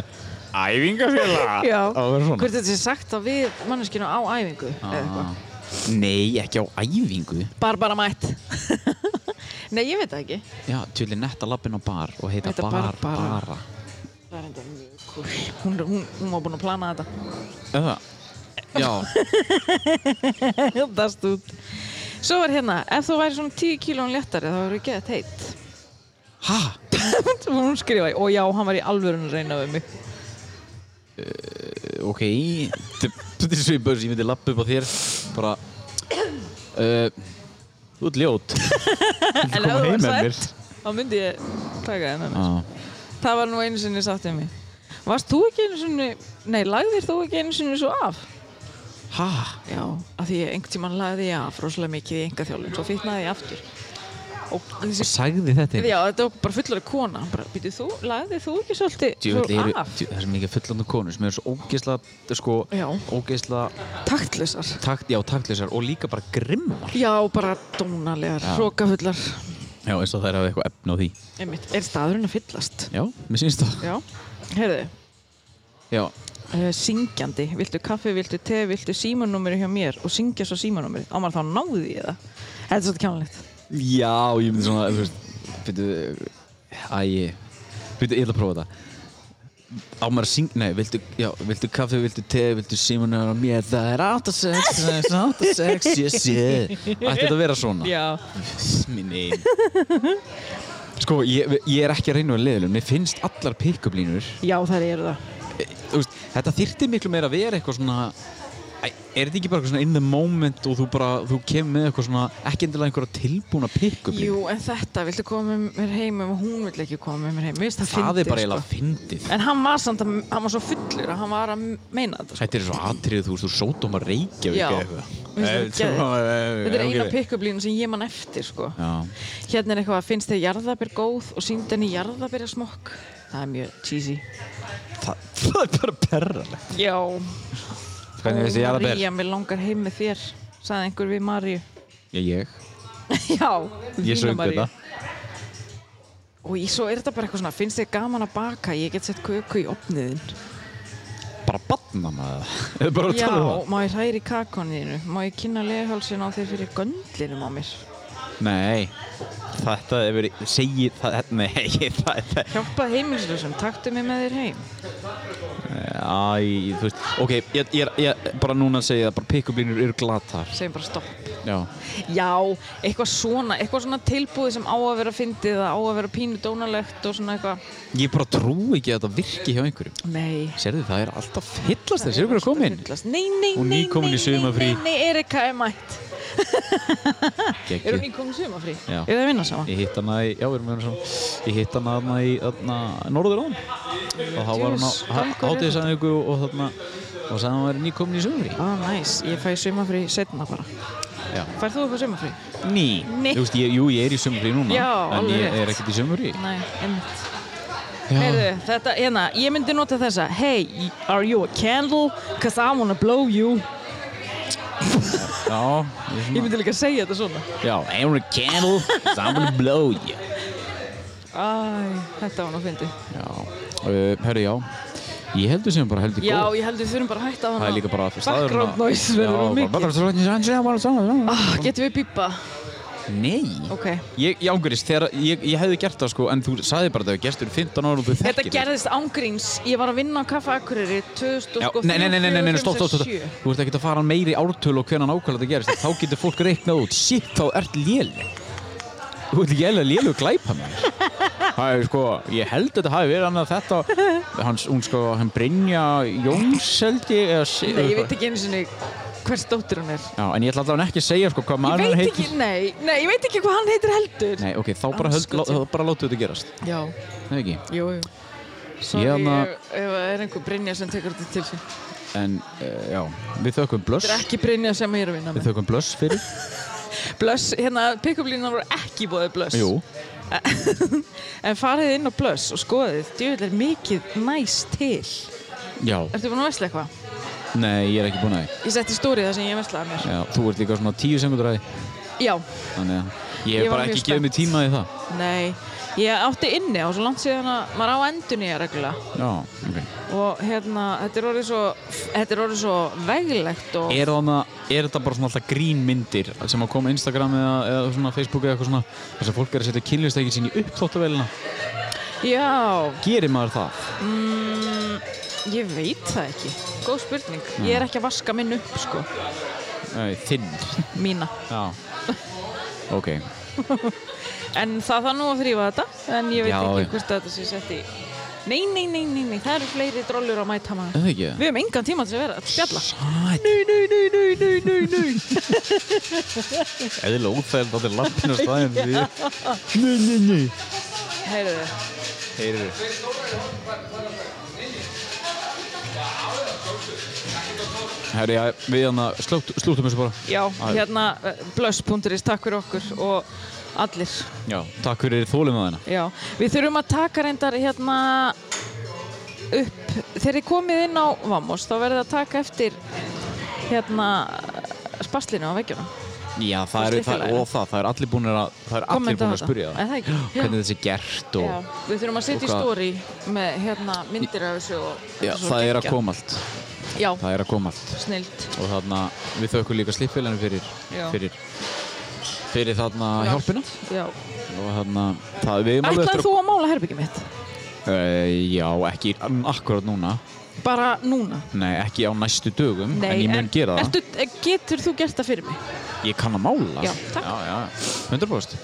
Speaker 1: Æfingafélag
Speaker 2: (laughs)
Speaker 1: Á
Speaker 2: já
Speaker 1: að vera svona
Speaker 2: Hvort þetta sé sagt á við manneskinu á æfingu eða eitthvað
Speaker 1: Nei, ekki á æfingu
Speaker 2: Barbara mætt (laughs) Nei, ég veit það ekki
Speaker 1: Já, tjóðlega netta lappin á bar og heita
Speaker 2: Heita
Speaker 1: bar,
Speaker 2: Bar-
Speaker 1: bara
Speaker 2: Bara. Það er enda mjög cool. Hún, hún, hún var búin að plana þetta. (laughs)
Speaker 1: Eða, já
Speaker 2: Dast út. Svo var hérna, ef þú væri svona 10 kílón léttari þá verður geðt heitt. (laughs)
Speaker 1: Hæ?
Speaker 2: Svo var hún skrifaði, og já, hann var í alvörun að reyna við mig.
Speaker 1: Ok Þetta er svipur sem ég myndi lappa upp á þér Bara (clears throat) uh, Þú ert ljót
Speaker 2: En
Speaker 1: Koma
Speaker 2: ef þú
Speaker 1: heim
Speaker 2: væri
Speaker 1: með
Speaker 2: sæt,
Speaker 1: mér
Speaker 2: þá myndi ég taka þennan
Speaker 1: Ah.
Speaker 7: Já.
Speaker 2: það var nú einu sinni satt um mig varst þú ekki einu sinni nei, lagðir þú ekki einu sinni svo af
Speaker 7: Ha?
Speaker 2: já, af því ég einhvern tímann lagði ég af rosalega mikið í enga þjálfun, svo fitnaði ég aftur og þessi
Speaker 1: Sagði þetta
Speaker 2: já, þetta var bara fullari kona Hann bara, býtu þú, lagði þú ekki svolítið
Speaker 1: Djöfell,
Speaker 2: svo
Speaker 1: eru,
Speaker 2: af,
Speaker 1: djö, það er mikið fullandu konur sem eru svo ógeðsla, sko,
Speaker 2: Já.
Speaker 1: ógeðsla
Speaker 2: taktlisar
Speaker 1: takt, já, taktlisar og líka bara grimmar.
Speaker 2: já, bara dónalegar, hrókafullar
Speaker 1: Já, eins og það er að eitthvað efn á því.
Speaker 2: einmitt, er staðurinn að fyllast
Speaker 1: Já, mér syns það.
Speaker 2: já, heyrðu
Speaker 1: Já,
Speaker 2: uh, syngjandi, viltu kaffi, viltu te, viltu símanúmeri hjá mér og syngja svo símanúmeri á maður þá náði ég það þetta er svolítið kjánlegt
Speaker 1: já, ég myndi svona, þú veist, byrju, æ, byrju, ég ætla að prófa þetta. Á maður að syngja, nei, viltu, já, viltu kaffi, viltu te, viltu símunar og mér, það er 8-6, það er 8-6, ég sé. Ætti þetta að vera svona?
Speaker 2: já,
Speaker 1: Minn einn. Sko, ég, ég er ekki að reyna að vera leiðilegum, mér finnst allar pick-up línur
Speaker 2: já þær eru það
Speaker 1: þú veist, þetta þyrti miklu meira að vera eitthvað svona Æ, er þetta ekki bara eitthvað svona in the moment og þú bara, þú kemur með eitthvað svona ekki endilega einhverja tilbúna pick-up
Speaker 2: jú, en þetta, viltu koma með mér heim ef hún vill ekki koma með mér heim, veist það
Speaker 1: það er
Speaker 2: fyndið, sko.
Speaker 1: bara eiginlega fyndið
Speaker 2: en hann var samt, að, hann var svo fullur að hann var að meina þetta sko.
Speaker 1: þetta er svo atrið, þú veist, þú sótum að reykja
Speaker 2: Já. Mér
Speaker 1: Eh,
Speaker 2: finnst það geðveikt. þetta
Speaker 1: þetta
Speaker 2: er eina pick-up línu sem ég man eftir sko. hérna er eitthvað að finnst þið jarðabir góð og sínd henni jarðabir smokk það er mjög cheesy
Speaker 1: það, það er bara perralegt
Speaker 2: já,
Speaker 1: hvernig veist ég að það ber?
Speaker 2: María, mér langar heim með þér sagði einhver við Maríu
Speaker 1: ég, ég,
Speaker 2: (laughs) Já,
Speaker 1: ég söng þetta
Speaker 2: Og í- svo er þetta bara eitthvað svona, finnst þið gaman að baka ég get sett köku í opniðin
Speaker 1: (laughs) bara batna maður það (laughs) er bara að
Speaker 2: Já,
Speaker 1: tala um
Speaker 2: má ég hræri kakoninu má ég kynna legahálsin á þér fyrir göndlinum á mér
Speaker 1: það nei, þetta er verið segir, það, nei, (laughs) það, það,
Speaker 2: Hjálpa heimilslösum, taktu mig með þér heim
Speaker 1: Æ, þú veist, ok, ég, ég, ég bara núna að segja það, bara pick-up línur eru glatar.
Speaker 2: segjum bara stopp
Speaker 1: Já.
Speaker 2: Já, eitthvað svona, eitthvað svona tilbúið sem á að vera fyndið það á að vera pínu dónalegt og svona eitthvað
Speaker 1: Ég bara trú ekki að þetta virki hjá einhverjum.
Speaker 2: Nei
Speaker 1: Serðu, það er alltaf fyllast þér, serðu hverju að koma inn?
Speaker 2: Fyllast. Nei, nei,
Speaker 1: Hún
Speaker 2: nei,
Speaker 1: nýkomin
Speaker 2: nei,
Speaker 1: í sumarfrí.
Speaker 2: Nei, nei, nei, Erika er mætt Er hún
Speaker 1: Gekki.
Speaker 2: nýkomin í sumafrí?
Speaker 1: Já.
Speaker 2: Er það að vinna saman?
Speaker 1: Ég hitt hana í, já, við erum með hana svona, ég hitt hana hana í, þarna, norður án. Og þá var hún á,
Speaker 2: Djöfull, gangur er
Speaker 1: hátíðisæðingu og þarna, og sagði að hún væri nýkomin í sömri.
Speaker 2: Ah, næs, ég fæ sumafrí setna bara.
Speaker 1: Já.
Speaker 2: Færð þú eitthvað sumafrí?
Speaker 1: Ný.
Speaker 2: Ný.
Speaker 1: Þú veist, ég, jú, ég er í sömri núna,
Speaker 2: Já,
Speaker 1: en
Speaker 2: alveg
Speaker 1: ég
Speaker 2: rétt.
Speaker 1: er ekkert í sömri.
Speaker 2: Nei, einmitt. Heyrðu, þetta, hérna, ég myndi nota þessa. Hey, are you a candle? Cause I wanna blow you.
Speaker 1: Já, ég er
Speaker 2: Ég
Speaker 1: svona,
Speaker 2: myndi líka segja þetta svona.
Speaker 1: já, I'm a candle, 'cause I'm gonna blow you.
Speaker 2: Æ, þetta var nú fyndið.
Speaker 1: Já, uh, herru já Ég heldur sem bara heldur
Speaker 2: Já,
Speaker 1: góð
Speaker 2: ég held við þurfum bara að hætta á hana.
Speaker 1: Það er líka bara
Speaker 2: Background noise verður of mikið.
Speaker 1: mikið
Speaker 2: Ah, getum við pípa?
Speaker 1: Nei
Speaker 2: Ok.
Speaker 1: Ég, ég ángurist, þegar ég, ég hefði gert það sko En þú sagði bara að það hefur gert fyrir 15 ára og þú
Speaker 2: Þetta
Speaker 1: þekkir
Speaker 2: gerðist ángríns. Ég var að vinna á Kaffa Akureyri
Speaker 1: Já,
Speaker 2: 2004,
Speaker 1: nei, nei, nei, nei, nei, nei,
Speaker 2: 2005,
Speaker 1: stopp, stopp, stopp
Speaker 2: 2007.
Speaker 1: Þú ert ekkert að fara meiri ártölu og hvernig nákvæmlega þetta gerist Þá getur fólk reiknað út Sitt, þá ert léleg Þú ert ekki eða léleg glæpa með
Speaker 2: (laughs)
Speaker 1: Það er sko, ég held að þetta hafi verið annað þetta Hans, hún sko, hann Brynja Jóns held ég eða, si-
Speaker 2: Nei, ég veit ekki einu sinni hvers dóttir hún er.
Speaker 1: Já, en ég ætla allavega ekki að segja sko hvað
Speaker 2: Ég
Speaker 1: maður
Speaker 2: veit
Speaker 1: heitir.
Speaker 2: ekki, nei, nei, ég veit ekki hvað hann heitir heldur.
Speaker 1: Nei, ok, þá bara, höld, lá,
Speaker 2: Andskotinn.
Speaker 1: þá bara látu þetta gerast.
Speaker 2: Já,
Speaker 1: Nei, ekki.
Speaker 2: jú, jú. Sorry,
Speaker 1: Ég
Speaker 2: ég,
Speaker 1: hana-
Speaker 2: ef það er einhver Brynja sem tekur þetta til sín.
Speaker 1: En, uh, já, við þökkum
Speaker 2: Þetta er
Speaker 1: blöss.
Speaker 2: ekki Brynja sem ég er að vinna
Speaker 1: Við
Speaker 2: með.
Speaker 1: þökkum blöss
Speaker 2: (laughs)
Speaker 1: fyrir.
Speaker 2: Blöss, hérna, pick-up línan voru ekki bóðið blöss.
Speaker 1: Jú.
Speaker 2: En farið inn á blöss og skoðið, djúvill er mikið næs til.
Speaker 1: Já.
Speaker 2: Ertu búin að vesla eitthvað?
Speaker 1: Nei, ég er ekki búin að því.
Speaker 2: Ég setti stórið það sem ég veslaði mér.
Speaker 1: Já, þú ert líka svona tíu sekundur að því.
Speaker 2: Já,
Speaker 1: Þannig að ég
Speaker 2: Ég
Speaker 1: hef
Speaker 2: var
Speaker 1: bara
Speaker 2: mjög
Speaker 1: ekki
Speaker 2: spennt.
Speaker 1: gefið mig tíma í það.
Speaker 2: nei, ég átti inni á svo langt síðan að maður á endun í að reglulega.
Speaker 1: Já, ok.
Speaker 2: Og hérna, þetta er orðið svo, þetta er orðið svo veglegt og...
Speaker 1: Er, þarna, er þetta bara svona alltaf grínmyndir sem að koma á Instagram eða, eða svona Facebook eða eitthvað svona þess að fólk er að setja kynlistækin sín í uppþóttavélina?
Speaker 2: Já, mm,
Speaker 1: Gerir maður það?
Speaker 2: ég veit það ekki. Góð spurning. Ég er ekki að vaska minn upp, sko.
Speaker 1: Nei,
Speaker 2: (laughs)
Speaker 1: þinn.
Speaker 2: Mína.
Speaker 1: Já. Ok.
Speaker 2: En það þarf nú að þrýfa þetta, en ég veit
Speaker 1: Já,
Speaker 2: ekki
Speaker 1: já.
Speaker 2: hvort að þetta sé sett í Nei, nei, nei, nei, nei, það eru fleiri drollur að mæta maður.
Speaker 1: Það ekki?
Speaker 2: Við hefum engan tíma til að vera að spjalla.
Speaker 1: Sæt.
Speaker 2: Uh. Nei, nei, nei, nei, nei, nei, nei.
Speaker 8: Eðla útþægild á þeir lampinu á staðinu því. Nei, nei, nei.
Speaker 2: Heyrðu,
Speaker 8: Heyrir þið.
Speaker 1: Herri, já, við hann að slúttum þessu bara.
Speaker 2: já, hérna blöss.is, takk fyrir okkur og allir.
Speaker 1: Já. Takk fyrir þólum að
Speaker 2: Já, við þurfum að taka reyndar hérna upp, þegar þið komið inn á Vamos, þá verðið að taka eftir hérna spaslinu á veggjunum.
Speaker 1: Já, það eru, það,
Speaker 2: Slikkalaga.
Speaker 1: og það, það er allir búin að, það er allir búin að spyrja
Speaker 2: það. Er það ekki? Já.
Speaker 1: (gasps) Hvernig þessi er gert
Speaker 2: Já,
Speaker 1: og,
Speaker 2: við þurfum að setja í
Speaker 1: hvað-
Speaker 2: stóri með hérna, myndir af þessu og
Speaker 1: já,
Speaker 2: þetta svo
Speaker 1: það er að
Speaker 2: geggjað.
Speaker 1: koma allt.
Speaker 2: Já,
Speaker 1: Það er að koma allt.
Speaker 2: snilt
Speaker 1: og þarna við þökkum líka slíppfélaginu fyrir,
Speaker 2: Já.
Speaker 1: fyrir fyrir þarna hjálpina
Speaker 2: Já.
Speaker 1: og þarna það við erum
Speaker 2: Ætlaði
Speaker 1: að
Speaker 2: þú að mála herbyggjum mitt?
Speaker 1: uh, já ekki akkurat núna
Speaker 2: Bara núna?
Speaker 1: nei ekki á næstu dögum en ég mun
Speaker 2: en-
Speaker 1: gera það
Speaker 2: ertu, getur þú gert það fyrir mig?
Speaker 1: ég kann að mála
Speaker 2: Já, takk.
Speaker 1: já, já, 100%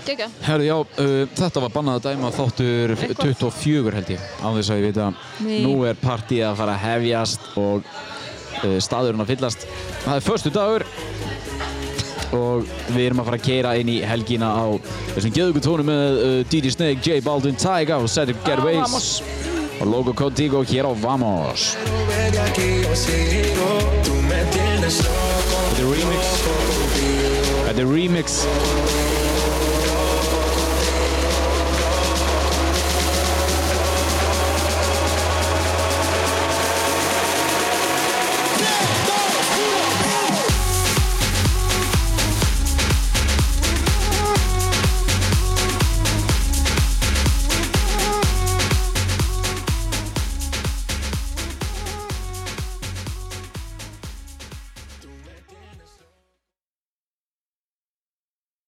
Speaker 2: Gekka.
Speaker 1: Herru, já, uh, þetta var bannað að dæma þáttur
Speaker 2: Eitthvað.
Speaker 1: 24 held ég, á þess að ég vita
Speaker 2: Nei.
Speaker 1: Nú er partíið að fara að hefjast og uh, staðurinn að fyllast Það er förstu dagur og við erum að fara að keira inn í helgina á þessum geðugu tónu með uh, DJ Snake, J Baldwin, Tyga og Cedric Gervais
Speaker 2: Vamos.
Speaker 1: og Logo Contigo hér á Vamos
Speaker 3: Pero ven aquí, yo sigo. Tú me tienes loco,
Speaker 1: Þetta er remix Þetta er remix
Speaker 9: Don't